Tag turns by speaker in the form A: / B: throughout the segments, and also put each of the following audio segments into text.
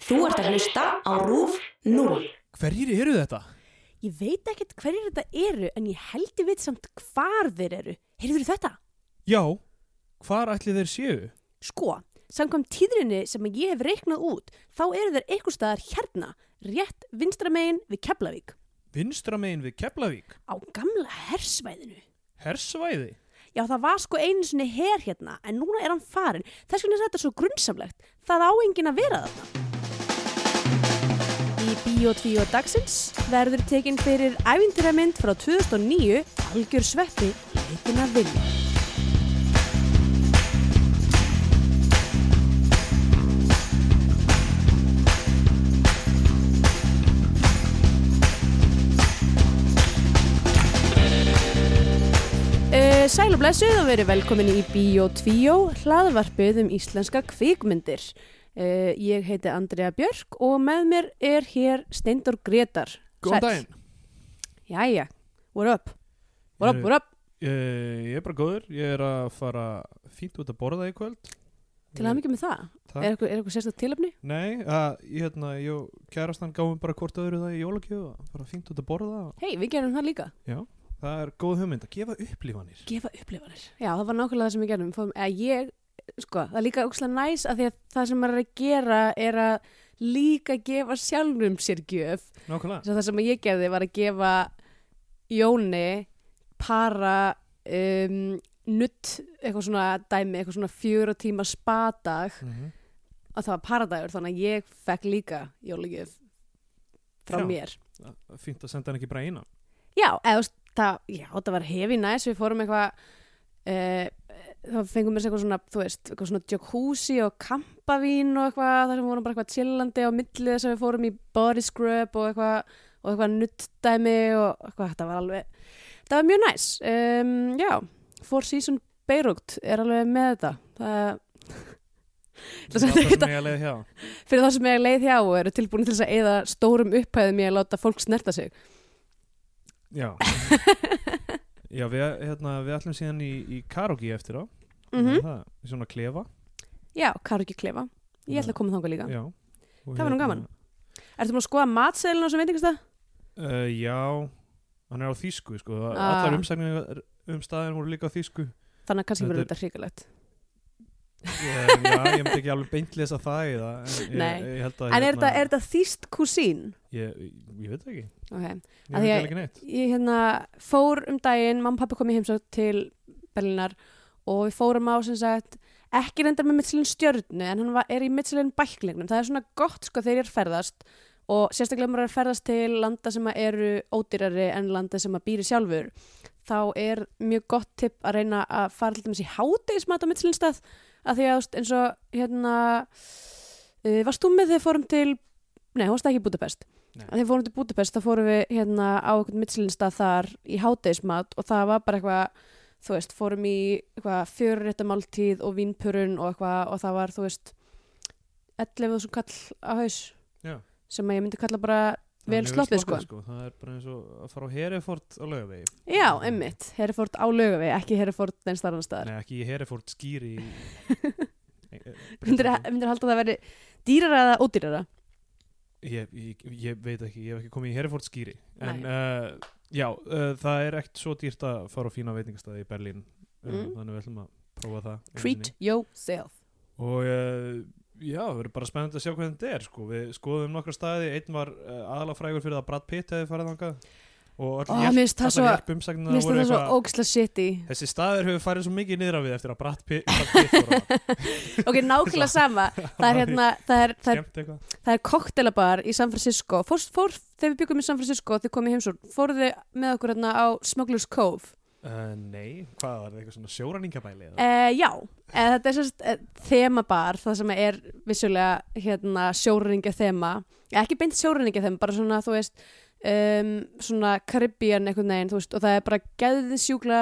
A: Þú ert að hlusta á RÚF 0.
B: Hverjir eru þetta?
C: Ég veit ekkert hverjir þetta eru en ég held ég veit samt hvar þeir eru. Heyrður þetta?
B: Já, hvar ætli þeir séu?
C: Sko, samkvæm tíðrinni sem ég hef reiknað út, þá eru þeir einhver staðar hérna, rétt vinstra megin við Keflavík,
B: Vinstra megin við Keflavík,
C: á gamla hersvæðinu.
B: Hersvæði.
C: Já, það var sko einu sinni her hérna, en núna er hann farin. Þess vegna er þetta svo grunnsamlegt. Það á enginn að vera þarna. Í Bíotvíó dagsins verður tekin fyrir ævindiramynd frá 2009 Algjör sveppi leitin að vilja. Uh, sæl og blessuð og verið velkomin í Bíó 2, hlaðvarpið um íslenska kvikmyndir. Uh, ég heiti Andrea Björk og með mér er hér Steindor Gretar.
B: Góðan daginn.
C: Jæja, what up? What up,
B: Eh,
C: what up?
B: Ég, ég er bara góður, ég er að fara fínt út að borða í kvöld.
C: Til
B: eh,
C: að mikið með það.
B: Takk.
C: Er eitthvað, er eitthvað sérstætt tilöfni?
B: Eh, Nei, að, ég, hérna, ég og kærastan gáum bara hvort öðru það í jólagjöf að fara fínt út að borða.
C: Hei, við gerum það líka.
B: Það er góð hugmynd að gefa upplifanir.
C: Gefa upplifanir. Já, það var nákvæmlega það sem við gerum. Fáum, eða ég, sko, það er líka ógslag næs að því að það sem maður er að gera er að líka gefa sjálfum sér gjöf
B: Nákvæmlega.
C: Svo það sem ég gerði var að gefa Jóni para um, nutt eitthvað svona dæmi, eitthvað svona fjögur tíma spadag
B: Mm
C: og það var paradagur þannig að ég fekk líka jólugjöf frá
B: Já.
C: mér.
B: Fínt að senda hann ekki bara eina.
C: Já, eða þú veist, það, já, það var hefi næs, við fórum eitthvað, uh, þá fengum við eitthvað svona, þú veist, eitthvað svona jacuzzi og kampavín og eitthvað, þar sem við vorum bara eitthvað chillandi á milli þess að við fórum í body scrub og eitthvað, og eitthvað nuttdæmi og eitthvað, þetta var alveg, það var mjög næs, um, já, Four Season Beirut er alveg með þetta, það Það sem
B: var það
C: þetta-
B: sem ég að leiði hjá.
C: fyrir þá sem ég leið hjá og eru tilbúin til þess að eða stórum upphæðum ég að láta fólk snerta sig.
B: Já. Já, við, hérna, við ætlum síðan í, í karaoke eftir á.
C: Mm
B: Það, í svona klefa.
C: Já, Kargi Klefa, ég ætla að koma þangað líka.
B: Já. Og
C: Það var nú gaman. Ertu maður að skoða matseðlun á þessum veitingastað?
B: Uh, já, hann er á þýsku sko.
C: Ah.
B: Allar umsagnir um staðin voru líka á þýsku
C: Þannig að kannski
B: Þetta
C: verður
B: er-
C: þetta hrigalegt.
B: ég, Já, ég myndi ekki alveg beint lesa það í það en
C: Nei.
B: ég, ég held að
C: En er
B: hérna,
C: þetta, er þetta þýst kusín?
B: Ég, ég, ég veit það ekki,
C: Ok.
B: ég
C: Af
B: veit
C: því að-
B: það ekki neitt
C: Ég hérna fór um daginn, mamma og pappi kom í heimsótt til Berlinar og við fórum á sem sagt, ekki reyndar með Michelin stjörnu en hann var, er í Michelin bæklingnum. Það er svona gott sko þegar ég er að ferðast og sérstaklega ef maður er að ferðast til landa sem að eru ódýrari en landa sem að býri sjálfur. Þá er mjög gott tipp að reyna að fara til dæmis í hádegismat á Michelin stað að því að þú veist, eins og hérna, uh, varst þú með þegar við fórum til, nei, hún varst ekki í Budapest
B: Nei.
C: að þegar við fórum til Budapest þá fórum við hérna á einhvern mittselinstað þar í hádegismat og það var bara eitthvað þú veist, fórum í eitthvað fjörrétta máltíð og vínpurun og eitthvað og það var, þú veist 11.000 kall á haus
B: Já.
C: sem að ég myndi kalla bara
B: Það er
C: vel
B: mjög
C: sloppið sko
B: Það er bara eins og að fara á Hereford á laugavegi
C: Já, emmitt, herrfórt á laugavegi, ekki herrfórt neins þar annar staðar.
B: Nei, ekki í Hereford skýri í- Nei, eh,
C: Myndir
B: Bretlandi.
C: að halda að það veri dýrara eða ódýrara?
B: ég, ég, ég veit ekki, ég hef ekki komið í Hereford skýri en
C: Nei.
B: uh, já, uh, það er ekkert svo dýrt að fara á fína veitingastæði í Berlín um,
C: Mm.
B: þannig við ætlum að prófa það einu sinni.
C: Treat yourself.
B: og uh, já, það verður bara spennandi að sjá hvernig þetta er sko. við skoðum nokkra staði, einn var uh, aðalafrægur fyrir það að Brad Pitt hefði farið þangað og
C: Ó,
B: allir
C: mér finnst það svo-
B: hjálp
C: Mér
B: umsagnina
C: finnst
B: voru
C: þetta
B: eitthvað
C: svo ógislega shitty.
B: þessi staður hefur farið svo mikið niðra við eftir að Brad Pitt, Brad Pitt fór að
C: Ok, nákvæmlega sama. Það er hérna, það er, það er
B: skemmt eitthvað
C: það er koktelabar í San Francisco fór, fór, þegar við byggum í San Francisco og þið komum í heimsókn, fóruð þið með okkur hérna á Smugglers Cove
B: uh, nei, hvað var það, eitthvað svona sjóræningabæli eða?
C: eh, já, eh, þetta er sérst eh, þemabar, það sem er vissulega hérna, sjóringja þema ekki beint sjóringja þema, bara svona þú veist, um, svona Caribbean einhvern veginn, þú veist, og það er bara geðið sjúkla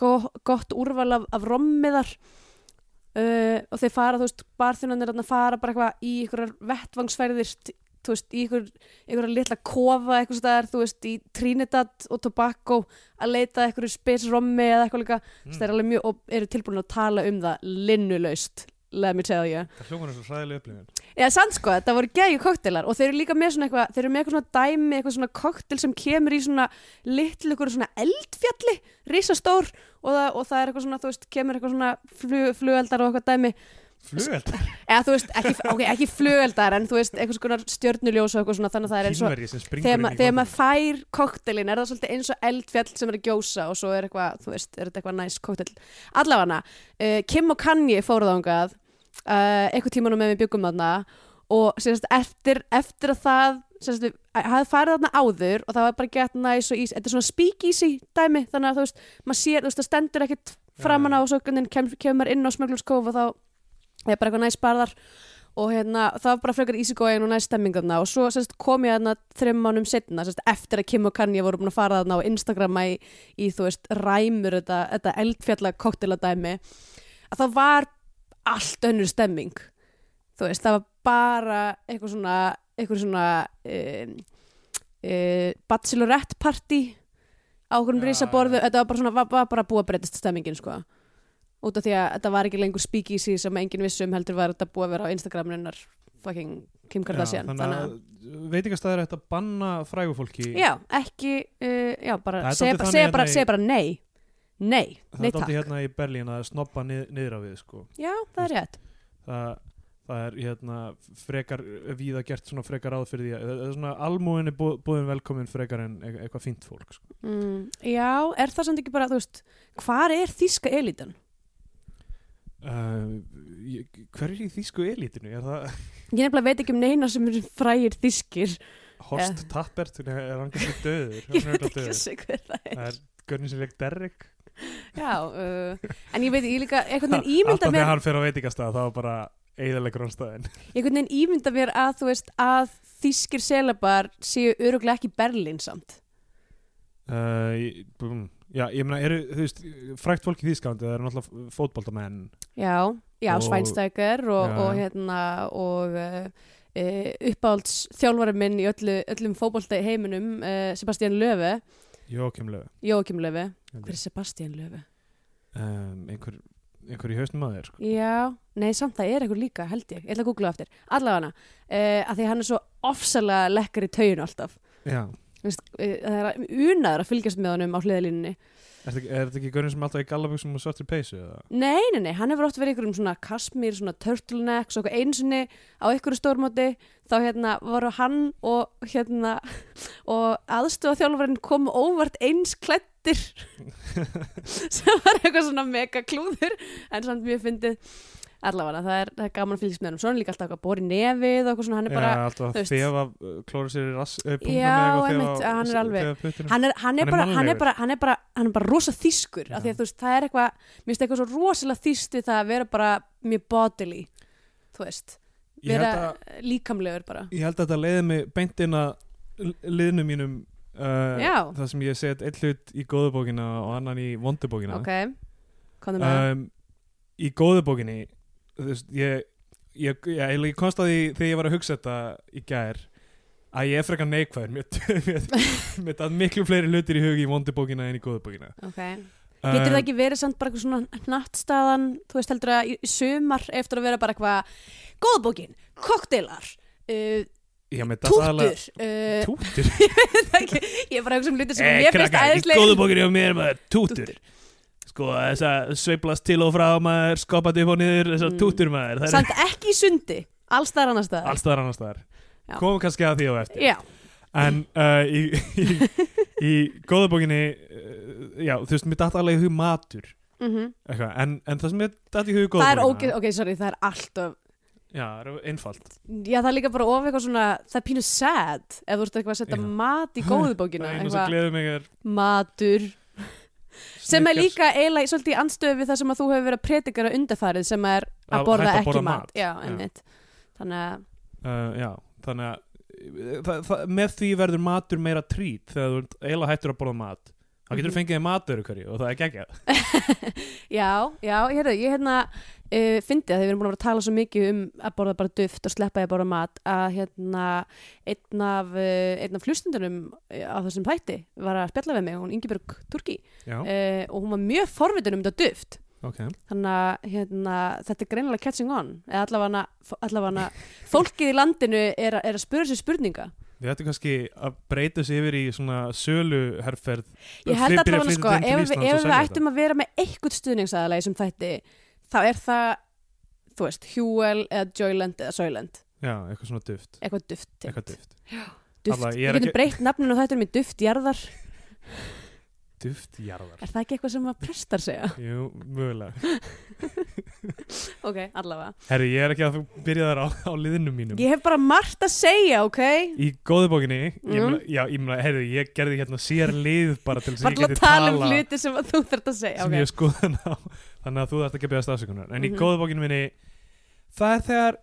C: gott úrval af, af rommiðar uh, og þeir fara, þú veist, barþjónanir þarna fara bara eitthvað í einhverjar vettvangsferðir t- þú veist, í einhver, einhverjar litla kofa eitthvað staðar, þú veist, í Trinidad og Tobacco að leita að einhverju spesrommi eða eitthvað líka, mm. það er alveg mjög og eru tilbúin að tala um það linnulaust let me tell you
B: Það hljómar er svo sæðilega upplifin
C: Já, sann sko, þetta voru geðju koktelar og þeir eru líka með svona eitthvað, þeir eru með eitthvað svona dæmi, eitthvað svona koktel sem kemur í svona litlu ykkur svona eldfjalli, risastór og það, og það er eitthvað svona, þú veist, kemur eitthvað svona flug, flugeldar og eitthvað dæmi
B: Flugeld,
C: eða þú veist, ekki, ok, ekki flugeldar en þú veist, eitthvað svona stjörnuljós og eitthvað svona þannig að það er eins og,
B: kínverji sem springur
C: þegar, ma
B: inn í
C: þegar
B: vandamál.
C: maður fær koktelin er það svolítið eins og eldfjall sem er að gjósa og svo er eitthvað, þú veist, er þetta eitthvað næs koktel allavega, uh, Kim og Kanye fóruð ángað uh, eitthvað tímanum með við byggum þarna og sérst, eftir, eftir að það sérst, við hafði farið þarna áður og það var bara gett næs og ís, þetta er svona speakeasy dæmi, þannig að þú veist, maður sér þú veist, það stendur ekkit framan á
B: Já,
C: og svo hvernig kem, kemur maður inn á smöglurskóf og þá er bara eitthvað næs barðar og hérna, það var bara frekar ísigóin og næst stemming þarna og svo sérst, kom ég þarna þreim mánum setna, sérst, eftir að Kim og Kanye voru búin að fara þarna á Instagrama í, í þú veist, ræmur þetta, þetta eldfjalla kokteladæmi að það var allt önnur stemming þú veist, það var bara eitthvað svona, eitthvað svona um, uh, bachelorette party á okkur um
B: Já,
C: risaborðu, þetta var bara svona var, var bara búið að breytast stemmingin sko út af því að þetta var ekki lengur speakeasy sem enginn vissum heldur var þetta búið að vera á Instagraminunnar fucking Kim Kardashian
B: þannig að veitingastæðir ætti að banna frægu fólki
C: já, ekki uh, já, bara,
B: Það er dálítið
C: segja bara,
B: þannig
C: segja bara,
B: hérna í-
C: segja bara nei nei,
B: það
C: nei
B: er
C: takk
B: dálítið hérna í Berlín að snoppa nið, niður á við sko.
C: já, það er rétt
B: það, það er hérna frekar víða gert svona frekar ráð fyrir því að það er svona almúin er búin velkomin frekar en e- eitthvað fínt fólk sko.
C: mm, já, er það samt ekki bara, þú veist hvar er þíska elitan?
B: uh, ég- hver er í þýsku elitinu? Er það
C: Ég nefnilega veit ekki um neina sem eru frægir þískir
B: Horst Tappert er hann kannski döður
C: Ég
B: Hann er örugglega
C: veit ekki
B: dauður.
C: þessi hver það er
B: það er Gunni sem leik Derrick
C: Já, uh, en ég veit ég líka einhvern veginn
B: alltaf
C: ímynda
B: þegar
C: mér
B: hann fer á veitingastæð þá er bara eðalegur á staðin
C: einhvern veginn ímynda mér að þú veist að þískir selabar séu öruglega ekki í Berlín samt
B: Uh, ég- búm. já, ég meina, eru, þú veist, frækt fólk í Þýskalandi, það eru náttúrulega fótboltamenn.
C: Já, já,
B: Og-
C: Svænstækjar og,
B: Já.
C: og hérna og uh, uh, uppáhalds þjálfari minn í öllu, öllum fótbolta í heiminum uh, Sebastian Löfi,
B: Jókim Löf,
C: Jókim Löfi
B: Held ég.
C: Hver er Sebastian Löfi?
B: um, einhver, einhver í hausnum að þér, sko.
C: Já, nei samt það er eitthvað líka held ég, ég ætla að googla á eftir, allavega hana uh, að því að hann er svo ofsalega lekkar í tauginu alltaf,
B: Já,
C: Þú veist, uh, það er unaður að fylgjast með honum á hliðalínunni
B: er þetta ekki- er þetta ekki görðin sem er alltaf í gallabuxum og svartri peysu, eða?
C: Nei, nei, nei, hann hefur oft verið ykkur um svona kasmir, svona turtlenecks og eitthvað einu sinni á ykkur stórmóti þá hérna voru hann og hérna og aðstofa þjálfarinn kom óvart eins klettir sem var eitthvað svona mega klúður en samt mjög fyndið allavega, það er, það er gaman að fylgjast með hann svo er hann líka alltaf að bóri nefið og eitthvað svona hann er bara,
B: já, alltaf
C: þú
B: að
C: veist.
B: þefa, uh, klóra sér í rass, uh, pungum eða
C: Já,
B: eitthvað, þefa
C: einmitt,
B: á-
C: hann er alveg-
B: þefa puttinu.
C: hann er, hann
B: Hann er
C: er, bara, hann er
B: mannlegur.
C: bara hann er bara, hann er bara rosa þýskur af því að þú veist, það er eitthvað, mér finnst eitthvað svo rosalega þýst við það að vera bara mjög bodily þú veist,
B: Ég held
C: vera
B: að-
C: líkamlegur bara
B: Ég held að þetta leiði mig beint inn að l- liðnum mínum, uh,
C: Já.
B: það sem ég set einn hlut í góðubókina og annan í vondubókina.
C: ok, komðu með það.
B: um, í góðu bókinni þú veist, ég, ég, ég, ég, ég komst að því þegar ég var að hugsa þetta í gær að ég er frekar neikvæður mér, mér, mér það miklu fleiri hlutir í hugi í vondu bókina en í góðu bókina
C: ok,
B: uh,
C: getur það ekki verið samt bara eitthvað svona hnattstaðan, þú veist heldur að í, í sumar eftir að vera bara eitthvað góðbókin, kokteilar uh,
B: tútur?
C: túttur uh,
B: tútur?
C: ég er bara eitthvað sem hlutir sem
B: Eh,
C: mér finnst
B: krakkar, í góðu
C: aðeinslega
B: bókinni á mér maður, tútur sko þess að sveiplast til og frá maður skopandi upp og niður þess að
C: Mm.
B: tútur maður það
C: samt ekki í sundi, allstaðar
B: er
C: annars staðar
B: alls staðar annars staðar
C: Já.
B: komum kannski að því á eftir
C: já,
B: En uh, í, í, í góðabókinni, uh, já, þú veist, mér datt alveg í hug matur,
C: mhm
B: eitthvað, en, en það sem mér datt í hug
C: það er
B: góðabókina.
C: ógeð, ok, sorry, það er alltaf
B: Já, það er einfalt.
C: já, það er líka bara of eitthvað svona það er pínu sad, ef þú ert eitthvað að setja
B: Já.
C: mat í góðu bókina,
B: Það einu sem
C: eitthvað
B: gleður mig er
C: matur, sem er
B: Snickers.
C: líka eiginlega svolítið í andstöðu við það sem að þú hefur verið að predikara undarfarið sem er
B: Að
C: að borða
B: hætta að
C: ekki
B: borða
C: mat,
B: mat.
C: já, einmitt þannig að,
B: Uh, já, þannig að uh, það, það, með því verður matur meira trít þegar þú ert eiginlega hættur að borða mat. Þá getur þú
C: Mhm.
B: fengið þér matur ykkur og það er geggjað.
C: já, já, ég hefði ég hérna, uh, fyndi að þið erum búin að vera að tala svo mikið um að borða bara duft og sleppa því að borða mat, að hérna einn af, uh, einn af flustundunum á þessum pætti var að spjalla við mig, hún Ingibjörg Turki
B: Já,
C: uh, og hún var mjög forvitin um þetta duft
B: ok
C: þannig að hérna, þetta er greinilega catching on eða allavega, allavega fólkið í landinu er, að- er að spura sér spurninga
B: Við ættum kannski að breyta sér yfir í svona söluherferð
C: ég held
B: Flyt- byrja
C: allavega
B: flytja
C: sko,
B: inn til
C: ef,
B: Íslands
C: við-
B: og
C: ef við
B: selja
C: ættum að vera með eitthvað stuðningsaðalegi sem þætti þá er það, þú veist Huel eða Joyland eða Soylent
B: Já, eitthvað svona duft
C: eitthvað duft, tengt.
B: Eitthvað duft
C: duft.
B: Alla, ég
C: við
B: er
C: getum
B: ekki-
C: breytt nafninu á þættunum í duftjarðar
B: Duftjarðar
C: er það ekki eitthvað sem að prestar segja
B: Jú, mögulega
C: ok, allavega
B: Herri, ég er ekki að byrja þar á, á liðinu mínum
C: ég hef bara margt að segja, ok
B: Í góðu bókinni ég
C: Mm.
B: meina, Já, ég meina, herri, ég gerði hérna sér lið bara til þess
C: bara
B: að
C: til
B: ég
C: að
B: geti
C: tala um
B: tala
C: hluti sem að þú þarft að segja
B: sem
C: ok.
B: ég hef skoðan á þannig að þú þarft ekki að beðast afsökunar en
C: Mhm.
B: í góðu bókinu minni það er þegar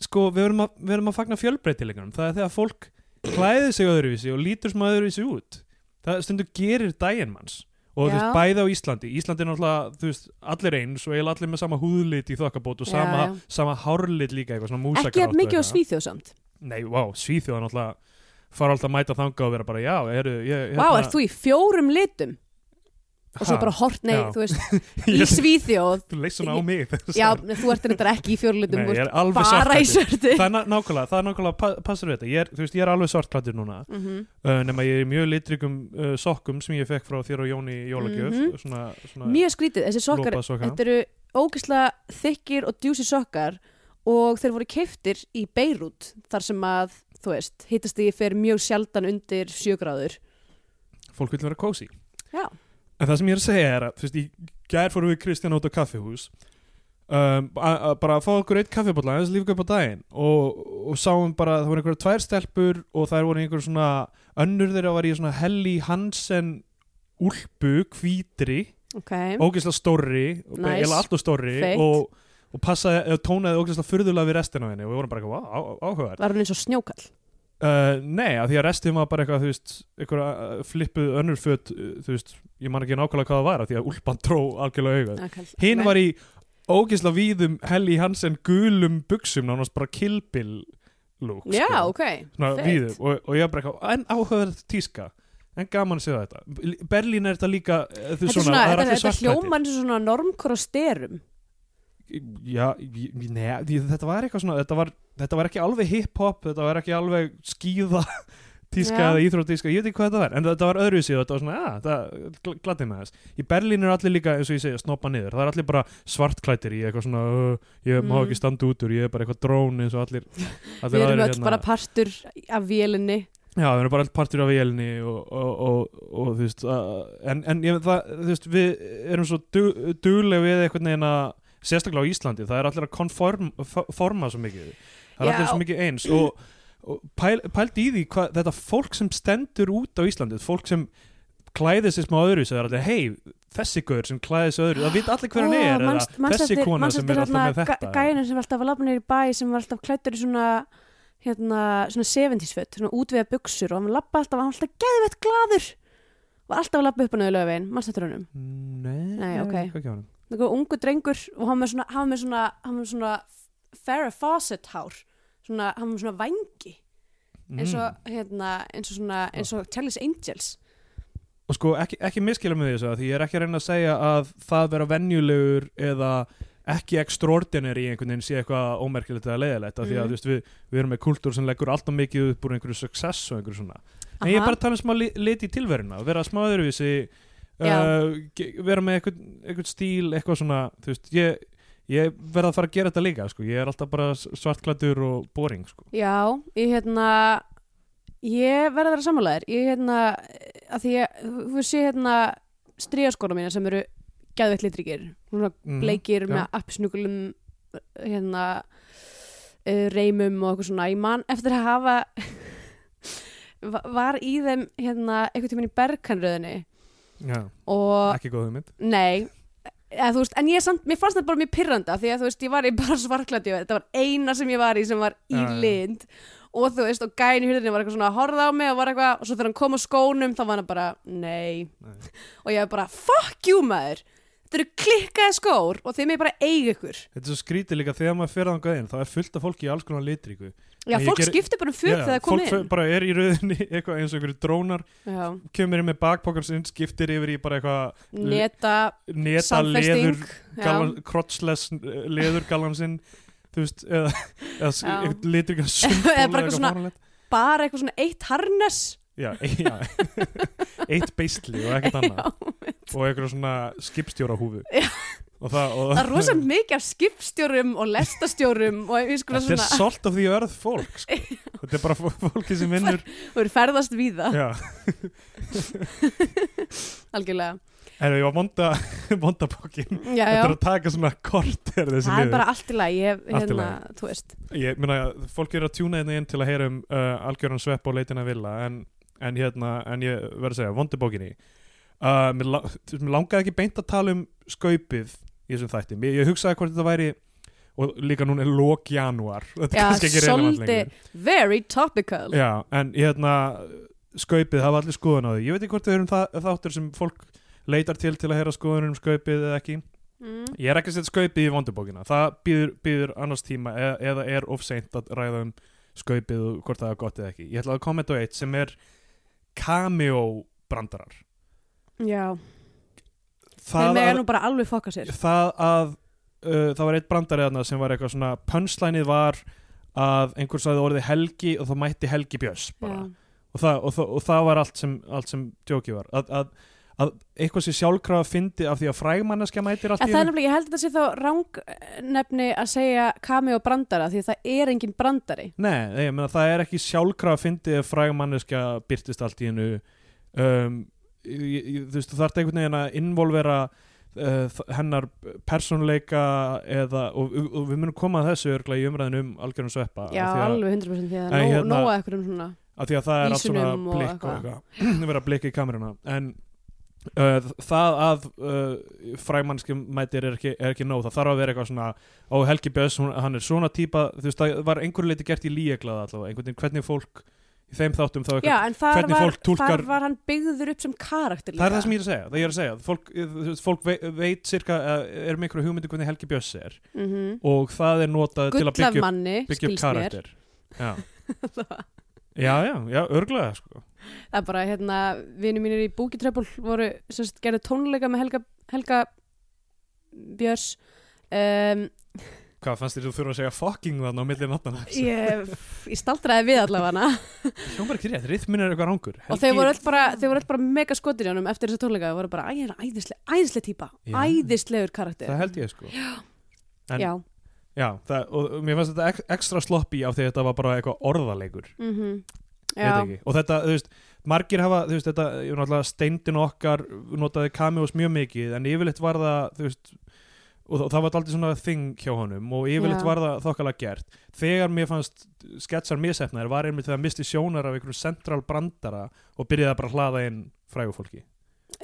B: sko, við verum að, við verum að fagna fjölbreytileikunum það er þegar fólk klæðir sig öðruvísi og lítur sem öðruvísi út það stundu gerir daginn manns og þú
C: Já.
B: veist, bæði á Íslandi Íslandi er náttúrulega, þú veist, allir eins og eiginlega allir með sama húðlit í þokkabót og
C: Já,
B: sama,
C: já.
B: sama hárlit líka eitthvað svona músagrátt
C: ekki jafn
B: og
C: mikið á
B: eitthvað.
C: svíþjóðsamt
B: Nei, vá, Svíþjóð er náttúrulega fara alltaf að mæta þanga og vera bara já, eru, ég, hérna,
C: Vá, ert þú í fjórum litum? Og svo
B: Ha,
C: bara hort, nei,
B: já.
C: þú veist, í
B: Ég-
C: Svíþjóð
B: Þú leist svona á mig þegar þú
C: Já,
B: sagðir.
C: þú ert reyndar ekki í fjórum litum
B: Nei,
C: þú
B: ég
C: ert
B: er alveg
C: Bara í
B: svartklæddur.
C: svörtu
B: það er ná- nákvæmlega, það er nákvæmlega pa- passar við þetta, ég er, þú veist, ég er alveg svartklættur núna
C: Mhm.
B: uh, nema ég er í mjög litrikum uh, sokkum sem ég fekk frá þér og Jóni í jólagjöf
C: Mhm.
B: svona, svona
C: Mjög skrítið, þessi sokkar
B: lopað sokka
C: Þetta eru ógislega þykkir og djúsi sokkar og þeir voru keiftir í Beirut þar sem að, þú veist, hittast því fer mjög sjaldan undir sjögráður
B: fólk vil vera kósi
C: Já.
B: en það sem ég er að segja er að, þú veist, í gær fórum við Kristján út á kaffihús um, a- a- bara að fá okkur eitt kaffibólla aðeins lífga upp á daginn og, og sáum bara, það voru einhverja tvær stelpur og þær voru einhver svona önnur þeirra var í svona Helly Hansen úlpu, hvítri
C: Ok,
B: ógeðslega stórri
C: Nice.
B: nice. eða alltaf stórri
C: Feitt.
B: og, og passaði, eða tónaði ógeðslega furðulega við restina af henni og við vorum bara eitthvað "Vá, á- áhugavert
C: var hún eins og snjókall
B: uh, Nei, af því að restin var bara eitthvað þú veist, einhverja uh, flippuð önnur föt uh, þú veist, ég man ekki nákvæmlega hvað það var af því að úlpan tró algjörlega augað Hinn var í ógeðslega víðum Helly Hansen gulum buksum nánast bara kilpil lúk
C: Já, ok,
B: Sko, svona
C: fett.
B: víðum og, og ég var bara eitthvað, en áhugavert tíska en gaman að segja þetta Berlín er þetta líka, eh, þú veist
C: Þetta er
B: svona,
C: svona,
B: það er
C: þetta,
B: allir
C: þetta
B: svartklæddir.
C: hljóma eins og svona normkor á styrum
B: Já, ég- ég- nei, því þetta var eitthvað svona þetta var, þetta var ekki alveg hip-hop þetta var ekki alveg skíða tíska
C: Já.
B: eða íþróttíska, ég veit ekki hvað þetta var en þetta var öðru síðu, þetta var svona, að, það gl- gladdi með þess. Í Berlín eru allir líka, eins og ég segja, snoppa niður, það er allir bara svartklættir í eitthvað svona, uh, ég má
C: Mm.
B: ekki standa út úr, ég er bara eitthvað drón eins og allir,
C: Við
B: allir
C: erum
B: aðrir hérna."
C: öll bara partur af vélinni
B: Já, við erum bara allt partur af vélni og, og, og, og þú veist að, en, en ég, það, þú veist, við erum svo dug, dugleg við einhvern veginn að sérstaklega á Íslandi, það er allir að konforma svo mikið það er
C: Já.
B: allir svo mikið eins og, og pæl, pælt í því hvað þetta fólk sem stendur út á Íslandi fólk sem klæðið sér smá öðru það er allir, hei, þessi gaur sem klæðið sér öðru það veit allir hver hann
C: Ó,
B: er
C: manst-
B: eða
C: manst
B: þessi
C: eftir-
B: kona
C: manst
B: sem
C: eftir hérna
B: er alltaf með
C: þarna
B: þetta
C: ga- gæjan sem var alltaf að labba niður í bæ sem var alltaf klættur í svona hérna, svona 70s föt svona útviða buksur og hann labba alltaf hann var alltaf geðvett glaður var alltaf að labba upp og niður lögvegin, manst þetta raunum
B: Nei,
C: Nei, ok.
B: hvað ekki á hann
C: það var ungu drengur og hann var svona hann var með svona, hann var með svona Farrah Fawcett hár svona, hann var með svona vangi eins
B: Mm.
C: og, hérna, eins og svona eins og Charlie's Angels
B: og sko ekki, ekki miskila með þessu af því ég er ekki að reyna að segja að það vera venjulegur eða ekki extraordinary í einhvern veginn sé eitthvað ómerkilegt eða leiðilegt af því
C: Mhm.
B: að þú veist, við, við erum með kultúr sem leggur alltaf mikið upp úr einhverju success og einhverju svona en ég er
C: Aha.
B: bara að tala um smá li, lit í tilveruna vera smá öðruvísi
C: Já.
B: uh, ge- vera með einhvern, einhvern stíl eitthvað svona, þú veist, ég ég verða að fara að gera þetta líka, sko ég er alltaf bara svartklættur og boring, sko
C: Já, ég hérna ég verða að vera sammálaðir ég hérna, að því ég þú sé hérna stríðaskona mína sem eru gæðveitt litrikir svona
B: Mhm,
C: bleikir
B: já.
C: með appisnuglum hérna uh, reymum og eitthvað svona ég man eftir að hafa va- var í þeim hérna eitthvað tímann í bergkanröðinni
B: Já,
C: og
B: ekki góð hugmynd
C: Nei eða, þú veist, En ég samt, mér fannst þetta bara mjög pyrranda Því að þú veist, ég var í bara svarklandi Þetta var eina sem ég var í sem var í
B: Já, já.
C: lind Og þú veist, og gæin í hurðinni var eitthvað svona að horða á mig og var eitthvað, og svo þegar hann kom á skónum þá var hann bara, nei
B: Nei.
C: og ég var bara, fuck you maður þetta eru klikkaði skór og þeim er bara eiga ykkur
B: Þetta er svo skrítið líka þegar maður fyrir þangað inn þá er fullt af fólki í alls konar litríku En
C: já,
B: ég
C: fólk
B: geri-
C: skiptir bara um föt þegar það kom
B: fólk fer-
C: inn
B: bara er í rauðinni eitthvað eins og einhverju drónar
C: já,
B: kemur inn með bakpokkan sinn, skiptir yfir í bara eitthvað
C: neta,
B: neta leður
C: samfesting já,
B: galan, crotchless eh, leðurgallan sinn þú veist, eða, eða s-
C: Já.
B: eitthvað litur eitthvað sundból
C: Eða bara eitthvað
B: eitthvað
C: svona-
B: fáránlegt.
C: bara eitthvað svona eitt harnes
B: já, e, já. eitt beisli og ekkert annað
C: já,
B: og eitthvað svona skipstjóra húfu
C: Já.
B: og það, og
C: það er rosa mikið af skipstjórum og lestastjórum og ég sko
B: Þetta er
C: svona,
B: salt of the earth fólk sko. Þetta er bara fó- fólki sem vinnur
C: þú eru ferðast víða
B: Já,
C: algjörlega,
B: en ég var vonda vonda bókin
C: já, já
B: Þetta er að taka svona kort er þessi
C: það er
B: liður
C: bara allt í lagi, ég,
B: Allt í
C: hérna, þú veist
B: Ég meina, fólk er að tjúna hérna inn til að heyra um uh, algjöran svepp og leitina villa en, en hérna, en ég verð að segja vonda bókinni uh, mér, la mér langaði ekki beint að tala um skaupið í þessum þætti mér, Ég hugsaði hvort þetta væri og líka núna er lók janúar Þetta er
C: já,
B: kannski ekki relevant lengur
C: svolítið very topical
B: Já, en hérna skaupið hafa allir skoðun á því ég veit ekki hvort við erum það, þáttur sem fólk leitar til til að heyra skoðunum um skaupið eða ekki
C: mm.
B: ég er ekki að setja skaupið í vondubókina það býður, býður annars tíma eða, eða er of seint að ræða um skaupið og hvort það er gott eða ekki ég ætla að kommenta á eitt sem er cameo brandarar
C: já, þeir
B: það
C: mega
B: að,
C: nú bara alveg fokka sér
B: það, að uh, það var eitt brandari þarna sem var eitthvað svona pönslænið var að einhver sagði orðið helgi og þá mætti helgi björs bara
C: já,
B: og það, og það, og það var allt sem, allt sem djóki var að, að, að eitthvað sem sjálfkrafa fyndi af því að frægmanneskja mætir allt
C: En það er nefnilega, ég held að þetta sé þá rangnefni að segja kami og brandara því að það er engin brandari.
B: Nei, nei, ég meina, það er ekki sjálfkrafa fyndi ef frægmanneskja byrtist allt í hennu um, ég- ég- þú veist, þú þarft einhvern veginn að involvera uh, þ- hennar persónleika eða, og, og, og við munum koma að þessu örgla í umræðinu um algjörum sveppa
C: Já,
B: af því að,
C: alveg 100% því að
B: Nei,
C: það er
B: hérna-
C: nóg að ekkur um svona.
B: af því að það er allt svona
C: Ísunum og
B: blikk og
C: eitthvað.
B: eitthvað vera blikk í kameruna en uh, það að uh, frægmannski mætir er ekki, er ekki nóg það þarf að vera eitthvað svona ó Helgi Björns, hún- hann er svona típa þú veist það var einhverju leiti gert í líeglaða allavega einhvern veginn hvernig fólk í þeim þáttum þá
C: Já,
B: eitthvað
C: en þar
B: hvernig
C: var,
B: fólk túlkar-
C: þar var hann byggður upp sem karakter líka.
B: Það er það sem ég er að segja, það ég er að segja, fólk, eh, þú veist, fólk veit, veit cirka, eh, er með einhverju hugmyndu hvernig Helgi Björns er
C: Mm -hmm.
B: og það er notað til að
C: Gull af
B: byggja upp,
C: manni,
B: byggja upp
C: skilst mér.
B: karakter. Já. já, já, já, örglega sko.
C: Það er bara, hérna, vini mínir í Búkitröpul voru, sérst, gerðu tónleika með Helga, Helga Björs. Um,
B: Hvað fannst þér þú þurfa að segja fucking þannig á milli náttana?
C: ég, ég staldraði við allavega hana
B: Hljómar ekki rétt, rithmin er eitthvað rángur
C: og þau voru öll bara, þau voru öll bara mega skotir í honum eftir þessa tónleika, þau voru bara, æ, hann er æðislega, æðislega típa,
B: Já.
C: æðislegur karakter.
B: Það held ég sko Já, en-
C: Já,
B: það, og mér fannst þetta ek- ekstra sloppy af því að þetta var bara eitthvað orðaleikur
C: mhm,
B: Ég veit
C: já,
B: ekki. Og þetta, þú veist, margir hafa, þú veist, þetta, ég náttúrulega steindin okkar notaði cameos mjög mikið en yfirleitt var það, þú veist og það, það var aldrei svona þing hjá honum og yfirleitt
C: Já.
B: var það þokkalega gert þegar mér fannst sketsar misefnaðir var einmitt þegar misti sjónar af einhverjum central brandara og byrjaði bara að hlaða inn frægufólki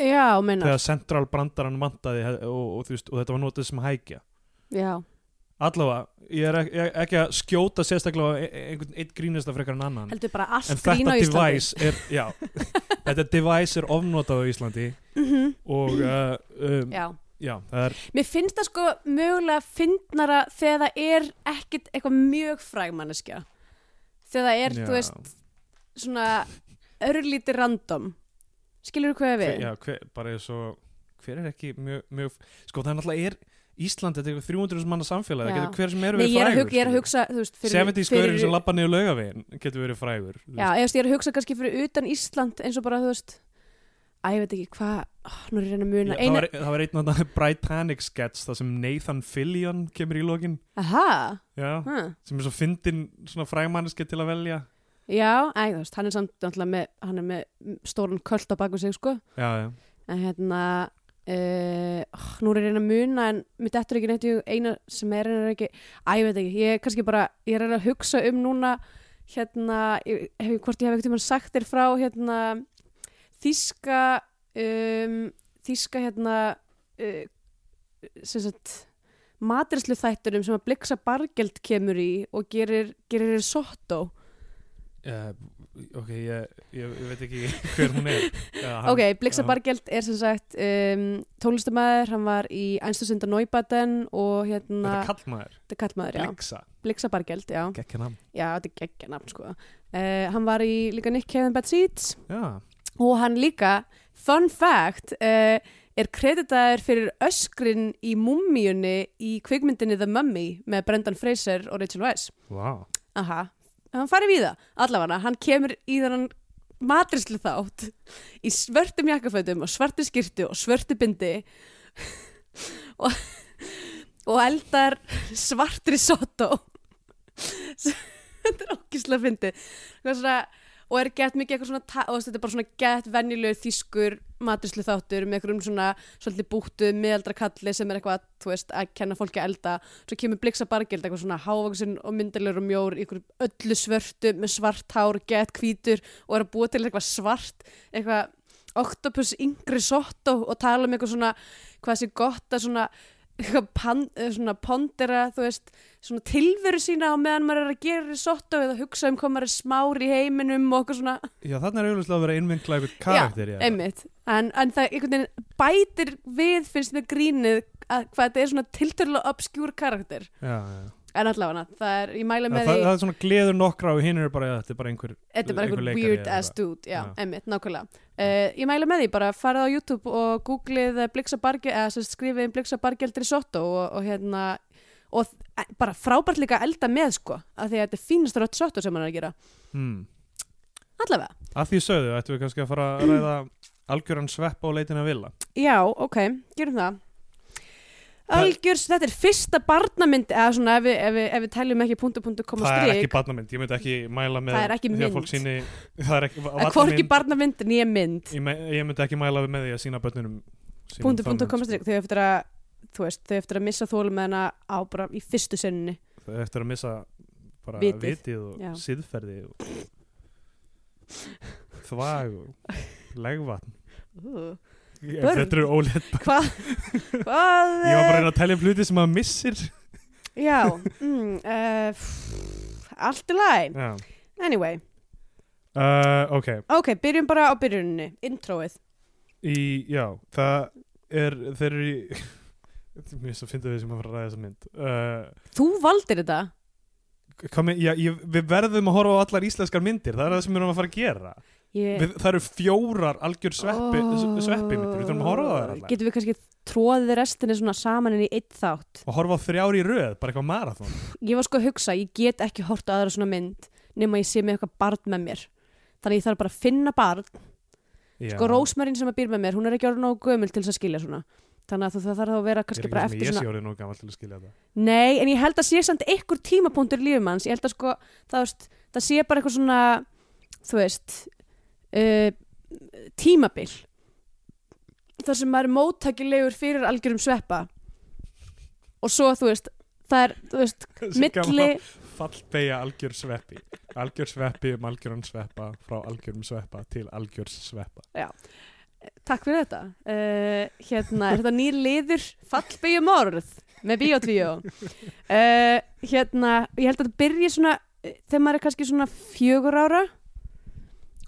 C: já, meinar,
B: þegar central brandaran vantaði og, og, og, þú veist, og þetta var notað sem hækja
C: já.
B: allavega, ég er ek- ég- ekki að skjóta sérstaklega á e- e- einhvern eitt grínasta frekar en annan
C: heldur bara allt
B: en
C: grín
B: þetta
C: á Íslandi
B: device er, já, þetta device er ofnotað á Íslandi og uh, um, já.
C: Mhm. já.
B: það er
C: mér finnst það sko mögulega fyndnara þegar það er ekkit eitthvað mjög frægmanneskja þegar það er,
B: já,
C: þú veist, svona örlítið random skilur þú hvað ég
B: hver,
C: við?
B: já, hver, bara eins og hver er ekki mjög, mjög sko það er náttúrulega er Ísland, þetta er eitthvað 300 manna samfélag það
C: Já.
B: getur hver sem eru
C: Nei,
B: verið
C: ég er, að
B: frægur
C: hug, ég er að
B: skilur.
C: hugsa þú veist, fyrir,
B: 70 skörin sem lappa niður laugavegin getur verið frægur þú
C: já, ég, veist, ég er að hugsa kannski fyrir utan Ísland eins og bara, þú veist að ég veit ekki hvað, oh, nú er ég að reyna að
B: Já,
C: muna
B: það, var, e- það var einn af Bright Panic sketch það sem Nathan Fillion kemur í lokin
C: aha,
B: já,
C: huh.
B: sem er svo fyndin svona frægmanniski til að velja
C: Já, ei, þú veist, hann er samt náttúrulega með, hann er með stórun költ á baku sig, sko.
B: já, já.
C: En hérna, uh, oh, nú er ég að reyna að muna, en mitt eftir ekki neitt, ég eina sem er reyna ekki, æ, ég veit ekki, ég er kannski bara, ég er að reyna að hugsa um núna, hérna, ég, hef, hvort ég hef eitthvað sagt þér frá, hérna, þíska, um, þíska, hérna, uh, sem sagt, maturislu þættunum sem að bliksa bargeld kemur í og gerir, gerir risotto.
B: Uh, ok, ég, ég, ég veit ekki hver hún er Já, hann-
C: Ok, Blixa
B: já.
C: Bargeld er sem sagt um, tónlistamæður, hann var í Einstúrsund og Neubaden og
B: Þetta
C: hérna,
B: er kallmaður,
C: þetta er kallmaður, já.
B: Blixa
C: Blixa Bargeld, já,
B: Gekkin ham
C: já, þetta er geggja nafn sko. Uh, hann var í líka Nick Cave and Bad Seeds
B: Já,
C: og hann líka, fun fact, uh, er kreditaður fyrir öskrin í mummiunni í kvikmyndinni The Mummy með Brendan Fraser og Rachel Weisz.
B: vá
C: Aha, hann farið við það, allavega, hann kemur í þannan matrislu þátt í svörtum jakkafötum og svörtu skirtu og svörtu bindi og, og eldar svartri sotó þetta er ókislega fyndi svona, og er gett mikið eitthvað svona ta- og þetta er bara svona gett venjulegur þýskur matrislu þáttur með einhverjum svona svolítið búttu meðaldra kalli sem er eitthvað þú veist, að kenna fólki að elda svo kemur bliksa bargild eitthvað svona hávaksin og myndalur og mjór í einhverju öllu svörtu með svart hár, gett hvítur og er að búa til eitthvað svart eitthvað octopus yngri sotto og tala um eitthvað svona hvað sé gott að svona eitthvað pan, eh, svona pondera þú veist, svona tilveru sína á meðan maður er að gera risotto eða hugsa um hvað maður er smár í heiminum og okkur svona
B: Já, þarna er auðvitað að vera innvinkla yfir karakter í þetta.
C: einmitt, en, en það einhvern veginn bætir við finnst mér grínið að hvað þetta er svona tiltölulega obskjúr karakter
B: Já, já.
C: En allavega, það er, ég mæla
B: Það,
C: með
B: það,
C: því,
B: það er svona gleður nokkra og hinn er bara, þetta er bara einhver
C: þetta er bara
B: einhver
C: einhver
B: leikari
C: weird
B: eða
C: ass dude,
B: Já.
C: já, emmitt, nákvæmlega. Uh, ég mæla með því, bara farið á YouTube og googlið Blixa Bargeld, eða sem sagt, skrifið um Blixa Bargeld risotto og, og hérna, og þ- e- bara frábært líka að elda með, sko, af því að þetta er fínasta risotto sem hann er að gera.
B: hmm.
C: Allavega,
B: Að því sögðu, ættum við kannski að fara að ræða algjöran svepp á leitin að vilja
C: já, ok, gerum það. Algjörs, þetta er fyrsta barnamynd, eða svona, ef við, ef við, ef við teljum ekki punktu, punktu, koma
B: Það er
C: strik.
B: ekki barnamynd, ég myndi ekki mæla með
C: Það er ekki
B: því að
C: mynd.
B: fólk síni Það er ekki
C: Að Eh, hvorki barnamynd, nýja mynd.
B: ég, me- ég myndi ekki mæla með því að sína börnunum sínum
C: Búndu,
B: þá
C: búndu,
B: mynd,
C: komast
B: sko.
C: þig Þau eftir að, þú veist, þau eftir að missa þólum með hana á bara í fyrstu senninni
B: Það er Eftir að missa bara
C: Vitið.
B: vitið, og
C: Já.
B: siðferði og þvag og legvatn Ég-
C: Börn.
B: Þetta eru ólega
C: Hvað?
B: Ég var
C: Hvað? eh,
B: bara að reyna að telja um hluti sem maður missir
C: Já, mm, uh, pff, allt í læg
B: Já.
C: Anyway,
B: Uh, Ok,
C: ok, byrjum bara á byrjuninni Introið
B: í, já Það er, þeir eru í Þetta er Mér svo fyndið við sem að fara að ræða þessa mynd uh,
C: Þú valdir þetta?
B: hvað með- já, ég, Við verðum að horfa á allar íslenskar myndir Það er það sem við erum að fara að gera
C: Ég...
B: við, Það eru fjórar algjör sveppi, oh. sveppi myndir Við þurfum að horfa á það allar
C: Getum við kannski tróðið restinni svona saman inn í eitt þátt
B: og horfa á þrjári í röð, bara eitthvað marathon
C: Ég var sko að hugsa, ég get ekki hort á aðra svona mynd nema ég sé með eitthvað barn með mér Þannig ég þarf bara að finna barn sko Rósmarín sem að býr með mér, hún er ekki orðin nógu gömul til þess að skilja svona þannig að þú- það þarf þá að vera kannski bara eftir
B: Ég
C: svona
B: sé orðið nóg gammal til að skilja þetta
C: nei, en ég held að sé samt einhver tímapunktur í lífum hans, ég held að sko það, veist, það sé bara eitthvað svona þú veist uh, tímabil þar sem maður er móttækilegur fyrir algjörum sveppa og svo þú veist það er, þú veist,
B: Þessi
C: milli
B: gamla Fallbeja algjör sveppi Algjör sveppi um algjöran sveppa Frá algjörum sveppa til algjörs sveppa
C: takk fyrir þetta uh, hérna, er þetta nýr liður fallbyggjum orð með Bíotvíó uh, hérna, ég held að þetta byrji svona eh, þegar maður er kannski svona fjögur ára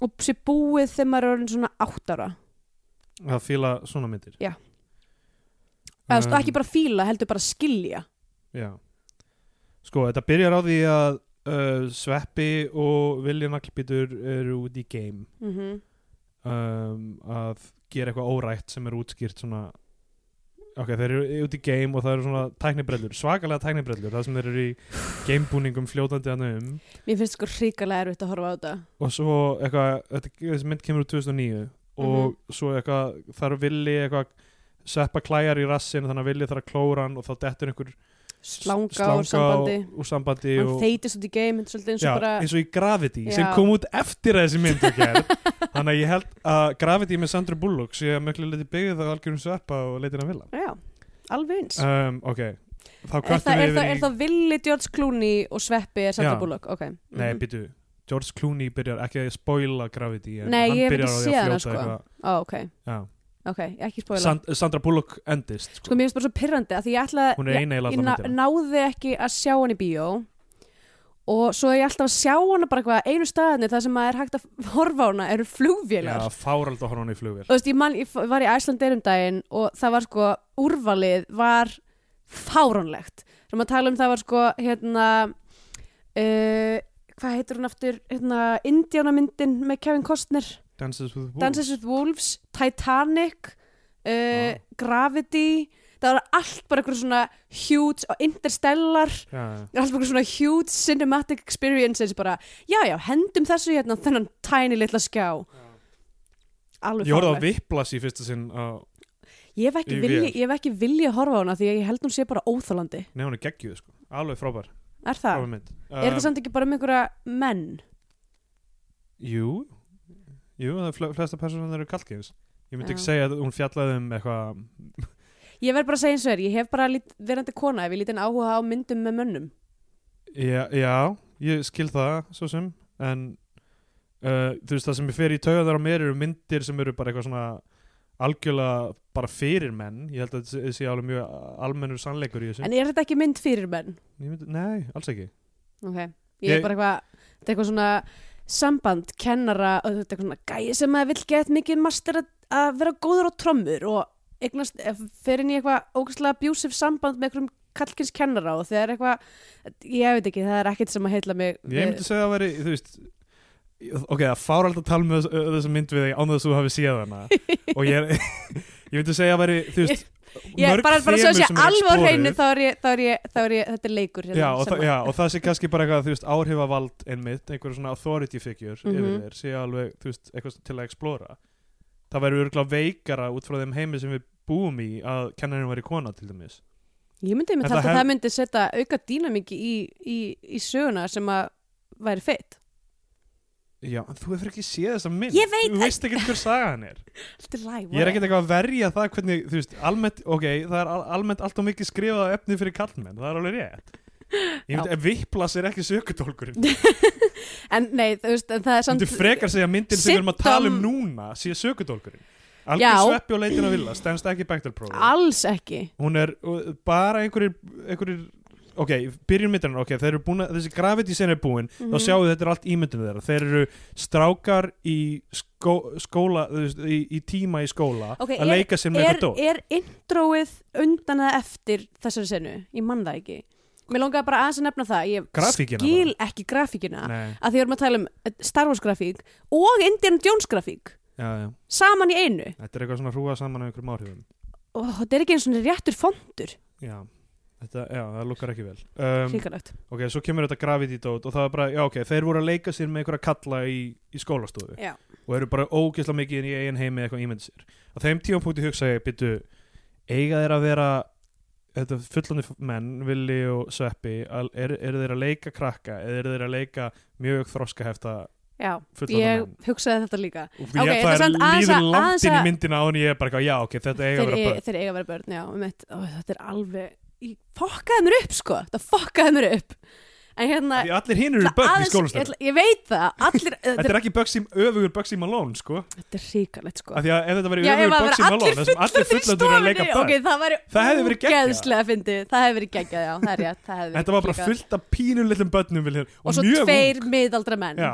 C: og sé búið þegar maður er orðin svona átt ára
B: Það fíla svona myndir
C: Já. eða
B: Mm.
C: um, ekki bara fíla, heldur bara skilja
B: Já Sko, þetta byrjar á því að uh, Sveppi og Vilja Naglbítur eru út í game
C: mm -hmm.
B: um, að gera eitthvað órætt sem er útskýrt svona ok, þeir eru út í game og það eru svona tæknibrellur, svakalega tæknibrellur það sem þeir eru í gamebúningum fljótandi hann um
C: mér finnst sko hrikalega erfitt að horfa á þetta
B: og svo eitthvað, þetta, þessi mynd kemur úr 2009 og
C: Mhm.
B: svo eitthvað þar villi eitthvað sveppa klæjar í rassin þannig að villi þarf að klóra hann og þá dettur einhver
C: slanga, úr sambandi
B: og, úr sambandi
C: hann
B: og,
C: þeitist út í game, þetta er svolítið eins
B: já,
C: og bara
B: eins og í Gravity sem
C: Já.
B: kom út eftir að þessi mynd er gerð þannig að ég held að Gravity með Sandra Bullock sé að mögulega liti byggðið á algjörum sveppa og leitin að vilja
C: já, alveg eins
B: um, ok, þá
C: Er
B: kvartum
C: það, er,
B: við yfir
C: það, er
B: í
C: það villi George Clooney og Sveppi er Sandra
B: Já.
C: Bullock? Okay.
B: nei,
C: Mhm.
B: býtu, George Clooney byrjar ekki að spoila Gravity en
C: Nei,
B: hann
C: ég hef
B: byrjar
C: ekki
B: á því
C: séð
B: að
C: hana,
B: fljóta
C: sko.
B: eitthvað
C: Ó, ok,
B: já.
C: ok, ekki spóila
B: Sand, Sandra Bullock endist
C: Sko, mér finnst bara svo pyrrandi að því ég ætla
B: hún er
C: ég,
B: eina í
C: ég ná,
B: landamöndina
C: náði ekki að sjá hann í bíó og svo er ég alltaf að sjá hana bara eitthvað einu staðinni þar sem að er hægt að horfa á hana eru flugvélar
B: já, fárald að horfa hún í flugvél
C: Þú veist, ég, man, ég f- var í Æslandeir um daginn og það var sko, úrvalið var fáránlegt sem að tala um það var sko hérna, uh, hvað heitir hún aftur hérna, Indiánamyndin með Kevin Costner
B: Dances with Wolves
C: Dances with Wolves, Titanic uh, Gravity það var allt bara eitthvað svona huge og interstellar
B: já, já.
C: Það er alltaf bara svona huge cinematic experiences bara, já já, hendum þessu hérna á þennan tiny litla skjá alveg
B: Ég horfði á
C: fáránlegt.
B: Viplas í fyrsta sinn á,
C: ég hef, ekki
B: í
C: vilja,
B: vél.
C: ég hef ekki vilja horfa á hana því að ég held hún sé bara óþólandi
B: Nei, hún er geggjuð sko Alveg frábær,
C: er það?
B: frábær mynd
C: er þetta samt ekki bara með einhverja menn?
B: Jú Jú, það er fle- flesta personar eru kallkins Ég myndi
C: Já.
B: ekki segja að hún fjallaði um eitthvað
C: ég verð bara að segja eins og þér, ég hef bara lít, verandi kona ef ég lítið áhuga á myndum með mönnum
B: já, já, ég skil það svo sem En uh, þú veist það sem ég fer í taugaðar á mér eru myndir sem eru bara eitthvað svona algjörlega bara fyrir menn Ég held að þetta sé- sé alveg mjög almennur sannleikur í þessu
C: en er þetta ekki mynd fyrir menn?
B: Ég myndi, Nei, alls ekki
C: ok, ég
B: Ég-
C: er bara eitthvað þetta er eitthvað svona samband kennara og þetta er eitthvað svona gæi sem að vill gett mikið um master að, að vera góður á trommur og eignast, eh, fer inn í eitthvað ógæslega abusive samband með einhverjum kallkins kennara og þegar eitthvað, ég veit ekki það er ekkert sem að heilla mig
B: Ég myndi segja að veri, þú veist Ok, það fár alltaf að tala með þess- þessa mynd við þig án þess að þú hafi séð hana og ég, er- ég myndi segja að veri, þú veist
C: ég, bara, bara svo
B: þemu
C: að sé
B: sem eru
C: alveg á hreinu
B: exploruð.
C: þá er ég, þá er ég, þá er ég þetta er leikur hérna,
B: Já, og,
C: sem
B: það,
C: að-
B: já, og það sé kannski bara eitthvað, þú veist, áhrifavald einmitt, einhverjum svona authority figure yfir
C: Mhm.
B: þér, sé alveg, þú veist, eitthvað til að explora. Það væri örgulega veikara út frá þeim heimi sem við búum í að kennarinn væri kona til dæmis.
C: ég myndi
B: Þetta
C: einmitt alltaf
B: hef-
C: að það myndi setja auka dýnamiki í, í, í söguna sem að væri feitt
B: Já, en þú hefur ekki séð þessa mynd.
C: Ég veit
B: Þú
C: að-
B: veist ekki hver sagan er.
C: Allt í lagi,
B: Ég er
C: whatever.
B: ekkert eitthvað að verja það hvernig, þú veist, almennt, ok, það er al- almennt allt og mikið skrifað á efni fyrir kallmenn, það er alveg rétt. Ég myndi að vipplas er ekki sökutólkurinn.
C: En nei, þú veist, en það er
B: Ég
C: samt
B: myndi frekar segja að myndin sem við erum að tala um núna sé sökutólkurinn. Algjör
C: Já.
B: sveppi og leitin að vilja, stendst ekki bektarprófið.
C: Alls ekki
B: Hún er uh, bara einhverjir, einhverjir ok, byrjun myndirinn, ok, þeir eru búin að, þessi gravity sen er búin, þá
C: Mhm.
B: sjáu þetta er allt ímyndinu þeirra. Þeir eru strákar í skó, skóla, þú veist, í, í tíma í skóla
C: Ok,
B: að
C: er-
B: leika sér með
C: er,
B: eitthvað dót.
C: er introið undan eða eftir þessari senu? Ég man það ekki Mér langaði bara aðeins að nefna það Ég
B: Grafíkina
C: skil ekki grafíkina
B: Nei,
C: að því við erum að tala um eh, Star Wars grafík og Indiana Jones grafík
B: já, já.
C: saman í einu
B: Þetta er eitthvað svona hrúa saman af einhverjum áhrifum.
C: og þetta er ekki eins og réttur fondur
B: Já, þetta, já, það lukkar ekki vel. Um,
C: hrikalegt
B: ok, svo kemur þetta gravity dót og það er bara, já, ok, þeir voru að leika sér með einhverja kalla í, í skólastofu
C: Já.
B: og eru bara ógeðslega mikið inn í eigin heimi eða eitthvað ímynd sér. Á þeim tímapunkti hugsa ég, byttu, eiga þeir að vera þetta fullandi menn, villi og sveppi, al- eru er þeir að leika krakka eða eru þeir að leika mjög þroskahefta
C: Já,
B: fullandi
C: ég
B: menn?
C: hugsaði þetta líka
B: Og
C: ok,
B: ég,
C: þetta er
B: það er
C: samt aðeins að-
B: líður
C: aðeins
B: langt inn í
C: að-
B: myndina á en ég er bara, eitthvað, já, ok, þetta eiga að
C: þeir,
B: vera
C: e,
B: börn.
C: þeir eiga að vera börn, já um eitt, ó, þetta er alveg ég fokkaði mér upp sko, þetta fokkaði mér upp en hérna
B: Því allir hinn eru börn í
C: ég,
B: skólastöðu
C: ætla- ég veit það, allir eh,
B: Þetta er ekki Bugsy, öfugur Bugsy Malone sko
C: þetta er hríkalegt sko
B: af því að ef þetta væri
C: Já, ef
B: öfugur
C: það
B: Bugsy
C: væru
B: Malone
C: allir
B: þessum allir
C: fyrir
B: fullandur að leika
C: stofunni,
B: börn
C: ok, það væri
B: Það hefði verið geggjað.
C: ógeðslega fyndið, það hefði verið geggjað, já, það er rétt það hefði
B: Þetta var bara
C: líka-
B: fullt af pínum lillum börnum Vilhelm,
C: og
B: og
C: svo
B: mjög
C: tveir
B: ung.
C: miðaldra menn
B: Já,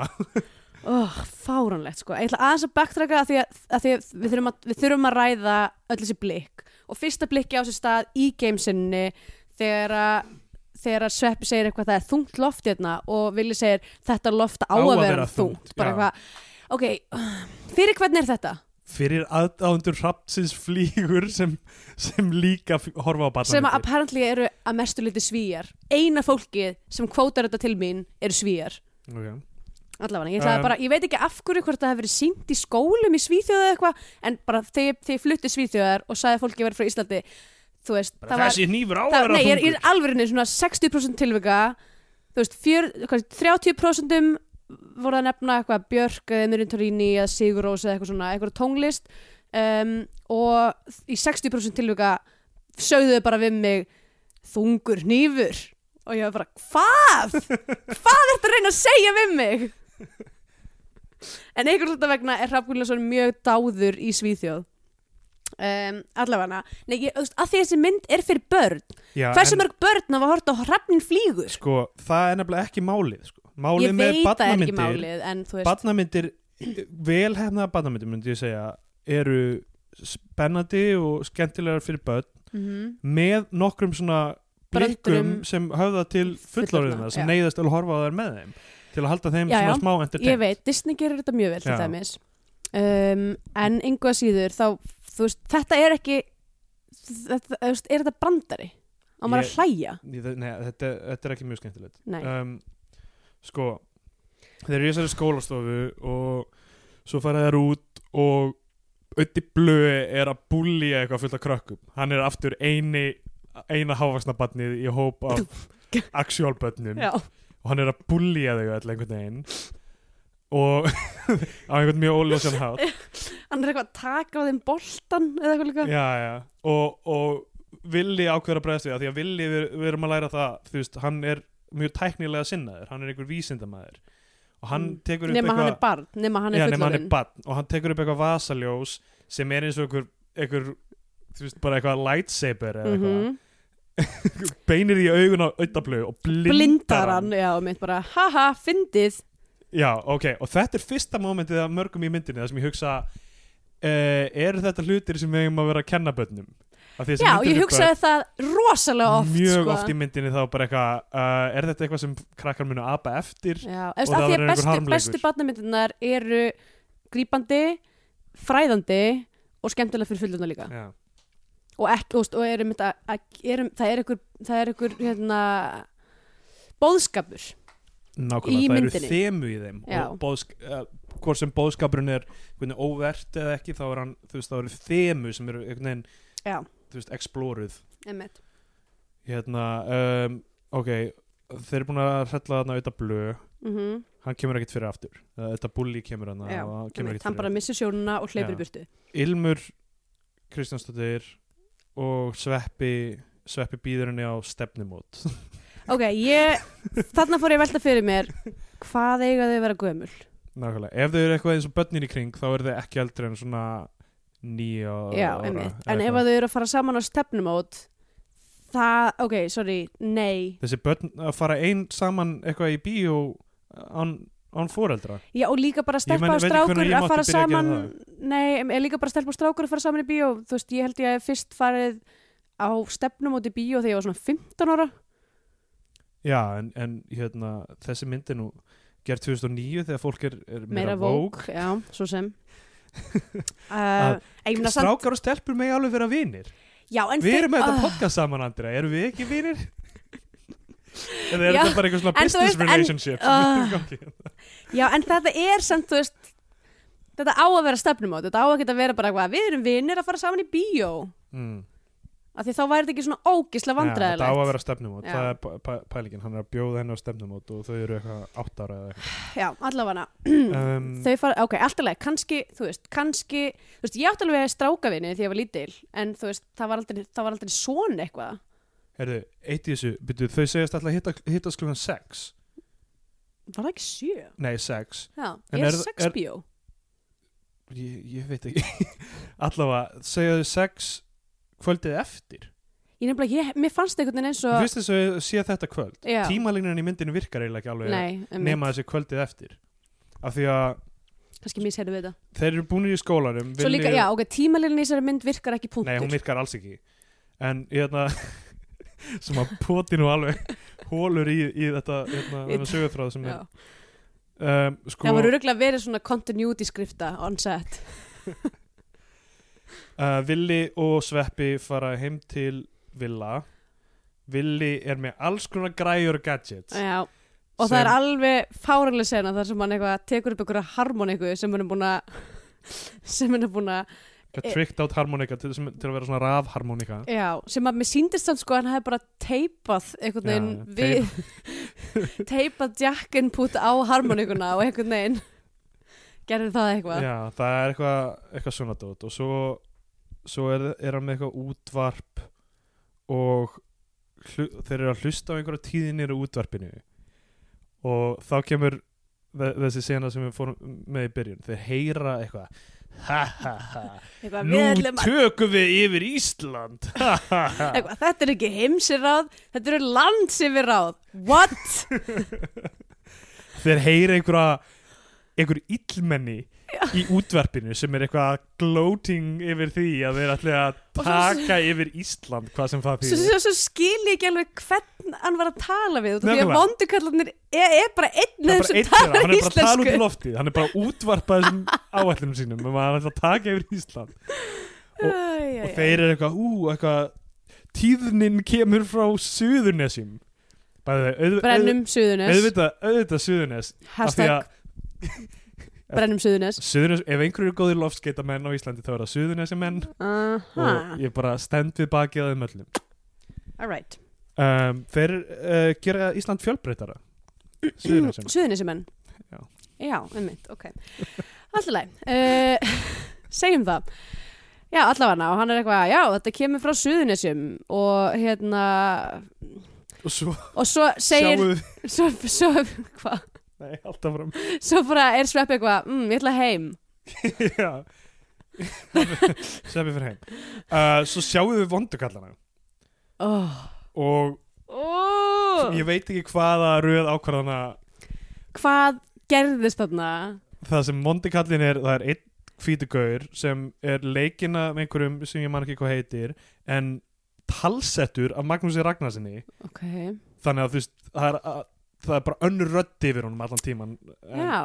C: oh, fáránlegt sko, ég ætla aðeins að backtracka að því að, að, því að við, þurfum að við þurfum að ræða öll þessi blikk og fyrsta blikki á sér stað í gamesinni þegar að þegar að Sveppi segir eitthvað það er þungt loft hérna og Vili segir þetta loft á að vera þungt bara
B: já.
C: eitthvað, ok, fyrir hvern er þetta?
B: fyrir aðdándur rapsins flýgur sem, sem líka f- horfa á
C: sem að
B: barnamyndir
C: apparently eru að mestu liti svíjar eina fólkið sem kvótar þetta til mín eru svíjar
B: okay.
C: allavega, ég, um,
B: Um,
C: bara, ég veit ekki af hverju hvort það hefur verið sínt í skólum í Svíþjóðu eða eitthvað, en bara þegar þegar ég flutti Svíþjóðar og sagði að fólki verið frá Íslandi þú veist, það var
B: Þessi nýfur á að
C: það,
B: vera
C: nei, ég er, ég
B: þungur
C: er alveg svona 60% tilvika þú veist, fjör, hvað, 30% voru að nefna eitthvað Björk eða Mirin Torini eða Sigur Rós eða eitthvað svona, eitthvað tónlist um, og í 60% tilvika sögðu þau bara við mig þungur hnífur og ég var bara, hvað? hvað ertu að reyna að segja við mig? en einhvern hluta vegna er Hrafn Gullason mjög dáður í Svíþjóð um, allavega Nei, ég, þú veist, að því þessi mynd er fyrir börn
B: Já,
C: Hversu
B: en
C: mörg börn hafa hort á hrafnin flýgur?
B: Sko, það er nefnilega ekki málið sko. Málið
C: Ég
B: með
C: veit það er ekki
B: barnamyndir
C: málið en þú veist,
B: Badnamyndir, velhefnaða badnamyndir myndi ég segja, eru spennandi og skemmtilegar fyrir börn
C: mhm,
B: með nokkrum svona blikkum
C: Bröndurum-
B: sem höfða til fullorðina
C: Fullorðna,
B: sem
C: já.
B: neyðast til að horfa á þær með þeim til að halda þeim
C: Já, já.
B: svona smá
C: ég
B: entertain
C: veit, Disney gerir þetta mjög vel til
B: Já.
C: dæmis um, en yngu að síður þá, þú veist, þetta er ekki þetta, þú veist, er þetta brandari á maður
B: Ég-
C: að hlæja
B: Ég- Nei, þetta, þetta er ekki mjög skemmtilegt
C: Nei,
B: um, sko þeir eru í þessari skólastofu og svo fara þær út og Ötti Blöi er að búlja eitthvað fullt af krökkum hann er aftur eini eina hávaksna barnið í hóp af actual börnum
C: já,
B: og hann er að búlja þau öll einhvern veginn og á einhvern mjög óljósan hátt
C: hann er eitthvað að taka á þeim boltan eða eitthvað líka
B: já, já. og, og villi ákveður að bregðast við það því að villi, við, við erum að læra það þú veist, hann er mjög tæknilega sinnaður hann er einhver vísindamæður og hann
C: Mm.
B: tekur upp
C: nema hann er
B: eitthvað
C: barn, nema hann
B: já,
C: er
B: nema hann er
C: fullorinn
B: barn og hann tekur upp eitthvað vasaljós sem er eins og einhver, einhver þú veist, bara eitthvað lightsaber eða eitthvað
C: Mhm.
B: beinir í augun á auðablu og blindar,
C: blindar
B: hann
C: hann, já, mitt bara haha, fyndið
B: já, ok, og þetta er fyrsta mómentið af mörgum í myndinni það sem ég hugsa Uh, eru þetta hlutir sem við eigum að vera að kenna bönnum?
C: já, ég hugsaði það rosalega oft
B: mjög
C: sko.
B: oft í myndinni þá bara eitthvað uh, er þetta eitthvað sem krakkar munu apa eftir
C: Já, eftir,
B: það
C: að
B: verður
C: því að
B: einhver
C: bestu,
B: harmleikur.
C: bestu barnamyndirnar eru grípandi, fræðandi og skemmtilega fyrir fullurna líka
B: já,
C: og, ekki, þú veist, og erum, þetta- að- erum, það er ykkur, það er ykkur hérna, bóðskapur
B: nákvæmlega,
C: Í
B: það
C: myndinni.
B: eru þemu í þeim
C: Já.
B: og bóðsk, uh, hvort sem bóðskapurinn er hvernig, óvert eða ekki þá er hann þú veist, þá eru þemu sem eru einhvern veginn
C: Já.
B: þú veist, exploruð
C: Einmitt.
B: hérna, um, ok þeir eru búin að hrella þarna auðvitað blö
C: Mm
B: hann kemur ekkert fyrir aftur uh, þetta bulli kemur hann
C: Já,
B: og hann kemur
C: Einmitt.
B: ekkert
C: hann bara
B: fyrir
C: missir sjónuna og
B: Já.
C: hleypir í burtu
B: Ilmur Kristjánsdóttir og Sveppi Sveppi býður henni á stefnumót
C: ok, ég, þarna fór ég að velta fyrir mér hvað eiga þau að vera gömul
B: Nákvæmlega, ef þau eru eitthvað eins og börnin í kring þá eru þau ekki eldri en svona nýja
C: Já,
B: ára
C: einmitt,
B: eða
C: en ef
B: eitthvað.
C: að þau eru að fara saman á stefnumót það, ok, sorry, nei
B: Þessi börn að fara einn saman eitthvað í bíó án, án foreldra
C: Já, og líka bara
B: Ég
C: stelpa
B: meina,
C: og
B: veit ekki hvenær
C: strákur
B: ég
C: að
B: mátti byrja að
C: fara
B: gera
C: saman Nei, em, er líka bara stelpa og strákur að fara saman í bíó Þú veist, ég held ég að fyrst farið á stefnum út í bíó þegar ég var svona 15 ára
B: Já, en, en hérna, þessi mynd er nú gerð 2009 þegar fólk er, er
C: Meira vók, já, svo sem uh,
B: Að-
C: ég meina samt,
B: Strákar og stelpur megi alveg vera vinir
C: já, en
B: Við
C: þau-
B: erum með þetta
C: Ah,
B: podcast saman, Andra, erum við ekki vinir? Eða er
C: Já,
B: þetta bara eitthvað svona
C: en þú
B: business
C: veist, en-
B: relationship sem er í
C: Ah.
B: gangi?
C: Já, en þetta er samt, þú veist Þetta á að vera stefnum út Þetta á að geta að vera bara eitthvað Við erum vinir að fara saman í bíó
B: Mm.
C: Af því þá væri þetta ekki svona ógisla
B: Já, þetta á að
C: vandræðilegt
B: vera stefnumót,
C: Já.
B: það er pæ- pæ- pælingin, hann er að bjóða henni á stefnumót og þau eru eitthvað átt ára eða
C: Já, allavega
B: eitthvað. Um,
C: þau fara, ok, alltaf leið, kannski, þú veist, kannski, þú veist, ég átti alveg strákavinni því ég var lítil, en þú veist, það var aldrei, það var aldrei svona eitthvað.
B: Herðu, eitt í þessu, byrju, þau segjast alltaf hitta, hittast klukkan 6,
C: Var það ekki sjö?
B: nei 6,
C: Já,
B: En
C: er
B: er-
C: sex
B: er-
C: bíó?
B: ég, ég veit ekki, allavega, segja þau 6 kvöldið eftir.
C: Ég nefnilega, ég, mér fannst einhvern veginn eins
B: Þú
C: og,
B: veist þess að þau sé þetta kvöld,
C: Já.
B: tímalínan í myndinu virkar eiginlega ekki alveg
C: nei, um,
B: nema þessi kvöldið eftir, af því að
C: kannski misherðu við þetta.
B: þeir eru búinir í skólanum,
C: Svo líka, já, ok, tímalilin í þessari mynd virkar ekki punktur.
B: Nei, hún virkar alls ekki En hérna sem að poti nú alveg hólur í, í þetta hérna,
C: Í
B: hérna sögurþráð sem
C: Já.
B: er um, sko,
C: Það voru örgulega verið svona continuity skrifta on set.
B: uh, Villi og Sveppi fara heim til Villa Villi er með alls konar græjur og gadgets
C: Já, og það er
B: Sem-
C: alveg fáranlega sena þar sem hann eitthvað tekur upp einhverja harmoniku sem hann er búin að, sem hann er búin að eh.
B: Eitthvað trickt át harmonika til, sem, til að vera svona rafharmonika
C: Já, sem að mér síndist samt sko að hann hefði bara teipað einhvern
B: Já,
C: veginn við teipað jack input á harmonikuna og einhvern veginn gerði það eitthvað
B: Já, það er eitthvað eitthvað svona dót og svo, svo er, er hann með eitthvað útvarp og hlu, þeir eru að hlusta á einhverja tíðinir úr útvarpinu og þá kemur þe- þessi sena sem við fórum með í byrjun þeir heyra eitthvað ha ha ha
C: eitthvað,
B: nú
C: við ætlum að
B: tökum við yfir Ísland ha ha ha
C: eitthvað, þetta er ekki heimsiráð þetta eru landsifirráð what?
B: þeir heyra einhverja einhver illmenni í útverpinu sem er eitthvað gloating yfir því að þeir ætli að
C: Og svo-
B: taka yfir Ísland hvað sem það
C: Svo,
B: þýðir
C: svo, svo skil ég ekki alveg hvern hann var að tala við út af því að
B: Nefnilega.
C: vondukallarnir er, er bara einn
B: Það er
C: með þeim
B: bara
C: sem
B: einn þeirra, hann
C: talar
B: er bara að tala út í
C: íslensku
B: loftið, hann er bara að útvarpa þessum áætlunum sínum um að hann ætla að taka yfir Ísland og-
C: Æ, æ,
B: og
C: æ.
B: þeir eru eitthvað, ú, eitthvað tíðnin kemur frá Suðurnesjum Bæði, auð,
C: Brennum Suðunes
B: auðvitað, auðvitað Suðurnes af því
C: Hashtag
B: að
C: Brennum Suðunes
B: Suðurnes, ef einhverju er góðir loftskeytamenn á Íslandi þá er það Suðurnesjum menn
C: Aha,
B: og ég bara stend við baki að þeim öllum
C: alright
B: um, Þeir uh, gera Ísland fjölbreytara Suðurnesjum
C: Suðunisjumenn
B: Já.
C: Já, einmitt, ok Alltaf læg uh, Segjum það Já, allavega, og hann er eitthvað, já, þetta kemur frá Suðunisjum og hérna
B: og svo
C: og svo segir
B: sjáum við
C: svo, svo, hva,
B: Nei, alltaf fram
C: svo bara er sveppi eitthvað mm, ég ætla heim
B: Já Sveppi fyrir heim uh, Svo sjáum við vondukallana
C: oh.
B: og
C: Oh.
B: ég veit ekki hvaða röð ákvarðana
C: Hvað gerðist þarna?
B: það sem vondukallin er, það er einn hvítugaur sem er leikina með einhverjum sem ég man ekki hvað heitir en talsettur af Magnúsi Ragnarsinni
C: Ok,
B: þannig að þú veist það er, að, það er bara önnur rödd yfir honum allan tíman en,
C: já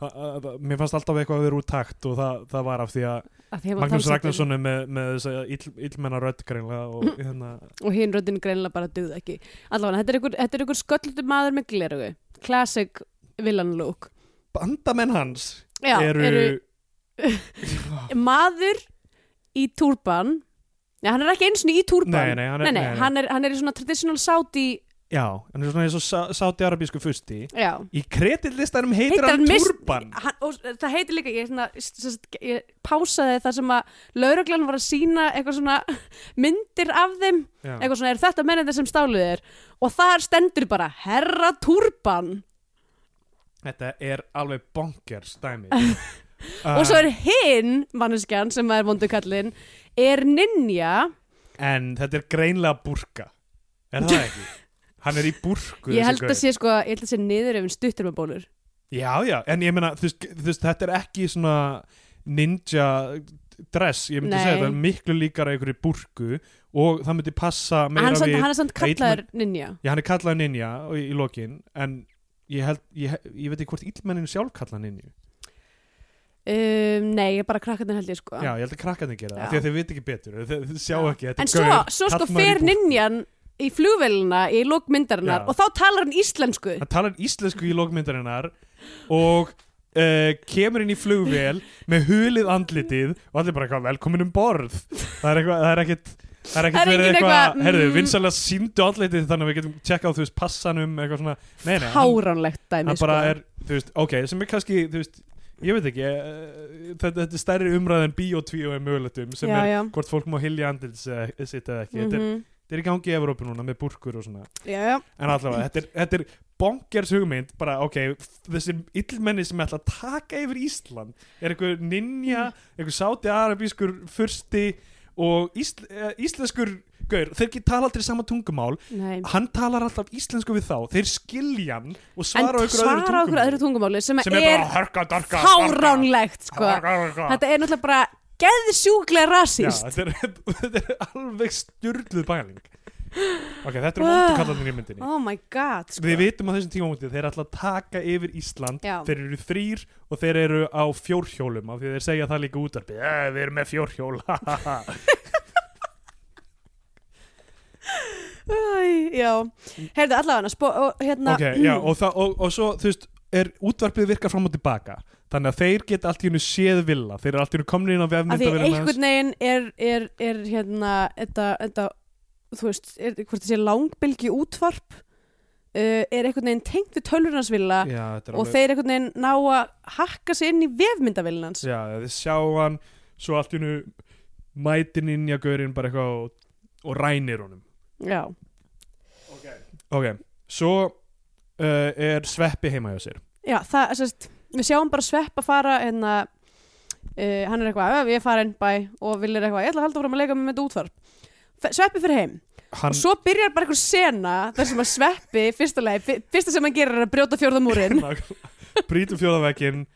B: það, að, að, mér fannst alltaf eitthvað að vera úr takt og það, það var af því að
C: Af því að um
B: Magnús
C: talsettur.
B: Ragnarsson er með, með þess að ill, illmenna rödd greinlega
C: Mm.
B: og hérna,
C: og hinn röddinn greinilega bara duð ekki allavega, þetta er ykkur, þetta er ykkur sköllutu maður með glerugu classic villan look
B: bandamenn hans
C: já,
B: eru,
C: maður í túrban já, hann er ekki eins og í túrban
B: Nei, nei, hann er- nei, nei.
C: Hann, er, hann er í svona traditional sáti
B: já, hann er svona eins og sáti-arabísku fusti
C: já,
B: í kreditlistanum heitir
C: Heitir
B: hann
C: hann Ah, mist-
B: Turban
C: hann, og það heitir líka ég, svona, sem sagt, ég pásaði það sem að lauruglan var að sína eitthvað svona myndir af þeim
B: Já.
C: eitthvað svona, er þetta mennið sem stáluð er og þar stendur bara herra túrban
B: þetta er alveg bonkers dæmi Um,
C: og svo er hinn manneskjan sem er vondukallin er ninja
B: en þetta er greinlega burka er það ekki? hann er í burku
C: ég
B: þessi
C: held
B: gaur.
C: að sé sko, ég held að sé niður ef stuttur með bólur
B: Já, já, en ég meina, þú veist, þú veist, þetta er ekki svona ninja dress, ég myndi
C: Nei.
B: segja þetta, er miklu líkara einhverju burku og það myndi passa meira
C: hann, samt,
B: við,
C: hann er samt
B: að
C: kallaður ninja
B: já, hann er kallað ninja og- í, í lokin, en ég held, ég, ég veit ekki hvort illmenninu sjálf kallað ninja,
C: um, nei, ég er bara krakkarnir held ég sko
B: já, ég held að krakkarnir gera það,
C: Já.
B: af því að þau veit ekki betur, þau, þau sjá
C: Já.
B: ekki, þetta
C: en
B: er
C: svo,
B: gaur,
C: svo sko
B: karlmaður í
C: fer
B: burku.
C: ninjan í flugvelina í lokmyndarinnar
B: Já.
C: og þá talar hann íslensku
B: hann talar íslensku í lokmyndarinnar og uh, kemur inn í flugvél með hulið andlitið og allir bara eitthvað velkomin um borð það er eitthvað, það er ekkit Það er
C: Það
B: ekkert
C: er
B: verið
C: engin
B: eitthvað,
C: eitthvað,
B: herðu,
C: mm.
B: vinsalega síndu andlitið þannig að við getum tjekkað á, þú veist, passanum, eitthvað svona, nei, nei, hann,
C: háránlegt dæmi sko.
B: hann bara er, þú veist, ok, sem er kannski, þú veist, ég veit ekki, eh, þetta, þetta er stærri umræð en bíotvíu er mögulegt um, sem
C: já,
B: er
C: já.
B: hvort fólk má hilja andlitið sitt eða ekki, þetta,
C: Mhm.
B: er, þetta er í gangi í Evrópu núna með búrkur og svona.
C: já, já.
B: En allavega, þetta er, þetta er bonkers hugmynd, bara ok, þessi illmenni sem ætla að taka yfir Ísland er einhver ninja,
C: Mm.
B: einhver sáti-arabískur fursti og ísl, eh, íslenskur gaur, þeir ekki tala aldrei sama tungumál,
C: Nei.
B: hann talar alltaf íslensku við þá, þeir skilja hann og
C: en
B: svara á einhver öðru
C: svara okkur
B: tungumáli
C: öðru tungumáli sem,
B: sem er
C: er
B: bara hörka, darka,
C: háránlegt sko.
B: Þetta
C: þetta er náttúrulega bara geðsjúklega rasist
B: þetta er, þetta er alveg stjörluð bæling Ok, þetta er
C: Wow.
B: vondukallarnir í myndinni
C: oh my god sko.
B: Við vitum á þessum tímamóti þeir ætla að taka yfir Ísland
C: Já.
B: þeir eru þrýr og þeir eru á fjórhjólum af því að þeir segja það líka útarpi eh, við erum með fjórhjól ha, ha, ha."
C: Æ, já, heyrðu allavega spó, og, hérna,
B: ok, já, og, það, og, og svo þú veist, er útvarpið virkar fram og tilbaka þannig að þeir geta allt í hennu séð villa þeir eru allt í hennu komnir inn á
C: að því
B: vefmyndavirðan
C: einhvern veginn er, er, er hérna þetta, þetta, þú veist, er, hvort þessi langbylgi útvarp uh, er einhvern veginn tengt við tölvurnarsvilla
B: já, þetta er
C: og þeir einhvern veginn ná að hakka sér inn í vefmyndavillans
B: já, þeir sjá hann svo allt í hennu mætin inn í að gaurinn bara eitthvað og, og rænir honum
C: já,
B: ok, svo uh, er sveppi heima hjá sér
C: já það, sérst, við sjáum bara svepp að fara en að Uh, hann er eitthvað, "Ö, ég er farin bæ og vil er eitthvað, ég ætla að halda fram að leika með þetta útvarp Fe- Sveppi fyrir heim
B: hann,
C: og svo byrjar bara einhver sena þar sem að sveppi, fyrsta leið, fyrsta sem hann gerir er að brjóta fjórða múrin
B: Nákvæmlega. brýtur fjóðavekkin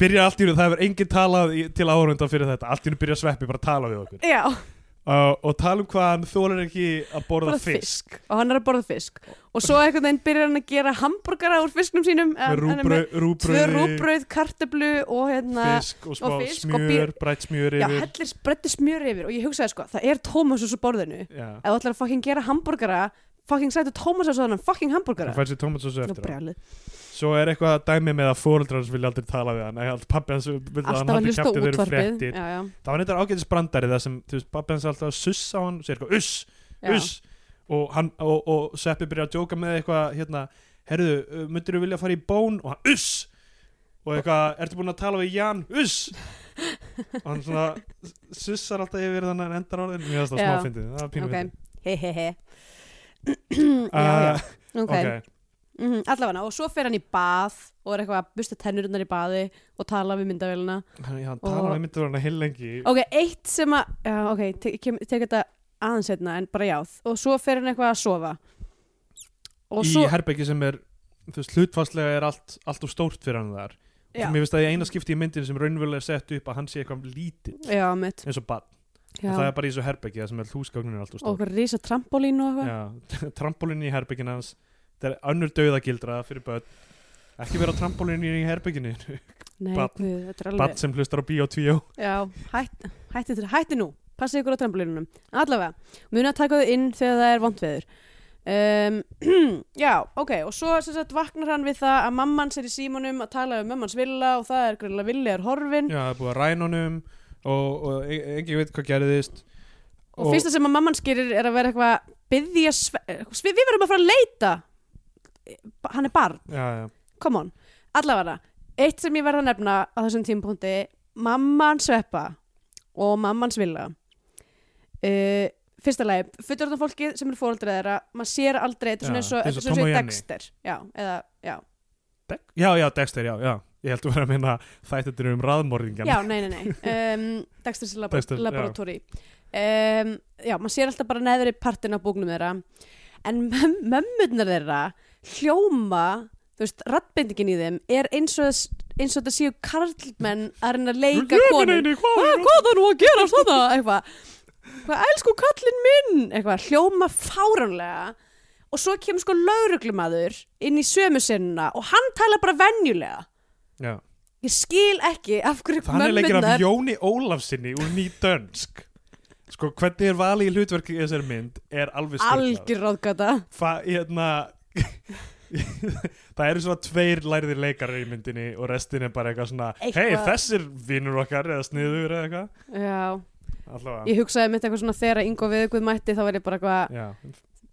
B: byrja allt í raun, það hefur enginn talað í, til áhörunda fyrir þetta, allt í raun byrja sveppi bara að tala við okkur
C: Já,
B: uh, og tala um hvað hann þólar ekki að borða
C: Borða
B: fisk,
C: og hann er að borða fisk og svo einhvern veginn byrjar hann að gera hambúrgara úr fisknum sínum en-
B: með
C: hann er með
B: rúbrauð,
C: tvö
B: rúbrauði,
C: rúbrauð, kartöflu og hérna
B: fisk og smá
C: og fisk og
B: smjör,
C: bír-
B: brætt smjör
C: já,
B: yfir
C: hellir brettu smjör yfir og ég hugsaði sko, það er tómasús á borðinu ef
B: já,
C: þú ætlar að fucking gera hambúrgara fucking sættu tómasús á þannig fucking hambúrgara
B: hann fær sér tómatsósu
C: Nú
B: eftir á.
C: brjálið.
B: svo er eitthvað að dæmi með að fóreldrar hans vilja aldrei tala við hann, eða pappi hans vilja að hann
C: alltaf að
B: haldi
C: hlusta á
B: kæfti þeir eru
C: útvarpið
B: fréttir
C: já, já,
B: það var neitt ágætis brandari það sem þú veist, pappi hans er alltaf að sussa á hann og segir eitthvað uss,
C: já.
B: uss og, hann, og, og Sveppi byrjar að djóka með eitthvað hérna, herðu, myndir þú vilja fara í bón og hann uss og eitthvað, ertu búin að tala við Jan, uss og hann svona sussar alltaf yfir þannig að endar orðin mér finnst það
C: Já.
B: smá fyndið, það var pínum
C: ok
B: okay.
C: he he he já, já, ok,
B: Ah, ok,
C: Mm allavega, og svo fer hann í bað og er eitthvað að busta tennurnar í baði og tala við myndavélina
B: hann, hann talar
C: Og-
B: við myndir hann heil lengi
C: ok, eitt sem að, já, ok, te- ég kem- tek þetta aðeins hérna en bara jáð og svo fer hann eitthvað að sofa og
B: í
C: svo,
B: herbeggi sem er þú veist, hlutfastlega er allt, allt of stórt fyrir hann þar
C: já,
B: mér finnst að í eina skipti í myndin sem raunverulega er sett upp að hann sé eitthvað lítið
C: já, mitt
B: eins og bad
C: já.
B: En það er bara í þessu herbyggi það sem er húsgagnin er alltaf
C: og
B: stór
C: eitthvað risa trampolín og eitthvað
B: Já, trampolín í herbyggin hans það er önnur dauðagildra fyrir börn ekki vera á trampolín í herbygginu
C: nei,
B: Barn.
C: guð, þetta er
B: bad
C: alveg
B: sem hlustar á bíó tvíó
C: já, hætt, hætti, þetta- hætti nú passið ykkur á trampolinnum, allavega muna að taka þau inn þegar það er vont veður um, já, ok og svo sem sagt vaknar hann við það að mamman sér í símanum að tala um mömmans villa og það er greinlega villi er horfin
B: já, það er búið að ræna honum og, og e- enginn veit hvað gerðist
C: og, fyrsta sem að mamman skýrir er að vera eitthvað að byggja sve... eh, Við, við verum að fara að leita hann er barn,
B: já, já,
C: come on allavega, eitt sem ég verð að nefna á þessum tímpúndi, mamman sveppa og mammans villa uh, fyrsta lagi fullorðan fólkið sem eru fóreldrið þeirra maður sér aldrei, þetta er
B: Já,
C: svona eins og
B: eins og
C: þetta er svona
B: Tom og
C: eins og
B: Jenny.
C: Dexter já, eða, já,
B: Dek- já, já, Dexter, já, já ég held að vera að minna þættir um raðmorðingan
C: já, nei, nei, nei um, Dexter's lab
B: Dexter, já.
C: Laboratory um, já, maður sér alltaf bara neðri partin af búknum þeirra en möm- mömmurnar þeirra hljóma, þú veist, rattbendingin í þeim er eins og, eins og þetta séu karlmenn að reyna að leika konum
B: hvað
C: hvað
B: er
C: hvað það nú að gera svona eitthvað, hvað elsku kallinn minn eitthvað, hljóma fáránlega og svo kemur sko lauruglumadur inn í sömu sinnuna og hann tala bara venjulega
B: Já.
C: ég skil ekki af hverju
B: Þannig leikir af
C: mömmurnar
B: Jóni Ólafsinni úr ný dönsk Sko, hvernig er valið í hlutverki í þessari mynd er alveg styrklað
C: algjör ráðgata
B: Hvað, hérna Það eru svona tveir læriðir leikarar í myndinni og restin er bara eitthvað svona
C: Eitthvað-
B: Hei, þessir vinnur okkar eða sniður eða eitthvað
C: Já,
B: Allavega,
C: ég hugsaði mitt eitthvað svona þegar Ingo Viðguð mætti þá var ég bara eitthvað
B: já,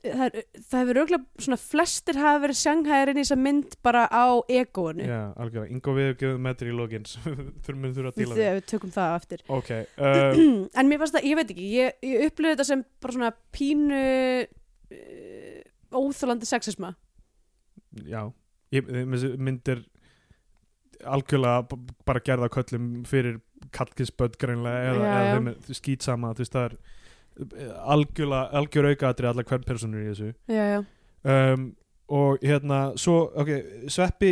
C: það, er- það hefur auðvitað svona flestir hafa verið sjanghæðir inn í þessa mynd bara á egoinu
B: já, algjörlega Ingo við gefum metri í lokin sem við þurfum þurfa að díla við
C: þegar við tökum það á eftir
B: Ok, uh,
C: en mér fannst það, ég veit ekki, ég, ég upplöði þetta sem bara svona pínu uh, óþólandi sexisma
B: já Ég, þessi mynd er algjörlega b- bara gerða köllum fyrir kallkinsböld greinlega eða,
C: Já,
B: eða
C: já.
B: þeim er skýt sama þú veist það er eh, algjörlega, algjör aukaðatri allar hvern personur í þessu
C: já, já,
B: um, og hérna svo, ok, Sveppi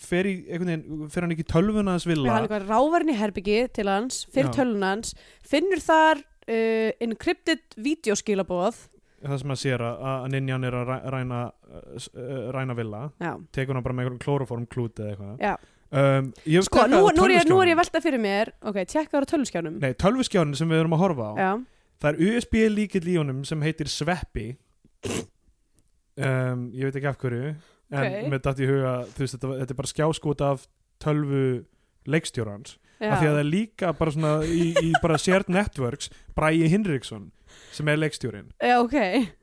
B: fer í einhvern veginn, fer hann ekki í tölvuna hans
C: Mér
B: villa
C: hann eitthvað rávarinn í herbyggi til hans fyrir
B: Já.
C: tölun hans, finnur þar uh, encrypted videoskilabóð
B: það sem hann sér að, að ninjan er að ræ- ræna uh, s- uh, ræna villa,
C: já,
B: tekur hann bara með einhverjum klóroform klút eða eitthvað
C: Já.
B: um, ég
C: sko,
B: tjekkaði
C: nú,
B: á
C: nú, er ég, nú er ég
B: tölvuskjánum.
C: velta fyrir mér ok, tjekka ára tölvskjánum
B: Nei, tölvuskjánum sem við erum að horfa á
C: já,
B: Það er USB líkil í honum sem heitir Sveppi um, Ég veit ekki af hverju En
C: Ok.
B: mér datt í huga þú veist, þetta, var- þetta er bara skjáskot af tölvu leikstjórans
C: já.
B: af því að það er líka bara svona í, í bara shared networks Bræi Hinriksson sem er leikstjórin
C: Já, ok,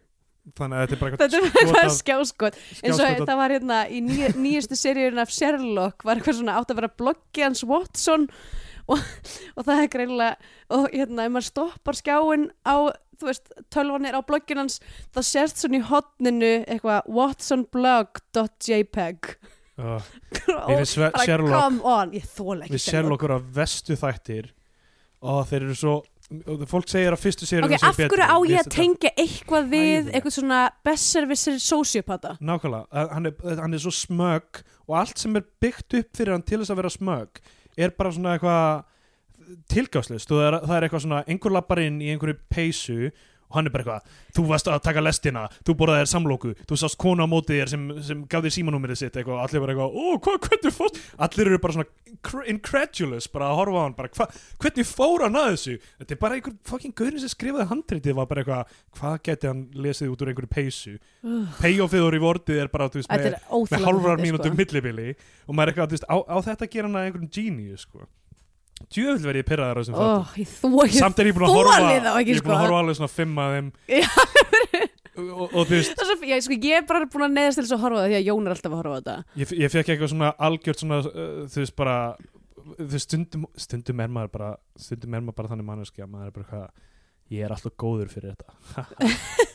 B: þannig að þetta er bara
C: þetta var
B: skot
C: eitthvað
B: af-
C: skjáskot eins og
B: skjáskot af-
C: það var hérna í nýju, nýjustu seríun af Sherlock var eitthvað svona átt að vera bloggi hans Watson og, og það er greinlega og hérna, ef maður stoppar skjáin á, þú veist, tölvanir á bloggin hans þá sérst svona í hotninu eitthvað watsonblog.jpg
B: Ugh, Ég
C: E og
B: finnst Sve-
C: bara
B: Sherlock
C: come on ég þóla ekki
B: við Sherlock eru að vestu þættir og þeir eru svo og fólk segir að fyrstu séri
C: Ok, af hverju á ég að tengja eitthvað við
B: Æði.
C: eitthvað svona besservissir sociopata?
B: Nákvæmlega, að hann er, að hann er svo smög og allt sem er byggt upp fyrir hann til þess að vera smög er bara svona eitthvað tilgjáslust það er, það er eitthvað svona, einhver lappar inn í einhverju peysu og hann er bara eitthvað, þú varst að taka lestina þú borðaði þér samlóku, þú sást konu á móti þér sem, sem gaf þér símanúmerið sitt eitthvað, og allir bara eitthvað, ó, hvað, hvernig fórst allir eru bara svona cr- incredulous bara að horfa á hann, bara, hva, hvernig fór hann að þessu þetta er bara einhver fucking gaurin sem skrifaði handritið var bara eitthvað, hvað geti hann lesið út úr einhverju peysu payoffið og rewardið er bara, þú veist,
C: Þetta
B: með
C: er sko.
B: með
C: óþjóðlega
B: hálfrar mínútur millibili og maður er eitthvað, þú veist, á, á þetta gera hann að einhverjum genius, sko djöfull verið ég pyrraðar á þessum
C: Ó,
B: þáttum
C: ég þvó ekki
B: samt er ég búin að
C: þoli
B: horfa
C: þá ekki,
B: ég er búin
C: sko.
B: að horfa alveg svona fimm að þeim
C: Já.
B: og, og, og þú veist,
C: Það er svo, ég, sko, ég er bara búin að neðast til þess að horfa á það því að Jón er alltaf að horfa á þetta
B: ég, ég fekk eitthvað svona algjört svona, uh, þú veist, bara þú veist, stundum, stundum er maður bara stundum er maður bara þannig manneski að maður er bara hvað, ég er alltaf góður fyrir þetta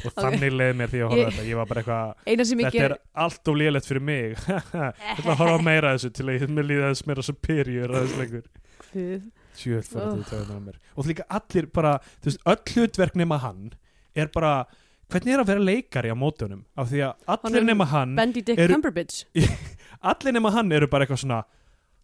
B: og þannig leið mér því að horfa
C: Ég-
B: ég... þetta, ég var bara eitthvað
C: Eina sem ég
B: Þetta er
C: ger
B: allt of lélegt fyrir mig Ég ætla að horfa meira að þessu til að ég mér líða þess meira superior aðeins lengur
C: Guð.
B: Sjöld fyrir
C: Oh.
B: þetta í töðunar á mér Og líka allir bara, þú veist, öll hlutverk nema hann er bara, hvernig er að vera leikari á mótunum? Af því að
C: Hann er
B: allir nema hann
C: Bendy Dick
B: Mm, Eru-
C: Cumberbatch
B: allir nema hann eru bara eitthvað svona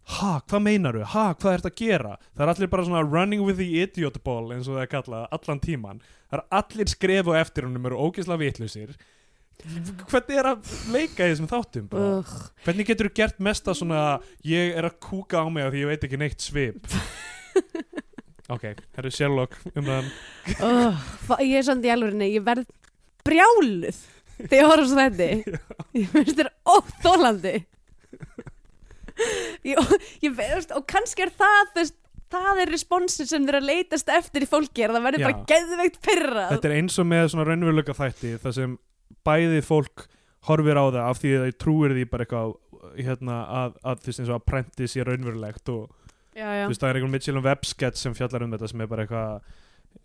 B: ha, hvað meinaru, ha, hvað er þetta að gera það er allir bara svona running with the idiot ball eins og það er kallað, allan tíman það er allir skref og eftir honum eru ógeðslega vitlausir hvernig er að leika í þessum þáttum bara?
C: Ugh.
B: hvernig getur þú gert mesta svona ég er að kúka á mig af því ég veit ekki neitt svip ok, herru Sherlock um þann
C: oh, fa- ég er samt í alvörinni ég verð brjáluð þegar ég horfum svo þetta ég finnst þér óþólandi ég, og- ég veist og kannski er það þú veist, það er responsin sem þeir að leitast eftir í fólki er að það verður
B: Já.
C: bara geðveikt pyrrað
B: Þetta er eins og með svona raunveruleika þætti þar sem bæði fólk horfir á það af því að það trúir því bara eitthvað hérna, að, að þú veist eins og að prenti sér raunverulegt og
C: já, já.
B: þú veist það er einhver Mitchell um webskett sem fjallar um þetta sem er bara eitthvað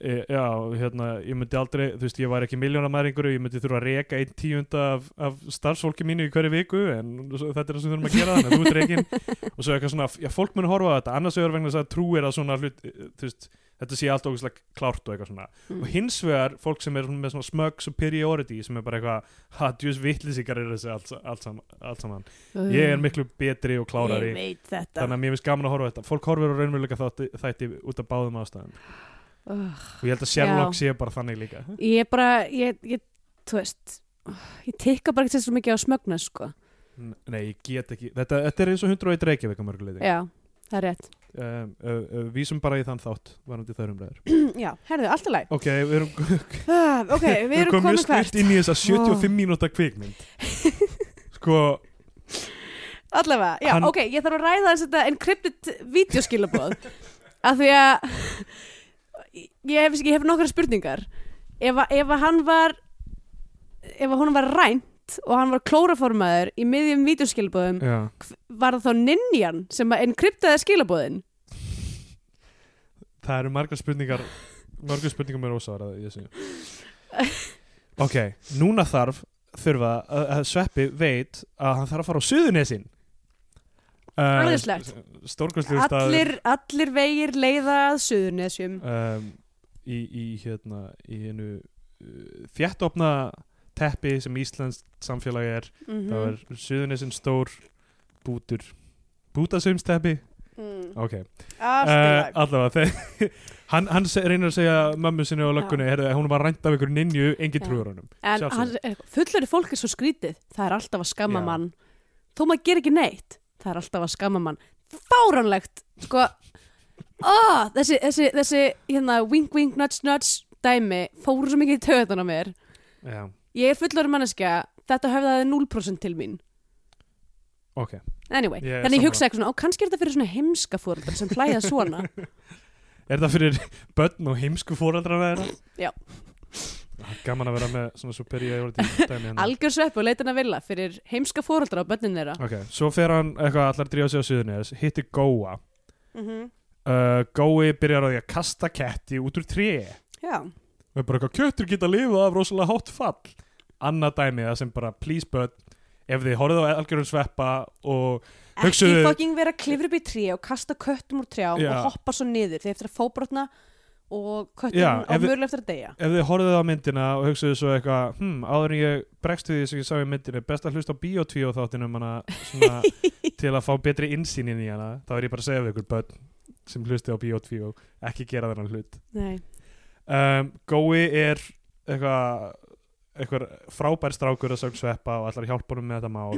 B: e, já, hérna, ég myndi aldrei þú veist, ég var ekki miljónamæður einhverju ég myndi þurfa að reka einn tíunda af, af starfsfólki mínu í hverju viku en svo- þetta er það sem við þurfum að gera þannig að þú ert rekin og svo eitthvað svona, já, fólk mun horfa á þetta annars vegar vegna þess að trúir að svona hlut e, þú veist, þetta sé allt ógæslega klárt og eitthvað svona
C: Mm.
B: og hins vegar fólk sem er svona með svona smug superiority sem er bara eitthvað ha, djús vitlisíkar er þessi allt, allt, saman, allt saman
C: Mm.
B: ég er miklu betri og klárari
C: ég veit þetta
B: þannig að mér finnst gaman að horfa á þetta fólk horfir á raunveruleika þátti, þætti út af báðum ástæðum
C: Ugh.
B: og ég held að Sherlock sé bara þannig líka
C: ég er bara ég, ég, þú veist ég tikka bara ekki svo mikið á smögna sko.
B: N- nei, ég get ekki, þetta, þetta er eins og 101 reykjavík á mörguleiti
C: já, það er rétt
B: um, uh, uh, vísum bara í þann þátt varandi þær umræður
C: já, herðu, alltaf læg
B: ok, við erum, við
C: Ah, ok, við erum
B: komum
C: komin
B: mjög
C: hvert
B: stutt inn í þessa 75
C: Ó.
B: mínúta kvikmynd sko,
C: Allavega, já,
B: Hann-
C: ok, ég þarf að ræða þess þetta encrypted videoskilabóð af því að ég hef, ég hef nokkra spurningar ef, að- ef að hann var ef að honum var rænt og hann var klóraformaður í miðjum videoskilabóðum
B: já
C: var það þá ninjan sem að encryptaði skilabóðin
B: Það eru margar spurningar margar spurningar mér ósvarað í þessu Ok, núna þarf þurfa að, að Sveppi veit að hann þarf að fara á Suðunesin
C: Alvegslegt.
B: Stórkostlegu staður
C: allir, allir vegir leiða að suðurnesjum
B: um, í, í hérna í hennu uh, þjættopna teppi sem Íslands samfélagi er
C: mm
B: þá er Suðunesin stór bútur bútasumsteppi
C: mm.
B: Ok Uh,
C: uh,
B: allavega þe- hann, hann se- reynir að segja mömmu sinni og löggunni heyrðu, hún var rænt af einhverju ninju, engin
C: Já.
B: trúður honum
C: en
B: sjálfsögðu.
C: hann, fullari fólk er svo skrítið það er alltaf að skamma
B: Já.
C: mann þó maður ger ekki neitt það er alltaf að skamma mann fáránlegt sko oh, þessi, þessi, þessi hérna, wink wink nudge nudge dæmi fóru svo mikið í töðan á mér
B: já,
C: ég er fullari manneskja þetta höfðaði 0% til mín
B: ok
C: anyway,
B: Ég er sammála.
C: þannig ég hugsa eitthvað svona, ó, kannski er þetta fyrir svona heimska fóreldra sem hlæða svona
B: er það fyrir börn og heimsku fóreldrana þeirra?
C: Já.
B: Ah, gaman að vera með svona superiority dæmi hérna.
C: algjör sveppu og leitin að vilja fyrir heimska fóreldra og bönnin þeirra
B: ok, svo fer hann eitthvað allar að drífa sig á suðunni hittir Góa
C: mm
B: uh, Gói byrjar á því að kasta ketti út úr tré
C: já,
B: og er bara eitthvað kjöttur geta lifað af rosalega hátt fall annað dæmi það sem bara please börn ef þið horfið á algjörun sveppa og
C: ekki
B: Hugsuðu-
C: fucking vera að klifra upp í tré og kasta köttum úr trjám
B: Já.
C: og hoppa svo niður þegar eftir að fóbrotna og kötturinn
B: Já,
C: á
B: ef við-
C: mörlega eftir að deyja
B: ef þið horfið á myndina og hugsuðu svo eitthvað hm, áður en ég bregst við því sem ég sá í myndinni best að hlusta á Bíotvíó þáttinum hana, svona, til að fá betri innsýnin í hana þá er ég bara að segja við ykkur börn sem hlusti á Bíotvíó, ekki gera þennan hlut
C: Nei,
B: um, Gói er eitthvað eitthvað frábær strákur að sögn sveppa og allar hjálpunum með þetta mál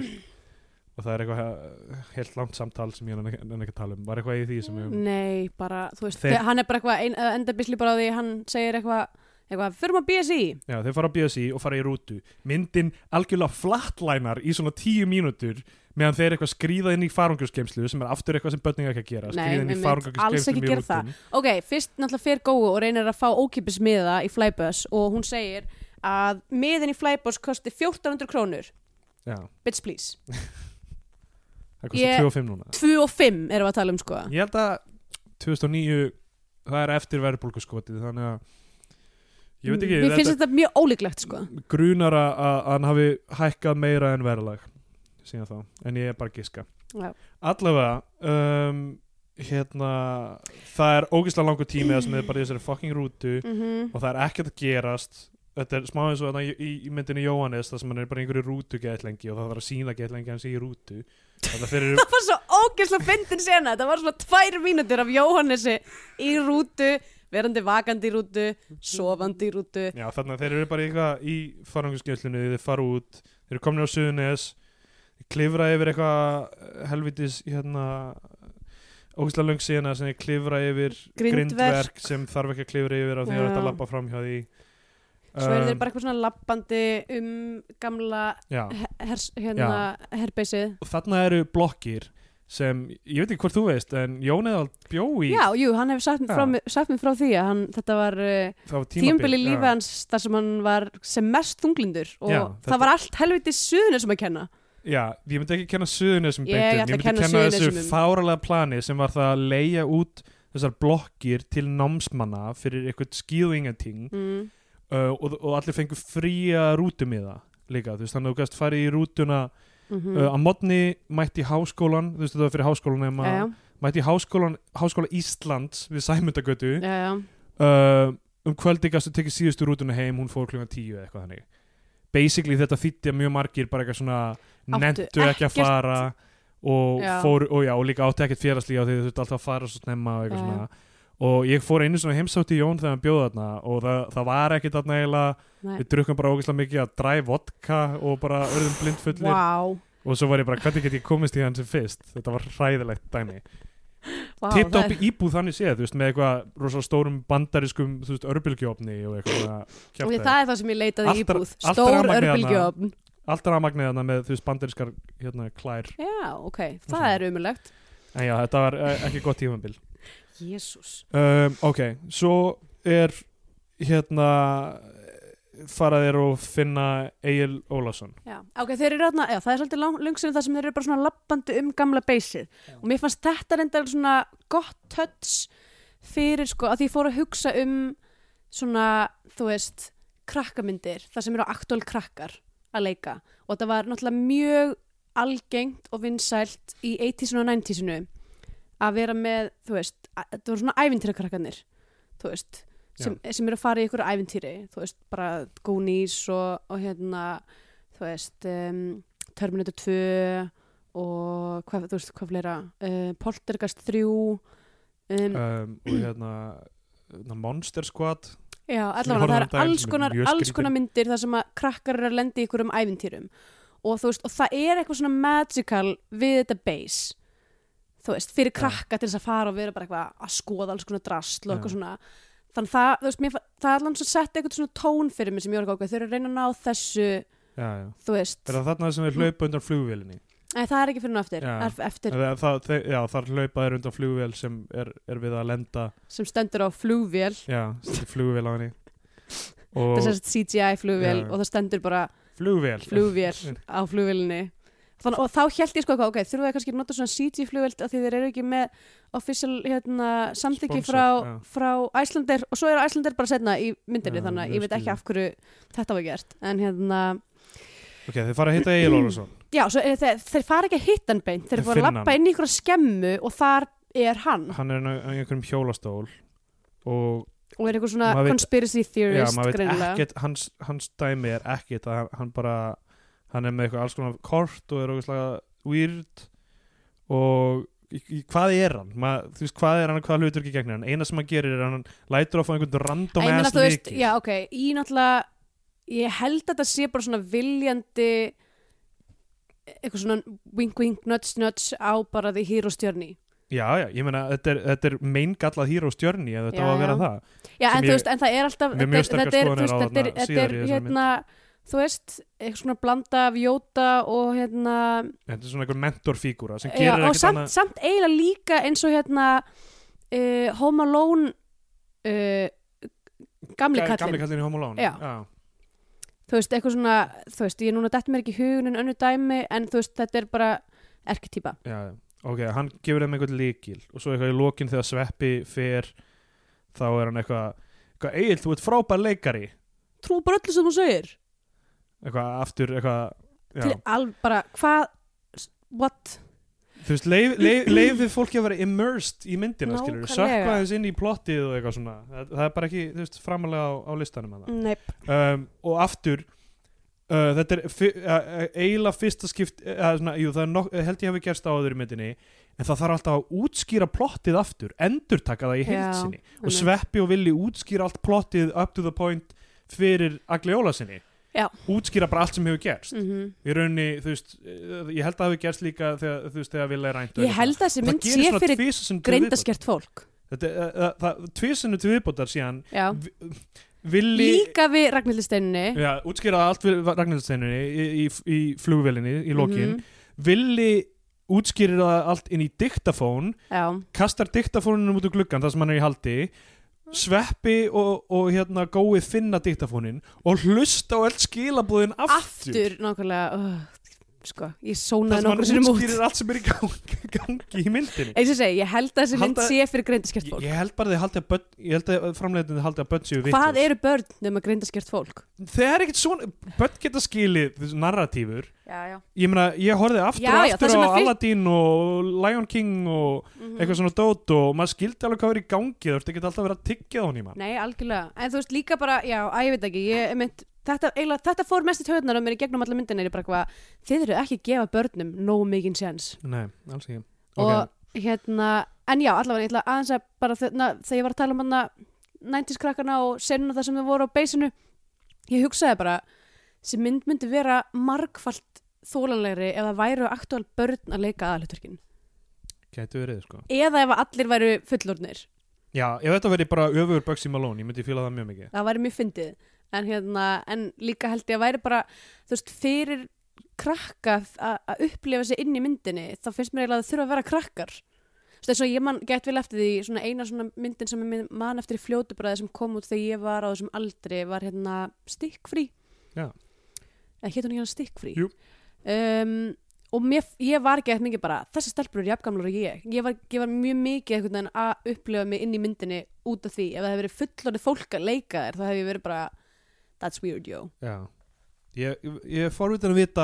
B: og það er eitthvað helt langt samtal sem ég nenni nenni ekki að tala um var eitthvað í því sem ég
C: nei, bara þú veist,
B: Þeir-
C: hann er bara eitthvað ein, eh, enda bisli bara á því, hann segir eitthvað eitthvað, förum að BSI
B: Já, þeir fara á BSI og fara í rútu. Myndin algjörlega flatlænar í svona tíu mínútur meðan þeir eitthvað skrýða inn í farungjurskemslu sem er aftur eitthvað sem börninga ekki að gera.
C: Nei,
B: Skrýða inn í
C: einmitt, alls
B: farungjurskemslu
C: ekki
B: með
C: gera það.
B: rútum.
C: ok, fyrst náttúrulega fer góðu og reynir að fá ókipis miða í flybus og hún segir að miðin í flybus kosti 1400 krónur
B: Já,
C: bitch please,
B: það kostar
C: Ég-
B: 25 núna.
C: 2 og 5 erum við að tala um sko
B: Ég held að 2009 það er eftir verðbólkuskotið þannig að ég veit ekki,
C: mér finnst
B: þetta
C: þetta mjög ólíklegt sko
B: grunar að að hann hafi hækkað meira en verðlag síðan þá, en ég er bara að giska.
C: Já.
B: Allavega um, hérna það er ógislega langur tími þar sem þið bara í þessari fucking rútu
C: mm
B: og það er ekkert að gerast þetta er smá eins og þarna í, í- í myndinu Jóhannes þar sem hann er bara í einhverju rútu gett lengi og það þarf að sína gett lengi hans í rútu þannig að þeir eru
C: það var svo ógeðslega fyndin sena þetta var svona tvær mínútur af Jóhannesi í rútu, verandi vakandi í rútu sofandi í rútu
B: Já, þannig að þeir eru bara eitthvað í farangurskjöflinu, þeir fara út, þeir eru komin á Suðunes, þeir klifra yfir eitthvað eh, helvitis, hérna, ógislega löng síðana sem þeir klifra yfir
C: Grindverk.
B: sem þarf ekki að klifra yfir af því að
C: Já.
B: þetta lappa fram hjá því.
C: svo eru þeir
B: Um,
C: bara eitthvað svona lappandi um gamla
B: Já,
C: her- hers, hérna, herbeysið
B: og þarna eru blokkir sem, ég veit ekki hvort þú veist, en Jón eða bjó í
C: Já, jú, hann hefur sagt, mér frá
B: Já.
C: mér- sagt mér frá því að hann, þetta var uh,
B: það var
C: tímabili
B: já.
C: lífi hans þar sem hann var sem mest þunglindur og
B: Já, þetta-
C: það var allt helviti suðinu sem að kenna
B: Já, ég myndi ekki kenna suðunisum
C: Ég
B: beintum,
C: ætla að
B: ég myndi
C: kenna
B: kenna, þessu
C: Suðurnesjum um-
B: fáralega plani sem var það að leia út þessar blokkir til námsmanna fyrir eitthvað skýðingating
C: mm.
B: uh, og, og allir fengu fría rútumiða líka, þú veist, þannig að þú gæst farið í rútuna
C: Mm
B: uh, að modni mætti í háskólan, þú veist, þetta var fyrir háskólan nema,
C: já,
B: mætti í háskólan, háskóla Íslands við Sæmundagötu
C: já, já,
B: uh, um kvöldi gæstu tekið síðustu rútuna heim hún fór klukkan tíu eða eitthvað þannig basically þetta þýtti að mjög margir bara eitthvað svona
C: Áttu
B: nettu ekki að
C: ekkert-
B: fara og,
C: Já.
B: fór, og, já, og líka áttu ekkert félagslíga því þau þurftu alltaf að fara svo snemma og eitthvað
C: Já, já.
B: svona og ég fór einu svona heimsátti Jón þegar hann bjóða þarna og það, það var ekkert þarna eiginlega
C: Nei.
B: við drukkum bara ógeðslega mikið að dræ vodka og bara örðum blindfullir
C: Vá,
B: og svo var ég bara hvernig get ég komist í hann sem fyrst þetta var hræðilegt dæmi
C: vá
B: tippt
C: það
B: upp
C: er-
B: íbúð þannig séð, þú veist, með eitthvað rosalega stórum bandariskum, þú veist, örbylgjófni og eitthvað svona
C: Og
B: kjaftaði.
C: það er það sem ég leitaði í
B: Allt er-
C: íbúð
B: allt er
C: Stór
B: rafmagnið þarna.
C: örbylgjöfn
B: Allt er aðmagnið þarna með, þú veist, bandariskar hérna, klær.
C: Já, ok, það
B: svona.
C: er umulegt
B: En já, þetta var eh, ekki gott tífambil.
C: Jésús
B: Um, ok, svo er hérna faraðir og finna Egil Ólafsson.
C: Já, ok, þeir eru þarna, já, það er svolítið lang, lungsinu það sem þeir eru bara svona lappandi um gamla beysið og mér fannst þetta reyndar svona gott töts fyrir sko, að því ég fór að hugsa um svona, þú veist krakkamyndir, það sem eru aktúal krakkar að leika og það var náttúrulega mjög algengt og vinsælt í 80s og 90s að vera með, þú veist, að, þetta voru svona ævintýra krakkanir, þú veist sem, sem eru að fara í ykkur ævintýri, þú veist, bara Goonies og, og hérna þú veist, um, Terminator 2 og hvað, þú veist, hvað fleira uh, Poltergeist 3 um,
B: Um, og hérna na, Monster Squad.
C: já,
B: ég
C: allavega,
B: horfði á
C: það er
B: þetta einu
C: alls
B: sinni,
C: konar,
B: mjög
C: alls
B: skrítið.
C: konar myndir þar sem að krakkar eru að lenda í ykkur um ævintýrum og þú veist, og það er eitthvað svona magical við þetta base þú veist, fyrir krakka til þess að fara og vera bara eitthvað að skoða alls konar drasl og
B: Já.
C: eitthvað svona þannig það, þú veist, mér, fa- það er allan svo sett eitthvað svona tón fyrir mig sem ég var ekki ákveð, þau eru að reyna að ná þessu
B: Já, já.
C: þú veist,
B: Er það þarna sem er hlaupa undan flugvélinni?
C: Nei, það er ekki fyrir nú eftir,
B: Já.
C: það er eftir
B: Það, það, þe- já, þar hlaupa er undan flugvél sem er, er við að lenda
C: sem stendur á flugvél
B: Já, stendur flugvél á henni
C: það er
B: og
C: sérst CGI flugvél
B: Já.
C: og það stendur bara
B: flugvél
C: flugvél á flugvélinni Þann, og þá held ég sko eitthvað, ok, þurfum við kannski að nota svona CG flugvél af því þeir eru ekki með official hérna, samþyggi
B: Sponsor,
C: frá,
B: já.
C: frá Æslander og svo er Æslander bara setna í myndinni
B: Já,
C: þannig að
B: ég
C: ég veit ekki
B: skil.
C: af hverju þetta var gert en hérna,
B: Ok, þið fara að hitta Egil Ólafsson
C: já, svo er, þeir, þeir fara ekki að hitta hann beint, þeir
B: Þeir
C: eru búin að
B: finna
C: lappa
B: hann.
C: inn í einhverja skemmu og þar er hann
B: Hann er á á einhverjum hjólastól og
C: og er eitthvað svona
B: Maður veit-
C: conspiracy
B: já,
C: theorist
B: maður veit
C: greinilega.
B: ekkert, hans, hans dæmi er ekkert að hann- hann bara hann er með eitthvað alls konar kort og er ógeðslega weird og í, í, hvað er hann? Ma, þú veist, hvað er hann og hvað hlutur ekki gegn hann? Eina sem hann gerir er að hann lætur á að fá einhvern
C: Æ,
B: random
C: ég meina,
B: ass
C: þú veist,
B: leiki
C: já, ok, í náttúrulega ég held að þetta sé bara svona viljandi eitthvað svona wink wink nuts nuts á bara því hýr og stjörni
B: já, já, ég meina, þetta er, þetta er meingallað hýr og stjörni ef þetta
C: Já,
B: á að vera
C: já.
B: það
C: já,
B: Sem
C: en,
B: ég-
C: þú veist, en það er alltaf
B: Mér mjög sterkar
C: þetta er,
B: skoðanir
C: þú
B: á
C: veist, þetta er,
B: þarna
C: þetta
B: síðar
C: er
B: í þessari
C: hérna, þú veist eitthvað svona blanda af jóta og hérna
B: Þetta er svona einhver mentorfígúra sem
C: já,
B: gerir
C: og
B: ekkert
C: samt,
B: annað
C: samt eiginlega líka eins og hérna uh, Home Alone uh, gamli
B: Ga-
C: kallinn
B: kallinn í Home Alone
C: Já. þú veist, eitthvað svona, þú veist, ég núna dætt mér ekki í hugun en önnu dæmi, en þú veist, þetta er bara erketýpa.
B: já, já. ok, hann gefur þeim einhvern líkil og svo eitthvað í lokin þegar sveppi fer þá er hann eitthvað eitthvað, Egil, þú ert frábær leikari
C: Trú bara öllu sem þú segir.
B: eitthvað aftur, eitthvað
C: Til
B: já.
C: all, bara, hvað, s- what?
B: þú veist, leif, leif, leifið fólki að vera immersed í myndina, skilur
C: Nákvæmlega.
B: sökka aðeins inn í plottið og eitthvað svona það, það er bara ekki, þú veist, framalega á, á listanum að
C: Nei,
B: um, og aftur uh, þetta er fi- uh, uh, eiginlega fyrsta skipt uh, svona, jú, það er nok, held ég hafi gerst áður í myndinni en það þarf alltaf að útskýra plottið aftur, endurtaka það í heild
C: Já,
B: sinni og
C: einmitt.
B: sveppi og villi útskýra allt plottið up to the point fyrir Agliola sinni
C: Já.
B: útskýra bara allt sem hefur gerst
C: mm
B: í rauninni, þú veist, uh, ég held að það hafi gerst líka þegar, þú veist, þegar villi er rænt
C: ég held að þessi mynd sé fyrir grindaskert fólk.
B: þetta, uh, uh, það, tvisinu til viðbótar síðan
C: Já.
B: villi
C: Líka við Ragnhildisteinni.
B: Já, útskýraði allt við Ragnarsteinunni í, í, í flugvelinni í lokin.
C: Mhm.
B: Villi útskýrir það allt inn í diktafón,
C: Já,
B: kastar diktafónunum út úr gluggan þar sem hann er í haldi, sveppi og, og hérna gói finna diktafónin og hlusta á allt skilabúðin aftur.
C: aftur, nákvæmlega, uh, sko, ég
B: Þar
C: sónaði
B: sem hann
C: nokkur sinni
B: útskýrir
C: út.
B: allt sem er í gangi, gangi í myndinni.
C: Eins og ég segi, ég held að þessi mynd
B: Halda-
C: sé fyrir grindaskert
B: Ég,
C: fólk.
B: ég held bara að þið haldi að, börn- ég held að framleiðinu haldi að bönn séu vitlaus.
C: Hvað eru börn nema grindaskert fólk?
B: Það er ekkert svona, bönn geta skilið þessi narratífur
C: Já, já.
B: ég meina, ég horfið aftur
C: Já,
B: og
C: já,
B: aftur
C: þess
B: á
C: vegna fylg-
B: Aladdin og Lion King og
C: Mhm.
B: eitthvað svona dót og maður skildi alveg hvað verið í gangi þú ert ekki alltaf að vera að tyggja hún í mann
C: Nei, algjörlega, en þú veist líka bara, já, að ég veit ekki, ég mynd, þetta, eiginlega, þetta fór mest í töðunar á mér í gegnum alla myndina, ég er bara eitthvað, þið eru ekki að gefa börnum nógu mikinn séns
B: Nei, alls ekki
C: og hérna, en já, allavega, ég ætla aðeins að bara þeirna, þegar ég var að tala um hana 90s krakkana og senuna það sem þau voru á beisinu, ég hugsaði bara, þessi mynd myndi vera margfalt þólanlegri ef það væru aktúal börn að leika aðalutverkin
B: Gæti verið, sko
C: eða ef allir væru fullorðnir
B: Já, ef þetta verið bara öfugur Bugsy Malone, ég myndi fíla það mjög mikið
C: það væri mjög fyndið en, hérna, en líka held ég að væri bara þú veist, fyrir krakka að að upplifa sig inn í myndinni þá finnst mér eiginlega að það þurfa að vera krakkar Þú veist, eins og ég man, gett vel eftir því svona eina svona myndin sem ég man eftir í fljótu bara sem kom út þegar ég var á þessum aldri var hérna stikkfrí
B: Já.
C: eða hétt hún ekki hann stikkfrí
B: Jú.
C: um, og mér, ég var ekki eftir mikið bara þessi stelpur eru jafngamlar og ég ég var, ég var mjög mikið einhvern veginn að upplifa mig inn í myndinni út af því ef það hefði verið fullorðið fólk að leika þér þá hefði ég verið bara that's weird yo
B: Já Ég, ég er forvitin að vita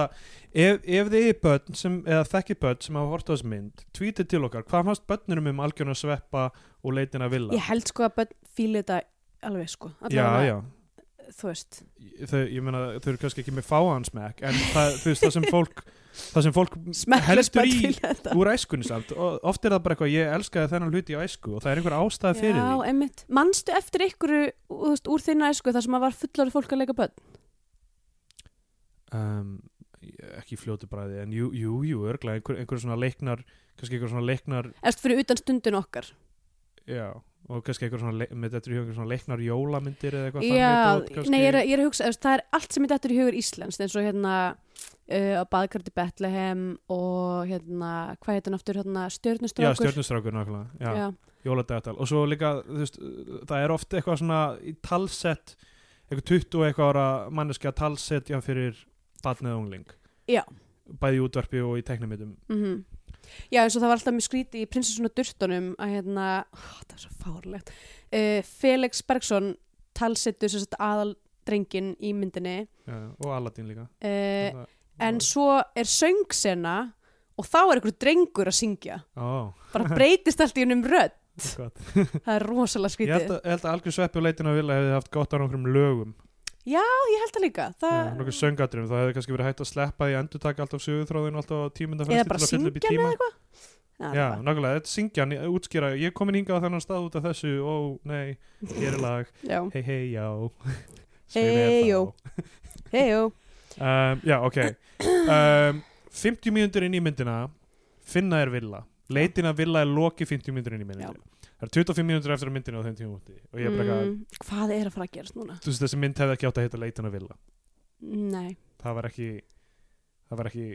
B: ef, ef þið er börn sem, eða þekki börn sem hafa hort á þessu mynd, tweetið til okkar hvað fannst börnurum um algjörn að sveppa og leitin að vilja?
C: ég held sko að börn fíli þetta alveg sko
B: já,
C: Allavega,
B: já,
C: þú veist
B: þau, ég meina, þau eru kannski ekki með fáhansmekk en það, þú veist, það sem fólk það sem fólk
C: smekklust
B: heldur
C: börn
B: í
C: fíla þetta
B: úr æskunni samt og oft er það bara eitthvað, ég elskaði þennan hluti í æsku og það er einhver ástæð fyrir
C: já, emmitt, manstu eftir ykkur veist, úr þinna sko þar sem að var fullorðið fólk að leika börn
B: því um, ekki í fljótu bræði en jú, jú, jú, örglega, einhver, einhver svona leiknar kannski einhver svona leiknar
C: eftir fyrir utan stundin okkar
B: já, og kannski einhver svona, leik- með þetta er einhver svona leiknar jólamyndir eða eitthvað
C: Já,
B: þannig dót, kannski.
C: nei, ég er, að- ég er að hugsa, þú veist, það er allt sem er dættur í hugur Íslands, eins og hérna uh, á baðkarti Bethlehem og hérna, hvað heitir hann aftur, hérna,
B: já,
C: stjörnustrákur.
B: stjörnustrákur nákvæmlega já.
C: Já,
B: jóladagatal og svo líka þú veist, það er oft eitthvað svona í talsett eitthvað 20 og eitthvað ára manneskja talsett já fyrir barnið og ungling
C: Já.
B: bæði í útvarpi og í teknimitum
C: mhm. Já, eins og það var alltaf mjög skríti í prinsessuna Durtonum að hérna, ó, það er svo fárlegt, uh, Felix Bergson talsettu sem sagt aðal drengin í myndinni
B: eh, og Aladdin líka
C: uh,
B: Það-
C: en svo er söngsena og þá er einhver drengur að syngja,
B: Ó,
C: bara breytist allt í hennum rödd
B: Gott.
C: það er
B: Ég held
C: rosalega skrítið
B: að, ég held að algjör sveppi og leitin að vilja hefði haft gott á nokkrum lögum
C: ég held það líka
B: uh,
C: það,
B: nokkrum söngatrum, það hefði kannski verið hægt að sleppa því að endurtaka alltaf sögurþráðin alltaf tímynda
C: eða bara syngja með eitthvað Já,
B: Já,
C: nákvæmlega.
B: nákvæmlega, þetta er syngjan, ég- útskýra ég er komin hingað á þennan stað út af þessu ó, nei, hér er lag,
C: já.
B: hei hei, já
C: Hey, jó. Heyjó.
B: um, Já, ok um, 50 mínútur inn í myndina finna er villa leitin að villa er loki 50 mínútur inn í myndina það er 25 mínútur eftir að myndina á þeim tíma úti og ég er bara eitthvað,
C: Mm, hvað er að fara að gerast núna?
B: þú veist þessi mynd hefði ekki átt að heita leitin að villa
C: Nei,
B: það var ekki það var ekki,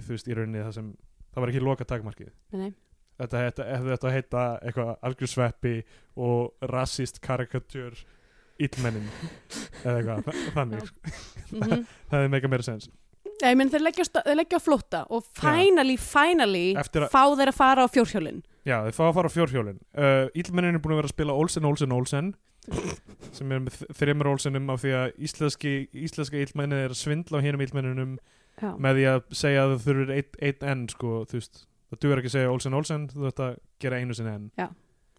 B: þú veist, í rauninni það sem það var ekki loka takmarkið
C: nei, nei.
B: þetta heita, hefði þetta að heita eitthvað algjörsveppi og rasist karikatúr illmennin eða eitthvað, þa- þannig
C: Mm -hmm.
B: það hefði meika meira sens
C: ég menn þeir leggja, á sta- þeir leggja á flótta og finally, finally
B: Eftir að-
C: fá þeir að fara á fjórhjólin
B: já, þau fá að fara á fjórhjólin uh, illmennin er búin að vera að spila Olsen, Olsen, Olsen sem er með þ- þremur Olsenum af því að íslenski, íslenska illmennin er að svindla á hinum illmenninum
C: Já,
B: með því að segja að þau þurfir eitt, eitt enn sko, þú veist, það duður ekki að segja Olsen, Olsen þú þurft að gera einu sinni enn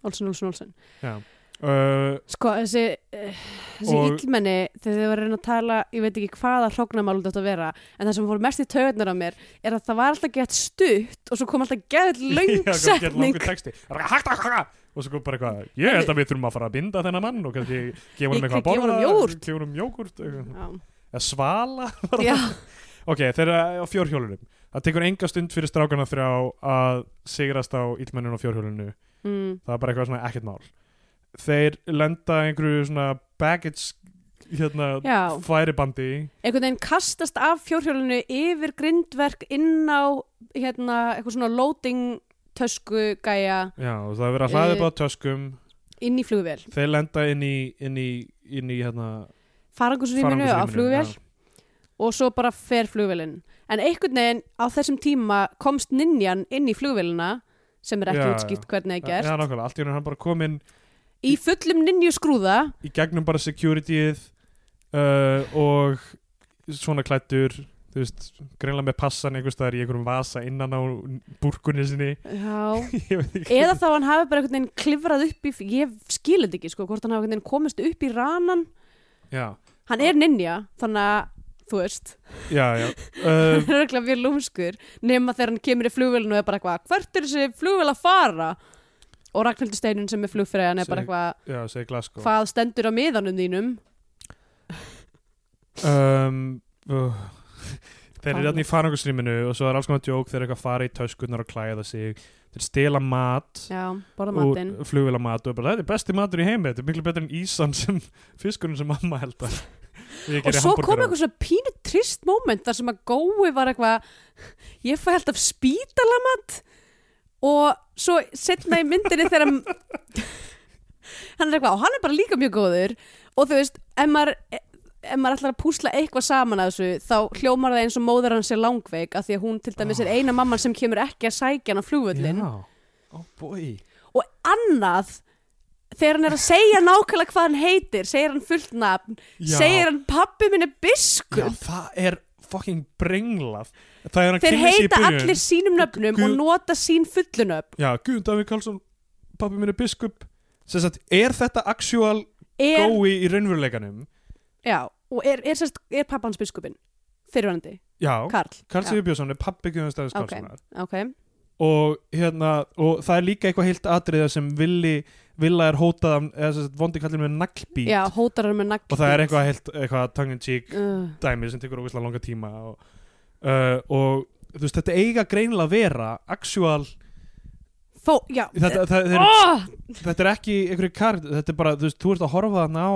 C: Olsson, Olsson, Olsson
B: já Uh,
C: Sko, þessi, uh, þessi
B: Og-
C: illmenni þegar þið var að reyna að tala, ég veit ekki hvaða hróknarmál þetta átt að vera, en það sem fór mest í taugarnar á mér er að það var alltaf gett stutt og svo kom alltaf gett
B: Já,
C: löng
B: kannski er
C: setning
B: langur texti Það er bara hægt, hægt, hægt, og svo kom bara eitthvað ég held að við þurfum að fara að binda þennan mann og kannski gefa
C: Ég-
B: honum eitthvað að
C: gefa honum
B: borða
C: jógúrt.
B: gefa honum jógurt eitthvað.
C: Já,
B: eða svala
C: já,
B: ok, þeir eru á fjórhjólunum það tekur enga stund fyrir strákana þrjá að sigrast á illmenninu á fjórhjólinu
C: mm,
B: það er bara eitthvað svona ekkert mál þeir lenda einhverju svona baggage hérna
C: Já.
B: færibandi
C: einhvern veginn kastast af fjórhjólinu yfir grindverk inn á hérna, eitthvað svona loading tösku gæja
B: já, og það er verið að hlaða
C: Eh.
B: upp á töskum
C: inn í flugvél
B: þeir lenda inn í, inn í, inn í hérna,
C: farangursrýminu á
B: farangursrýminu,
C: flugvél
B: já.
C: og svo bara fer flugvélin en einhvern veginn á þessum tíma komst ninjan inn í flugvélina sem er ekki
B: Já,
C: útskipt hvernig það er
B: Já,
C: gert
B: nákvæmlega, allt í hennu hann bara kominn
C: í fullum ninju skrúða
B: í gegnum bara securityið uh, og svona klættur þú veist, greinlega með passan einhvers staðar í einhverjum vasa innan á búrkunni sinni
C: já
B: Ég veit ekki.
C: eða þá hann hafi bara einhvern veginn klifrað upp í ég skil þetta ekki sko, hvort hann hafi einhvern veginn komist upp í ranan
B: já,
C: hann er ninja, þannig að þú veist
B: já, já uh,
C: hann er ekki mjög lúmskur nema þegar hann kemur í flugvélinu og er bara eitthvað hvert er þessi flugvél að fara og Ragnhildur Steinun sem er flugfræðan er bara
B: Sem-
C: eitthvað
B: já, segi Glasgow
C: hvað stendur á miðanum þínum
B: um, uh, þeir eru þarna í farangursrýminu og svo er alls konar djók þeir eru eitthvað að fara í töskunar og klæða sig þeir stela mat
C: já, borða
B: og
C: matinn
B: flugvila mat og er bara, þetta er besti matur í heimi þetta er miklu betur en ísan sem fiskunum sem mamma held að Ég
C: og
B: geri
C: svo
B: hamborgara
C: kom
B: á."
C: eitthvað svona pínu trist moment þar sem að gói var eitthvað ég fæ alltaf spítalamat og svo setna í myndinni þegar hann hann er eitthvað og hann er bara líka mjög góður og þú veist, ef maður ef maður ætlar að púsla eitthvað saman að þessu þá hljómar það eins og móður hann sé langveik af því að hún til dæmis er eina mamman sem kemur ekki að sækja hann á flugvöllin
B: Já, Oh, ó boi
C: og annað þegar hann er að segja nákvæmlega hvað hann heitir segir hann fullt nafn
B: Já.
C: segir hann pappi minn er
B: Já,
C: biskup
B: það er fucking brenglað Það er hann
C: þeir
B: kynni sig í
C: heita
B: byrjun
C: allir sínum nöfnum
B: Guð-
C: og nota sín fullunöfn
B: Já, Guðun Davík Karlsson, pappi minn er biskup Sem sagt, er þetta actual
C: er,
B: gói í raunveruleikanum?
C: já, og er, er, sérst, er pappa hans biskupin fyrirvænandi,
B: Já,
C: Karl
B: Karl
C: já.
B: Sigur Björnsson er pappi Guðun Davík
C: Ok.
B: Karlssonar
C: ok,
B: og, hérna, og það er líka eitthvað heilt atriða sem villi, Villa er hótað af- eða sem sagt, vondi kallir með naglbít
C: já, hótar hann með nagl
B: og það er eitthvað heilt eitthvað tongue in cheek
C: uh,
B: dæmi sem tekur ógeðslega langa tíma og, uh, og þú veist, þetta eiga greinilega að vera actual,
C: þó, já,
B: þetta, það, þeir,
C: oh,
B: þetta er ekki einhverju kard, þetta er bara, þú veist, þú ert að horfa þarna á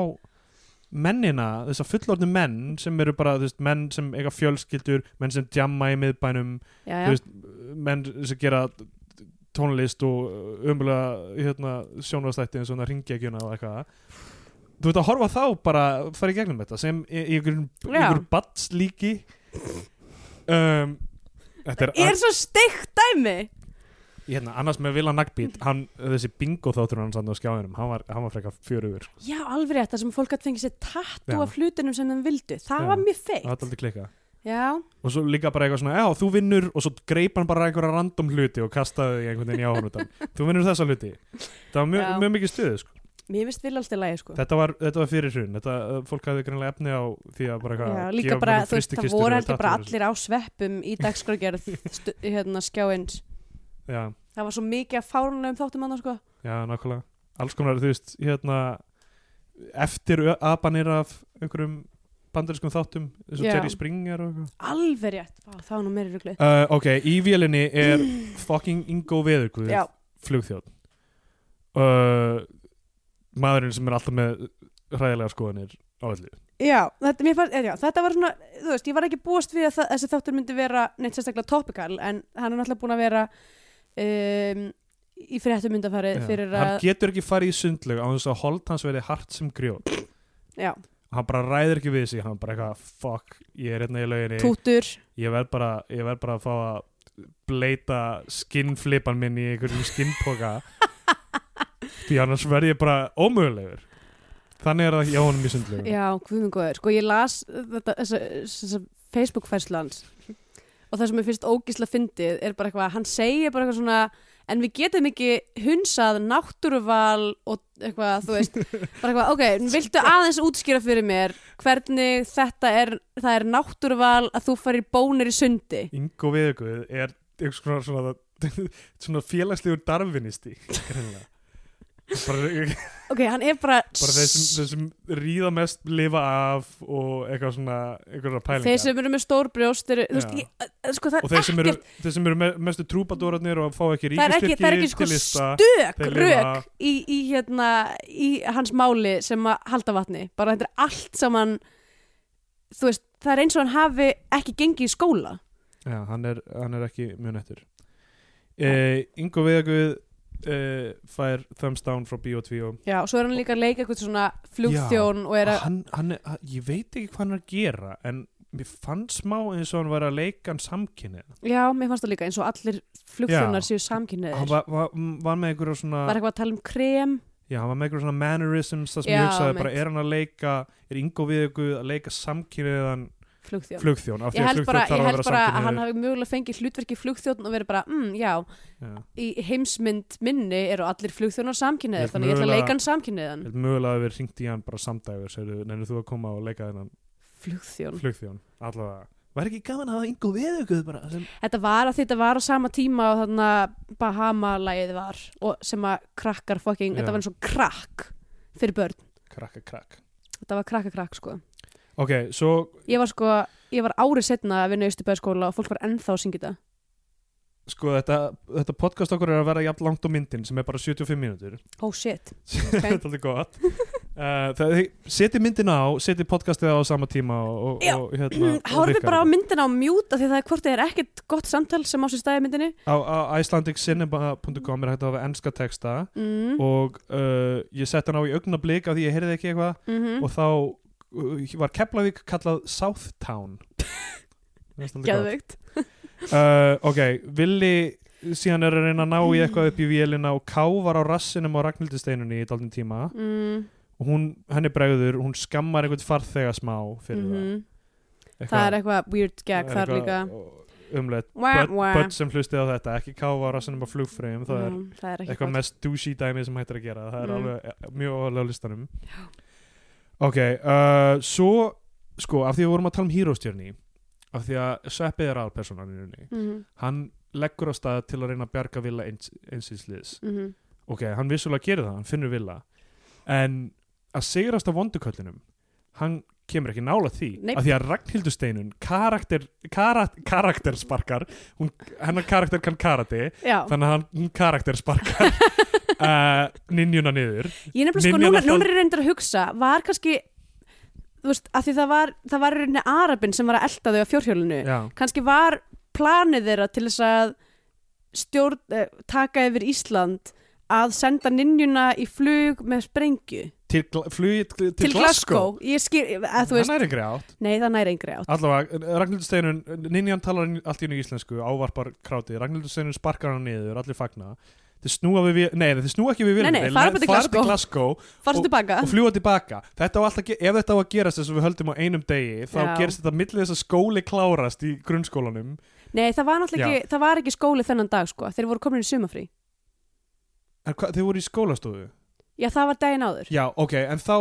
B: mennina, þess að fullorðnu menn sem eru bara, þú veist, menn sem eiga fjölskyldur, menn sem djamma í miðbænum
C: já,
B: Þú
C: já,
B: veist, menn sem gera tónlist og umlega hérna, sjónvastætti eins og ringekjuna og eitthvað þú veit að horfa þá bara fara í gegnum þetta sem í í einhverjum
C: Já.
B: einhverjum batslíki um, þetta er,
C: er svo steikt dæmi
B: hérna, annars með Vila Nagbít hann, þessi bingo þáttur hann sann á skjáðinum hann var, hann var frekar fjörugur
C: já, alveg rétt, það sem fólk að fengi sér tattu
B: Já.
C: af hlutinum sem þeim vildu, það
B: Já.
C: var mjög
B: og þetta
C: feikt
B: aldrei klika
C: já,
B: og svo líka bara eitthvað svona, já, þú vinnur og svo greip hann bara einhverja random hluti og kastaði því einhvern veginn í áhörnutan þú vinnur þessa hluti, það var mjög,
C: Já.
B: mjög mikið stuð sko.
C: mér finnst vil alltaf lægi sko
B: þetta, var, þetta var fyrir hrun, þetta, uh, fólk hafði greinlega efni á því að bara eitthvað
C: já,
B: gefa
C: líka bara,
B: mönnum
C: þú veist, það
B: frystikistur
C: voru
B: og
C: heldur bara
B: tattúur
C: allir á sveppum í dagskrágerð hérna skjáins
B: og- já,
C: það var svo mikið að fárunlegum þáttum annars sko
B: já, nákvæmlega alls konar, þú veist, hérna eftir ö- abanir af einhverjum bandariskum þáttum eins og
C: Já.
B: Jerry Springer og eitthvað
C: alveg rétt, Vá, það var nú meiri ruglu
B: uh, ok, í vélinni er fucking Ingo Veðurguð
C: já,
B: flugþjóð uh, maðurinn sem er alltaf með hræðilega skoðanir á öllu
C: já, þetta, mér fannst, já, þetta var svona þú veist, ég var ekki búast við að það, þessi þáttur myndi vera neitt sérstaklega topical en hann er náttúrulega búin að vera um, í fréttum myndafæri eh, fyrir
B: hann
C: að
B: getur ekki farið í sundlög á þess að hold hans verði hart sem grjót
C: já,
B: hann bara ræðir ekki við sig, hann bara eitthvað fuck, ég er hérna í lauginni
C: tútur
B: ég verð bara, ég verð bara að fá að bleita skinnflipan minn í einhverjum skinnpoka því annars verð ég bara ómögulegur þannig er það hjá honum í sundlög
C: Já, guðminn góður. Sko ég las þetta, þessa, þessa Facebook-færslu hans og það sem ég finnst ógísla fyndið er bara eitthvað, hann segir bara eitthvað svona en við getum ekki hunsað náttúruval og eitthvað, þú veist, bara eitthvað, ok, viltu aðeins útskýra fyrir mér hvernig þetta er, það er náttúruval að þú farir í bónir í sundi?
B: Ingo Veðuguð er einhvers konar svona, svona félagslegur darfinisti greinilega. bara,
C: Ok, hann er bara,
B: bara þeir sem, þeir sem ríða mest lifa af og eitthvað svona einhverja pælingar
C: þeir sem eru með stór brjóst eru, þú veist,
B: Já.
C: ég, sko það
B: og
C: er
B: þeir sem eru,
C: ekkert,
B: þeir sem eru me mestu trúpadórarnir og fá ekki
C: það er ekki, það er
B: ríkistyrki
C: ekki sko
B: til lista
C: stök
B: þeir lifa-
C: rök í, í, hérna, í hans máli sem að halda vatni bara þetta er allt saman þú veist, það er eins og hann hafi ekki gengið í skóla
B: Já, hann er, hann er ekki mjög nettur eh, Ingo Veðuguð eh, fær thumbs down frá B.O.2
C: já, og svo er hann líka að leika eitthvað svona flugþjón og er að,
B: hann, hann er, að- ég veit ekki hvað hann er að gera en mér fann smá eins og hann var að leika hann samkynnið
C: já, mér fannst það líka eins og allir flugþjónar
B: Já.
C: séu samkynniðir
B: hann
C: var,
B: var, var, var með einhverja svona
C: eitthvað að tala um krem
B: já, hann var með einhverja svona mannerisms það sem
C: Já,
B: ég hugsaði bara,
C: mitt.
B: er hann að leika er Ingo við ykkur að leika samkynniðan
C: flugþjón
B: flugþjón, af því
C: ég
B: að
C: held bara,
B: flugþjón
C: ég
B: þarf að
C: held
B: vera
C: bara að hann
B: samkynniður
C: hafi mögulega fengið hlutverki flugþjón og verið bara, mm, já,
B: Já.
C: í heimsmynd minni eru allir
B: Ég
C: flugþjónar
B: held
C: samkynniðir þannig ég ætla að
B: mögulega-
C: leika hann samkynniðan
B: Ég held mögulega að við ringt í hann bara samdægur segir, nefnir þú að koma og leika þennan
C: flugþjón
B: flugþjón, allavega væri ekki gaman að hafa Ingo við ykkur bara sem,
C: Þetta var að þetta var á sama tíma og þarna Bahama-lægið var og sem að krakkar fucking,
B: Já.
C: þetta var eins og krakk fyrir börn,
B: krakka krakk
C: þetta var krakka-krakk sko.
B: ok, svo,
C: Ég var sko, ég var árið setna að vinna í Östubæðskóla og fólk var ennþá að syngja þetta.
B: sko þetta, þetta podcast okkur er að vera jafn langt á myndin sem er bara 75 mínútur
C: Oh shit.
B: þetta er alveg gott uh, það, seti myndina á, seti podcastið á á sama tíma og,
C: Já.
B: og, og hérna og
C: Hórðu
B: virka
C: bara á
B: þetta.
C: myndina á mjút af því það er hvort þið er ekkert gott samtal sem á sér stæði myndinni.
B: á, á icelandiccinema.com er hægt að hafa enska texta
C: Mm.
B: og uh, ég sett hann á í augnablik af því ég heyrði ekki eitthvað
C: Mm
B: og þá uh, var Keflavík kallað Southtown Mér finnst aldrei gott.
C: Geðveikt.
B: uh, ok, Willi síðan er að reyna að ná í eitthvað upp í vélina og Ká var á rassinum á Ragnhildisteinunni í daldin tíma
C: Mm.
B: og hún, henni bregður, hún skammar einhvern farþega smá fyrir
C: mhm.
B: það
C: Það er eitthvað weird gag þar líka.
B: umlegt,
C: Wah,
B: börn
C: wah.
B: börn sem hlustið á þetta ekki káfa á rassinum á flugfreyjum það er
C: Já, það er ekki
B: eitthvað
C: gott.
B: mest douchey dæmi sem hættir að gera það er
C: Mm.
B: alveg mjög óhaldið á listanum ok, uh, svo sko, af því við vorum að tala um hýróstjörni af því að Sveppið er aðalpersonaninni
C: Mhm,
B: hann leggur á stað til að reyna að bjarga Villa eins, einsýnsliðs
C: mhm.
B: ok, hann vissulega gerir það, hann finnur Villa en að sigrast á vonduköllunum hann kemur ekki nála því
C: Nei.
B: af því að Ragnhildur Steinun karakter, karat, karaktersparkar hún, hennar karakter kann karate
C: Já.
B: þannig að hann hún karaktersparkar uh, ninjuna niður
C: Ég nefnilega
B: Ninja
C: sko, núna,
B: náttúrulega-
C: núna er ég reyndar að hugsa var kannski, þú veist, að því það var það var í rauninni Arabin sem var að elta þau á fjórhjólinu,
B: já,
C: kannski var planið þeirra til þess að stjórn, eh, taka yfir Ísland að senda ninjuna í flug með sprengju
B: til, gla- flugi til,
C: til Glasgow, ég skýr, að
B: hann
C: þú veist
B: er yngri átt
C: nei það næri engri átt,
B: allavega, Ragnhildur Steinun, ninjan talar allt í einu íslensku, ávarpar krátið Ragnhildur Steinun sparkar hann niður, allir fagna þeir snúa við, vél- nei, nei, þeir snúa ekki við vélum
C: Nei, nei, fara bara til Glasgow. Ah.
B: Glasgow
C: farstu tilbaka
B: og fljúa tilbaka þetta á alltaf, ge- ef þetta á að gerast þess að við höldum á einum degi þá
C: Já.
B: gerist þetta millir þess að skóli klárast í grunnskólanum
C: Nei, það var náttúrulega ekki, það var ekki skóli þennan dag sko, þeir voru komin í sumafrí
B: en hva, þeir voru í skólastofu
C: Já, það var daginn áður
B: já, ok, en þá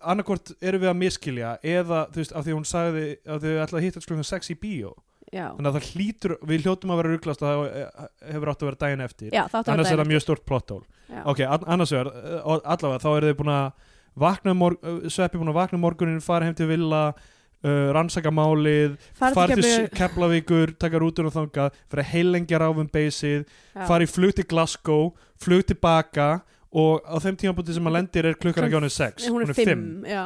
B: annarkvort erum við að miskilja eða, þú veist, af því hún sagði að þau ætlaði að hitta sklugan 6 í bíó
C: Já,
B: þannig að það hlýtur, við hljótum að vera rugglast og það eh, hefur átt að vera daginn eftir
C: Já það átti að
B: annars er
C: vera
B: það
C: daginn
B: mjög stort plottól
C: Já.
B: ok, an- annars vegar, eh, og allavega þá eru þið búin að vakna um morg, eh, sveppi búin að vakna um morgunin, fara heim til villa uh, rannsaka málið fara til
C: Keflavík-
B: Keflavíkur, taka rútun og þangað fara heilengja ráfum beysið
C: Já.
B: fara í flug til Glasgow, flug tilbaka og á þeim tímabúti sem maður lendir er klukkan
C: Klukkan
B: ekki á henni 6,
C: Nei, Hún er fimm, já,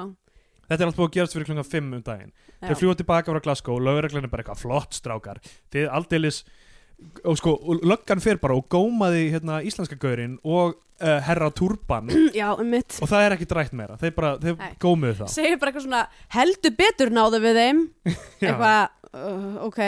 B: þetta er allt búið að gerast fyrir klukkan 5 um daginn
C: já.
B: þeir fljúa tilbaka frá Glasgow og lögreglan er bara eitthvað flott strákar þið aldeilis og sko, og löggan fer bara og gómaði hérna íslenska gaurinn og uh, herra turban
C: já, um mitt
B: og það er ekki drætt meira, þeir bara, þeir
C: Nei.
B: gómuðu það
C: Segir bara eitthvað svona, heldur betur náðu við þeim
B: Já.
C: Eitthvað, uh, ok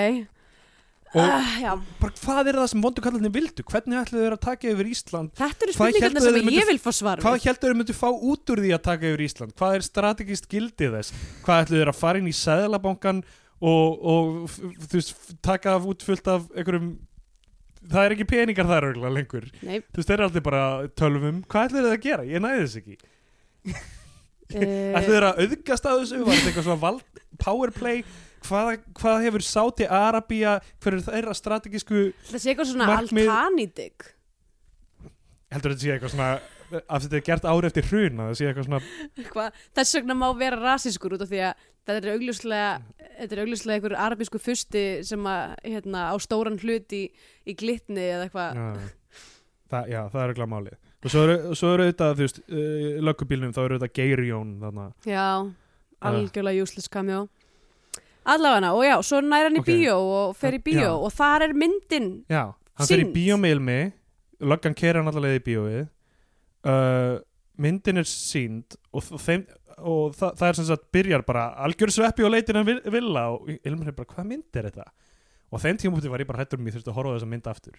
B: Og-
C: Ah, Já,
B: bara, hvað er það sem vondu kallarnir vildu, hvernig ætluðu þeir að taka yfir Ísland
C: þetta
B: Hvað
C: eru
B: héldu
C: spurningarna
B: þeir
C: sem
B: myndu-
C: ég vil fá svar við
B: hvað heldur þeir myndu fá út úr því að taka yfir Ísland hvað er strategist gildið þess hvað ætluðu þeir að fara inn í sæðlabankan og, og f- f- þú veist, f- taka af út fullt af einhverjum það er ekki peningar þar örgulega lengur
C: Nei,
B: Þú veist, þeir eru aldrei bara tölvum Hvað ætlir þið að gera? Ég næði þess ekki Ætlir þið
C: uh,
B: að auðgast að þessu? Var þetta eitthvað svona vald, powerplay? Hvað, hvað hefur Sáti Arabía Hver er þeirra strategísku
C: það sé eitthvað svona
B: markmið-
C: altanítik
B: Heldur þetta sé eitthvað svona Af þetta er gert ári eftir hrun að Það sé eitthvað svona
C: Hva? þess vegna má vera rasískur út af því að þetta er augljóslega þetta er augljóslega einhver arabísku fusti sem að, hérna, á stóran hlut í, í glitni eða eitthvað
B: já, það, já, það er eitthvað málið Og svo eru, og svo eru auðvitað, þú veist, uh, löggubílnum, þá eru auðvitað Geirjón þarna.
C: já, algjörlega useless cameo allavega, og já, svo næra hann í
B: Ok.
C: bíó og fer í bíó
B: Já.
C: og þar er myndin
B: Já, hann fyrir í
C: Sýnd.
B: bíómiðlmi, löggan kera hann allavega í bíóið, uh, myndin er sínd og, þ- þeim, og það, það er sem sagt byrjar bara algjör sveppi og leitin að vil- villa og Ilmur er bara, hvað mynd er þetta? Og á þeim tímúti var ég bara hættur um ég þurfti að horfa á þessa mynd aftur.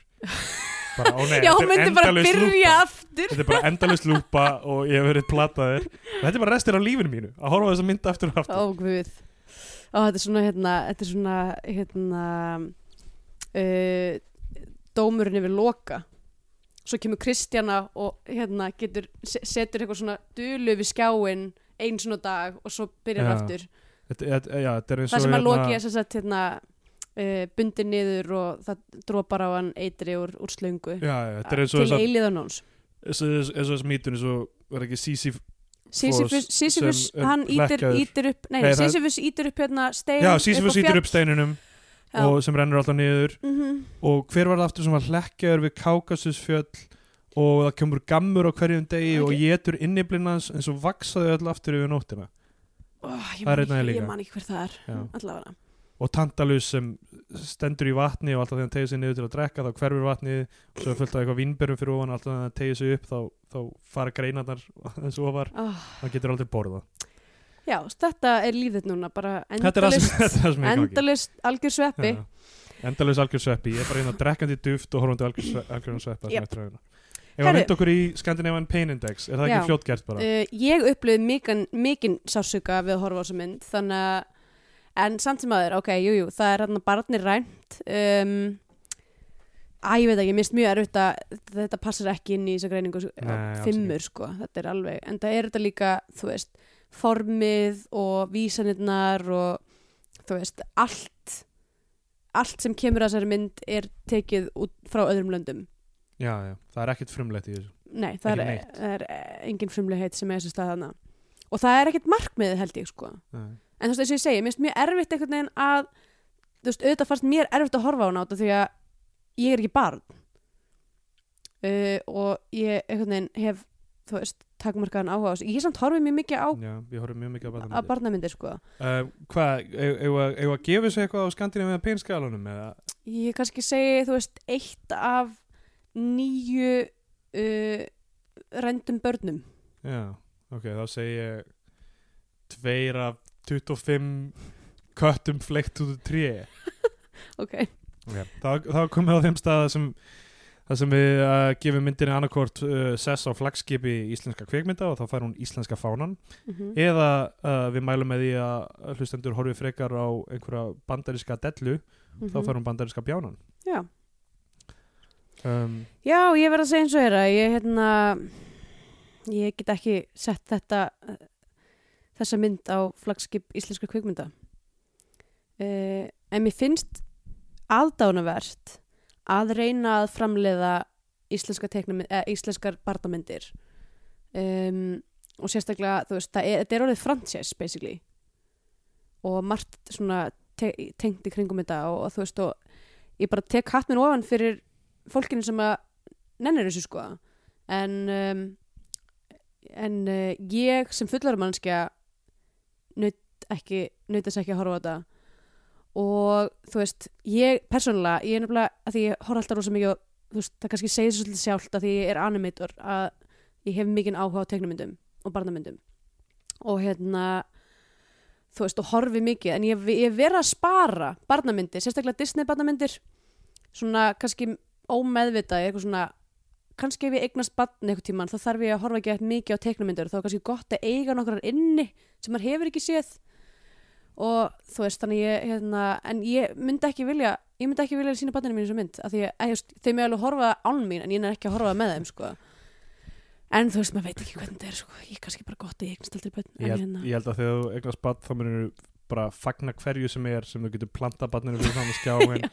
B: Bara, ó nei,
C: já,
B: þetta
C: hún
B: er
C: myndi bara
B: endalaus
C: byrja
B: lúpa.
C: aftur
B: Þetta er bara endalust lúpa og ég hef verið plataður. Og Þetta er bara restir af lífinu mínu, að horfa á þessa mynd aftur og aftur.
C: ó, guð ó, þetta er svona, hérna, þetta er svona hérna uh, dómurinn yfir loka svo kemur Kristjana og hérna getur, se- setur eitthvað svona dulu við skjáin einn svona dag og svo byrjar
B: Já.
C: hann aftur
B: Þetta, þetta, já, þetta er eins og...
C: það sem að
B: hérna-
C: loki er sem sagt hérna uh, bundir niður og það dropar á hann eitri úr, úr slöngu
B: Já, já, þetta er eins og
C: til
B: þess að,
C: eilíðanóns
B: eins og þess- eins og þess mítun, eins og var ekki Sísif
C: Sísifus,
B: Foss
C: Sísifus
B: sem er
C: hann ítir,
B: hlekkaður.
C: ítir upp nei,
B: Nei,
C: nei
B: það-
C: Sísifus ítir upp hérna stein
B: Já, Sísifus
C: á
B: ítir
C: fjall.
B: upp steininum
C: Já.
B: og sem rennur alltaf niður
C: Mhm.
B: og hver var það aftur sem var hlekkjaður við Kákasusfjöll og það kemur gammur á hverjum degi
C: Ok.
B: og getur inniblinnans en svo vaksaðu öll aftur yfir nóttina
C: Ó, ég,
B: Það er einn
C: man
B: aðeins
C: ekki,
B: líka.
C: ég man ekki hver það er
B: Já.
C: allavega
B: og Tantalus sem stendur í vatni og alltaf þegar hann tegir sig niður til að drekka þá hverfur vatnið og svo er fullt af eitthvað vinnberum fyrir ofan alltaf þegar hann tegir sig upp þá, þá fara greinarnar eins og ofar
C: oh,
B: hann getur aldrei borða
C: Já, þetta er lífið núna bara
B: þetta er það
C: endalist,
B: sem, þetta er það sem ég gangi
C: endalist algjör sveppi
B: Já. Endalaus algjör sveppi, ég er bara hérna drekkandi duft og horfandi algjör, algjör sveppa
C: Yep.
B: yep. Ef hann
C: Herðu.
B: veit okkur í Scandinavian Pain Index er það
C: Já.
B: ekki fljótgert bara?
C: uh, Ég upplöði mikinn mikinn sásuka við að horfa á þessa mynd þannig að en samt sem aður, ok, jújú, jú, það er hérna barnir rænt um, Æ, ég veit ekki, mér finnst mjög erfitt að þetta passar ekki inn í þessa greiningu sko,
B: Nei, alls
C: fimmur, sko, þetta er alveg en það er þetta líka, þú veist formið og vísanirnar og þú veist, allt allt sem kemur að þessari mynd er tekið út frá öðrum löndum
B: Já, já, það er ekkert frumlegt í þessu
C: Nei,
B: Ekki
C: það er,
B: neitt.
C: það er eh, engin frumlegheit sem er þessi stað hana og það er ekkert markmiðið held ég sko en
B: Nei.
C: þú veist eins og ég segi, mér finnst mjög erfitt einhvern veginn að þú veist, auðvitað fannst mér erfitt að horfa á hana út af því að ég er ekki barn uh, og ég einhvern veginn hef þú veist, takmarkaðan áhuga á þessu ég samt horfið mjög mikið á,
B: Já, við horfum mjög mikið að
C: á
B: bata
C: barnamyndir sko
B: uh, Hvað, eigum að- eigum að gefa sér eitthvað á Scandinavian Pain skalanum? Eða?
C: ég kannski segi, þú veist, eitt af nýju uh, rendum börnum
B: Já, ok, þá segi ég tveir af 25 köttum fleikt út úr tré
C: ok,
B: þá, þá komum við á þeim staða sem þar sem við uh, gefum myndinni annarkort uh, sess á flagskipi íslenska kveikmynda og þá fær hún íslenska fánan
C: Mhm.
B: eða uh, við mælum með því að hlustendur horfi frekar á einhverja bandaríska dellu þá
C: Mhm.
B: fær hún bandaríska bjánan
C: Já.
B: um,
C: Já, ég verð að segja eins og þeirra ég, hérna, ég get ekki sett þetta eh, þessa mynd á flagskip íslenska kvikmynda uh, en mér finnst aðdánavert að reyna að framleiða íslenska teknamynd, eh, íslenskar barnamyndir um, og sérstaklega þú veist, það er, þetta er orðið franchise basically og margt svona te tengt í kringum þetta og, og þú veist og ég bara tek hatt minn ofan fyrir fólkinu sem að nennir þessu sko en um, en uh, ég sem fullar mannskja naut ekki naut þess ekki að horfa á þetta og þú veist, ég persónulega ég er nefnilega, að því ég horfa alltaf rosa mikið og þú veist, það kannski segir svolítið sjálft að því ég er animator að ég hef mikinn áhuga á teiknumyndum og barnamyndum og hérna þú veist, og horfi mikið en ég, ég vera að spara barnamyndir sérstaklega Disney barnamyndir svona kannski ómeðvitað eitthvað svona, kannski ef ég eignast barn eitthvað tíman, þá þarf ég að horfa ekki eitthvað mikið á teiknumyndir og þá er kannski gott að eiga nokkrar inni sem maður hefur ekki séð og þú veist, þannig ég hérna, en ég myndi ekki vilja ég myndi ekki vilja sína barninu mínu sem mynd af því að eh, þú veist, þau með alveg horfa án mín en ég er ekki að horfa með þeim, sko en þú veist, maður veit ekki hvernig þetta er, sko ég er kannski bara gott að ég eignast aldrei hérna. bönn
B: ég, held, ég held að þegar þú eignast badn þá munir bara fagna hverju sem er sem þú getur planta badninu fyrir þannig skjáin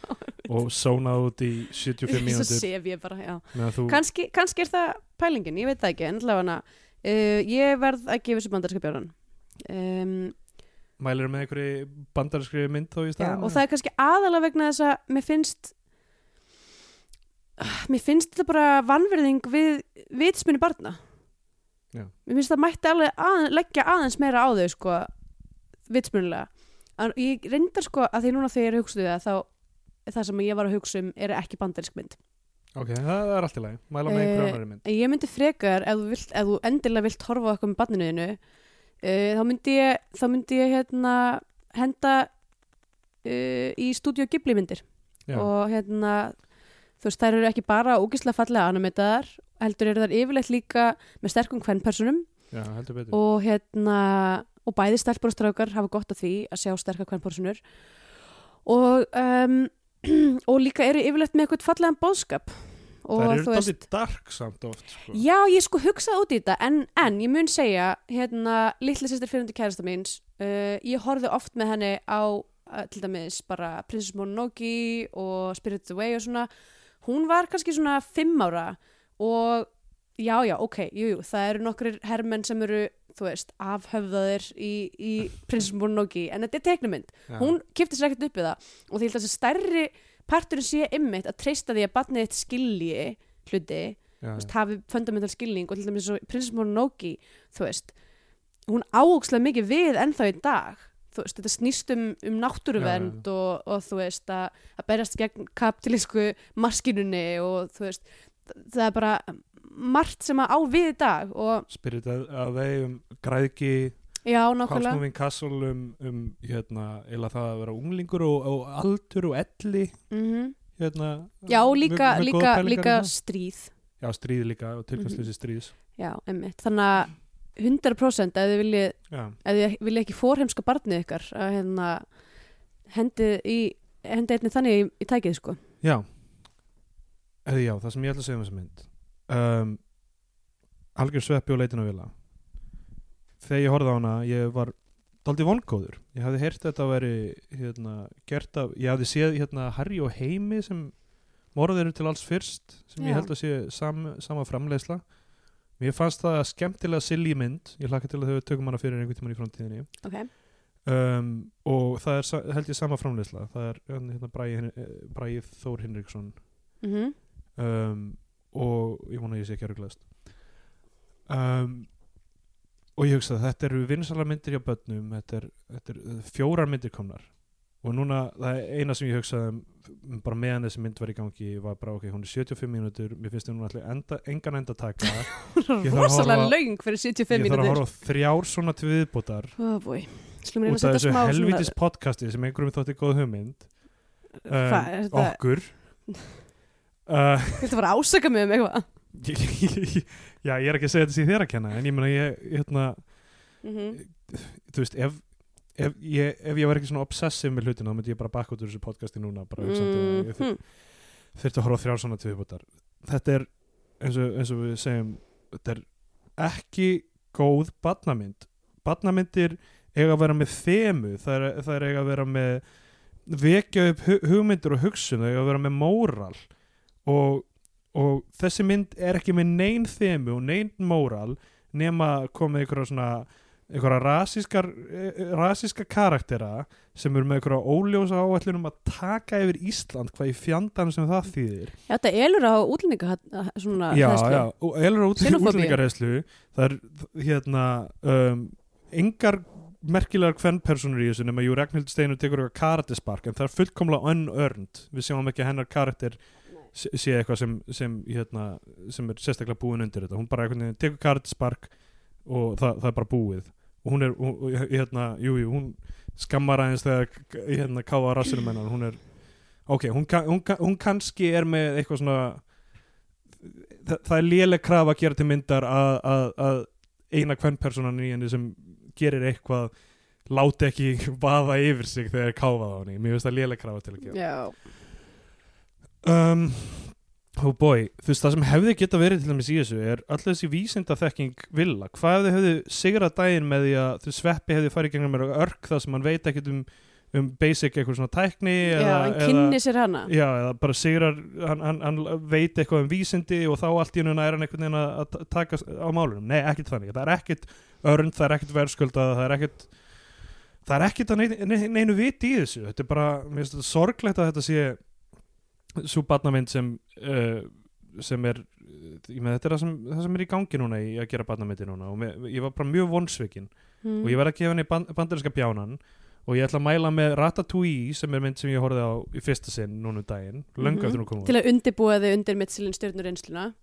B: og sónað út í 75
C: Svo
B: mínútur
C: sef ég bara, já.
B: meðan þú
C: Kanski, kannski er það pælingin, ég veit það ekki, en allavega uh, ég verð að gefa þessu bandarska bjáran. Um,
B: mælir með einhverju bandarískri mynd þá í
C: já,
B: staðan
C: og það er kannski aðalega vegna þess að mér finnst Ah, mér finnst þetta bara vanverðing við vitsmunni barna.
B: Já.
C: Mér finnst það mætti alveg að, leggja aðeins meira á þau, sko, vitsmunnilega. En ég reyndar sko að því núna þegar ég hugsaði það, þá það sem ég var að hugsa um er ekki bandarísk mynd.
B: ok, það er allt í lagi, mæla með
C: Eh,
B: einhverju annari mynd
C: Ég myndi frekar, ef þú, vilt, ef þú endilega vilt horfa á eitthvað með banninuðinu, uh, þá myndi ég, þá myndi ég hérna, henda uh, í stúdíu Ghibli myndir
B: já,
C: og hérna, þú veist, þær eru ekki bara ógislega fallega animetaðar, heldur eru þær yfirleitt líka með sterkum kvennpersonum
B: já, heldur betur
C: og hérna, og bæði stelpur og strákar hafa gott af því að sjá sterkar kvennpersonur og, um, og líka eru yfirleitt með eitthvað fallegan bóðskap og
B: það eru
C: þú veist
B: daldið dark samt oft sko.
C: Já, ég sko hugsaði út í þetta en, en ég mun segja, hérna litla sýstir fyrirundi kærasta míns uh, ég horfði oft með henni á uh, til dæmis bara Princess Mononoke og Spirited Away og svona hún var kannski svona fimm ára og já, já, ok jú, jú, það eru nokkrir hermenn sem eru þú veist, afhöfðaðir í, í Princess Mononoke, en þetta er teiknumynd
B: Já.
C: hún kipti sér ekkert upp við það og því ég held að þessi stærri parturinn sé ymmit að treysta því að barnið þitt skilji hluti
B: já,
C: þú
B: já.
C: veist, hafi fundamental skilning og til dæmis svo Princess Mononoke, þú veist hún áókslega mikið við ennþá í dag þú veist, þetta snýst um, um náttúruvernd Og, og þú veist að, að berjast gegn kapitalísku maskinunni og þú veist, þ- það er bara margt sem að á við í dag og
B: Spirit að, að þeim um græðki
C: já, nákvæmlega
B: Hásmoving Castle um, um hérna, eila það að vera unglingur og, og aldur og elli
C: mm
B: hérna,
C: já,
B: mjög-
C: og líka,
B: mjög góðar
C: líka,
B: pælingar
C: líka
B: um það.
C: stríð
B: Já, stríð líka og tilkastleysi stríðs
C: já, emmitt, þannig að 100% ef þið viljið
B: Já,
C: ef þið vilja ekki fórheimska barnið ykkar að hérna hendið í hendið einnig þannig í, í tækið sko
B: já. Eða, já, það sem ég ætla að segja um þessa mynd um, Algjör sveppi og leitin á vila Þegar ég horfði á hana ég var daldið vongóður Ég hafði heyrt þetta að veri hérna, gert af, ég hafði séð hérna Harry og Heimi sem morðir eru til alls fyrst sem
C: Já.
B: ég held að sé sam, sama framleiðsla Mér fannst það skemmtilega silly mynd ég hlakka til að þau tökum hana fyrir einhvern tímann í framtíðinni
C: okay.
B: um, og það er sa- held ég sama framleiðsla það er hérna Bragi, Hen- eh, Bragi Þór Hinriksson
C: mm -hmm.
B: um, og ég vona að ég sé ekki að ruglaðast um, og ég hugsa að þetta eru vinsalar myndir hjá börnum þetta er, þetta er eh, fjórar myndir komnar og núna það er eina sem ég hugsaði um, um, bara meðan þessi mynd var í gangi var bara ok, hún er 75 mínútur mér finnst hún allir enda, engan enda að taka Ég þarf að
C: rosalega
B: horfa-
C: laung fyrir
B: ég
C: 75
B: þarf að
C: mínútur
B: horfa á þrjár svona til viðbútar
C: oh boy slum reyna að
B: út af
C: setja
B: þessu
C: smá
B: helvitis podcasti sem einhverjum þótti góð hugmynd
C: Hvað er
B: um,
C: þetta?
B: okkur uh,
C: Viltu bara ásaka mig um eitthvað?
B: ég, ég, já, ég er ekki að segja þetta sér þér að kenna en ég meina ég, hérna,
C: Mm
B: þú veist, ef Ef ég, ef ég var ekki svona obsessiv með hlutina þá myndi ég bara bakka út úr þessu podcasti núna bara mm. ég þyr,
C: -hmm.
B: þyrfti að horfa á þrjár svona til viðbútar þetta er, eins og, eins og við segjum þetta er ekki góð badnamynd badnamyndir eiga að vera með þemu það er, það er eiga að vera með vekja upp hu- hugmyndir og hugsun það eiga að vera með móral og, og þessi mynd er ekki með nein þemu og nein móral nema að koma með einhverja svona einhverja rasískar e-, rasíska karaktera sem eru með einhverja óljósa áætlunum að taka yfir Ísland hvað í fjandanum sem það þýðir
C: Já, þetta elur á útlendinga svona
B: já,
C: Ah, hræðslu.
B: já, og elur út,
C: Xenofóbíu.
B: útlendingarreyslu það er hérna um, engar merkilegar kvennpersonur í þessu nema Jú Ragnhild Steinu tekur eitthvað karatispark en það er fullkomlega unearned við sjáum ekki að hennar karakter sé sé eitthvað sem, sem, hérna, sem er sérstaklega búin undir þetta hún bara einhvern veginn tekur karatispark og það, það er bara búið og hún er, hún, og hérna, jú, jú, hún skammar aðeins þegar hérna káða rassinum hennar, hún er ok, hún, kann- hún, kann- hún kannski er með eitthvað svona það, það er léleg kraf að gera til myndar að, að, að eina kvennpersonan í henni sem gerir eitthvað láti ekki vaða yfir sig þegar er káfað á henni, mér finnst það léleg krafa til að gera
C: Já.
B: um, oh boy, þú veist það sem hefði geta verið til dæmis í þessu er alltaf þessi vísinda þekking vilja, hvað ef þau hefðu sigrað daginn með því að þú sveppi hefði farið í gegnum mér örk það sem hann veit ekkit um, um basic eitthvað svona tækni
C: já,
B: eða,
C: hann
B: eða-
C: kynni sér hana.
B: Já, eða bara sigrar, hann, hann, hann veit eitthvað um vísindi og þá allt í hennu er hann einhvern veginn að að ta- takast á málunum. Nei, ekkert þannig. Það er ekkert örnd, það er ekkert verðskuldað, það er ekkert, það er ekkert að neinu, ne- neinu viti í þessu. Þetta er bara, mér finnst þetta sorglegt að þetta sé svo barnamynd sem, uh, sem er, ég með þetta er það sem, það sem er í gangi núna í að gera barnamyndi núna og mér, ég var bara mjög vonsvikin
C: Mm.
B: og ég verð að gefa henni band, bandarinska bjánan og ég ætla að mæla með Ratatouille sem er mynd sem ég horfði á í fyrsta sinn núna um daginn, löngu
C: Mhm.
B: eftir hún kom
C: Til
B: út
C: að undirbúa þau undir Mitchellin stjörnurinsluna.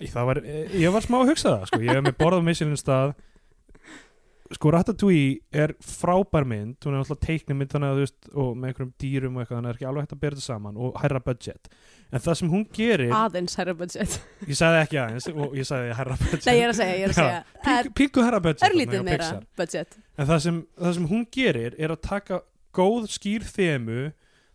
B: Ég- það var, eh, ég var smá að hugsa það sko. ég hef með borðað missilinn stað sko Ratatouille er frábær mynd, hún er alltaf teikni mynd þannig að þú veist, og með einhverjum dýrum og eitthvað, þannig að það er ekki alveg hægt að bera þetta saman og hærra budget, en það sem hún gerir
C: Aðeins herra budget.
B: ég sagði ekki aðeins, og ég sagði hærra budget
C: Nei, ég er að segja, ég er að
B: Já,
C: segja. Það er
B: Pinku- pinku hærra budget þarna hjá
C: örlítið meira
B: Pixar.
C: budget.
B: En það sem, það sem hún gerir er að taka góð skýr þemu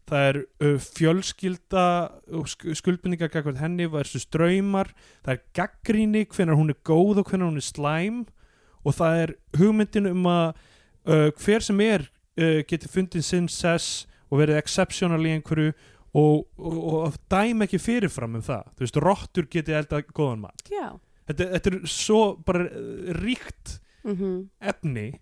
B: það er uh, fjölskylda og skuldbindingar gagvart henni versus draumar, það er gaggríni hvenar hún er góð og hvenar hún er slæm og það er hugmyndin um að uh, hver sem er uh, geti fundið sinn sess og verið exceptional í einhverju og, og, og, og dæm ekki fyrirfram um það, þú veist, rottur geti elda góðan mat.
C: Já.
B: Þetta, þetta er svo bara uh, ríkt
C: Mm
B: efni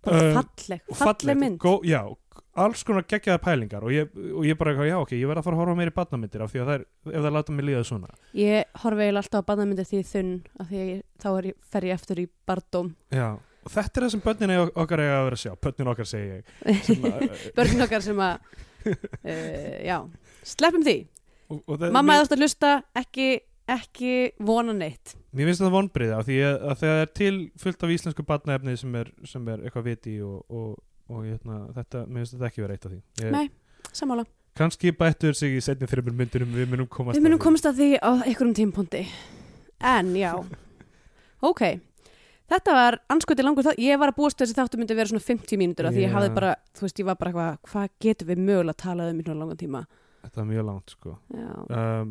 C: Bara
B: Um,
C: falleg,
B: og
C: falleg mynd.
B: gó, já, alls konar geggjaðar pælingar og ég, og ég bara, já ok, ég verð að fara að horfa meiri badnamyndir af því að það er, ef það láta mig líða svona
C: Ég horfi eiginlega alltaf á bandamyndir því ég er þunn af því að ég, þá er ég, fer ég eftir í bardóm.
B: já. og þetta er það sem börnin eiga- okkar eiga að vera að sjá börnin okkar segi ég sem, að-
C: Börnin okkar sem að, uh, já, sleppum því.
B: og, og það,
C: Mamma,
B: Eh, mér,
C: þú ert að hlusta, ekki, ekki vona neitt.
B: mér finnst það vonbrið af því að, að það er til fullt af íslensku badnaefni sem er, sem er eitthvað viti og, og, og hérna, þetta, mér finnst þetta ekki vera eitt af því ég,
C: Nei. Samála.
B: kannski bættur sig í setni þreymur myndunum við munum komast
C: Við
B: að
C: munum
B: því.
C: komast að því á einhverjum tímpóndi. En, já. Ok. Þetta var anskoti langur þátt. Ég var að búast við þessi þáttu myndi vera svona 50 mínútur af því ég
B: Já.
C: hafði bara, þú veist, ég var bara eitthvað, hvað getum við mögulega að tala um í svona langan tíma?
B: þetta er mjög langt sko
C: Já,
B: um,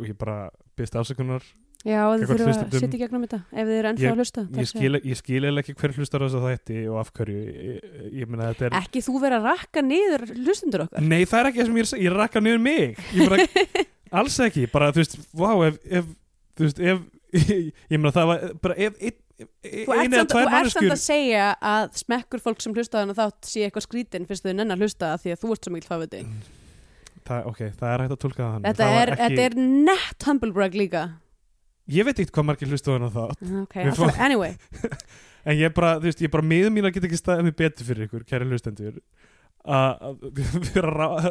B: og ég bara byrst afsökunar
C: já þið
B: Gagnvart
C: þurfum að
B: hlustendum.
C: sitja í gegnum þetta ef þið eru ennþá að hlusta. það
B: ég
C: er að segja.
B: skil, ég skil eiginlega ekki hver hlustar á þess að þætti og af hverju ég, ég meina þetta er
C: Ekki þú vera að rakka niður hlustendur okkar.
B: nei það er ekki það sem ég er að segja, ég rakka niður mig ég bara, alls ekki, bara þú veist vá, ef, ef þú veist, ef ég meina það var, bara ef ein,
C: Þú ert
B: einu eða tvær
C: samt, þú ert samt
B: manneskjur
C: að segja að smekkur fólk sem hlusta á hana þátt sé eitthvað skrítin fyrst þau nennar hlusta af því að þú ert svo mikil fáviti.
B: það, ok, það er hægt að tólka Mm, það hann
C: Þetta er, þetta er nett humblebrag líka.
B: ég veit ekkert hvað margir hlustu á hann á það
C: Ok,
B: Við
C: alltaf, anyway.
B: en ég bara, þú veist, ég bara miðum mín að geta ekki staðið mig betur fyrir ykkur, kæri hlustendur að að- við erum að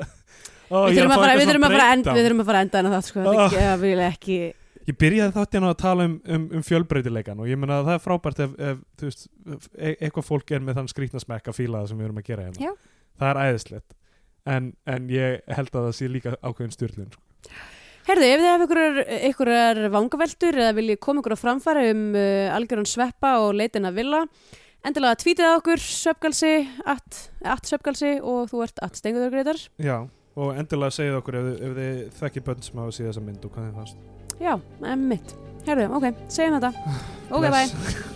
B: Ó,
C: við
B: ég er
C: þurfum
B: fá
C: að
B: eitthvað
C: fara, við
B: svona
C: þurfum að fara, end,
B: breakdown.
C: við þurfum að fara að enda en það sko,
B: Ah.
C: það er vilja ekki
B: Ég byrjaði þáttið að tala um, um, um fjölbreytileikan og ég meina að það er frábært ef, ef þú veist, ef e- eitthvað fólk er með þann skrýtna smekk að fíla það sem við erum að gera hérna.
C: Já.
B: sko. Það er æðislegt. En, en ég held að það sé líka ákveðin styrlun.
C: Herðu, ef þið hefur einhverjar, einhverjar vangaveltur eða viljið koma ykkur á framfæri um uh, algjörun sveppa og leitin að vilja, endilega tvítið á okkur svepgalsi, at, at svepgalsi og þú ert at stenguðurgreitar.
B: Já, og endilega segið okkur ef, þið- ef þið þekki börn sem hafa síða þessa mynd og hvað þið fannst
C: Já, emmitt. Herðu, ok, segjum þetta. Ok, bye.
B: Bless.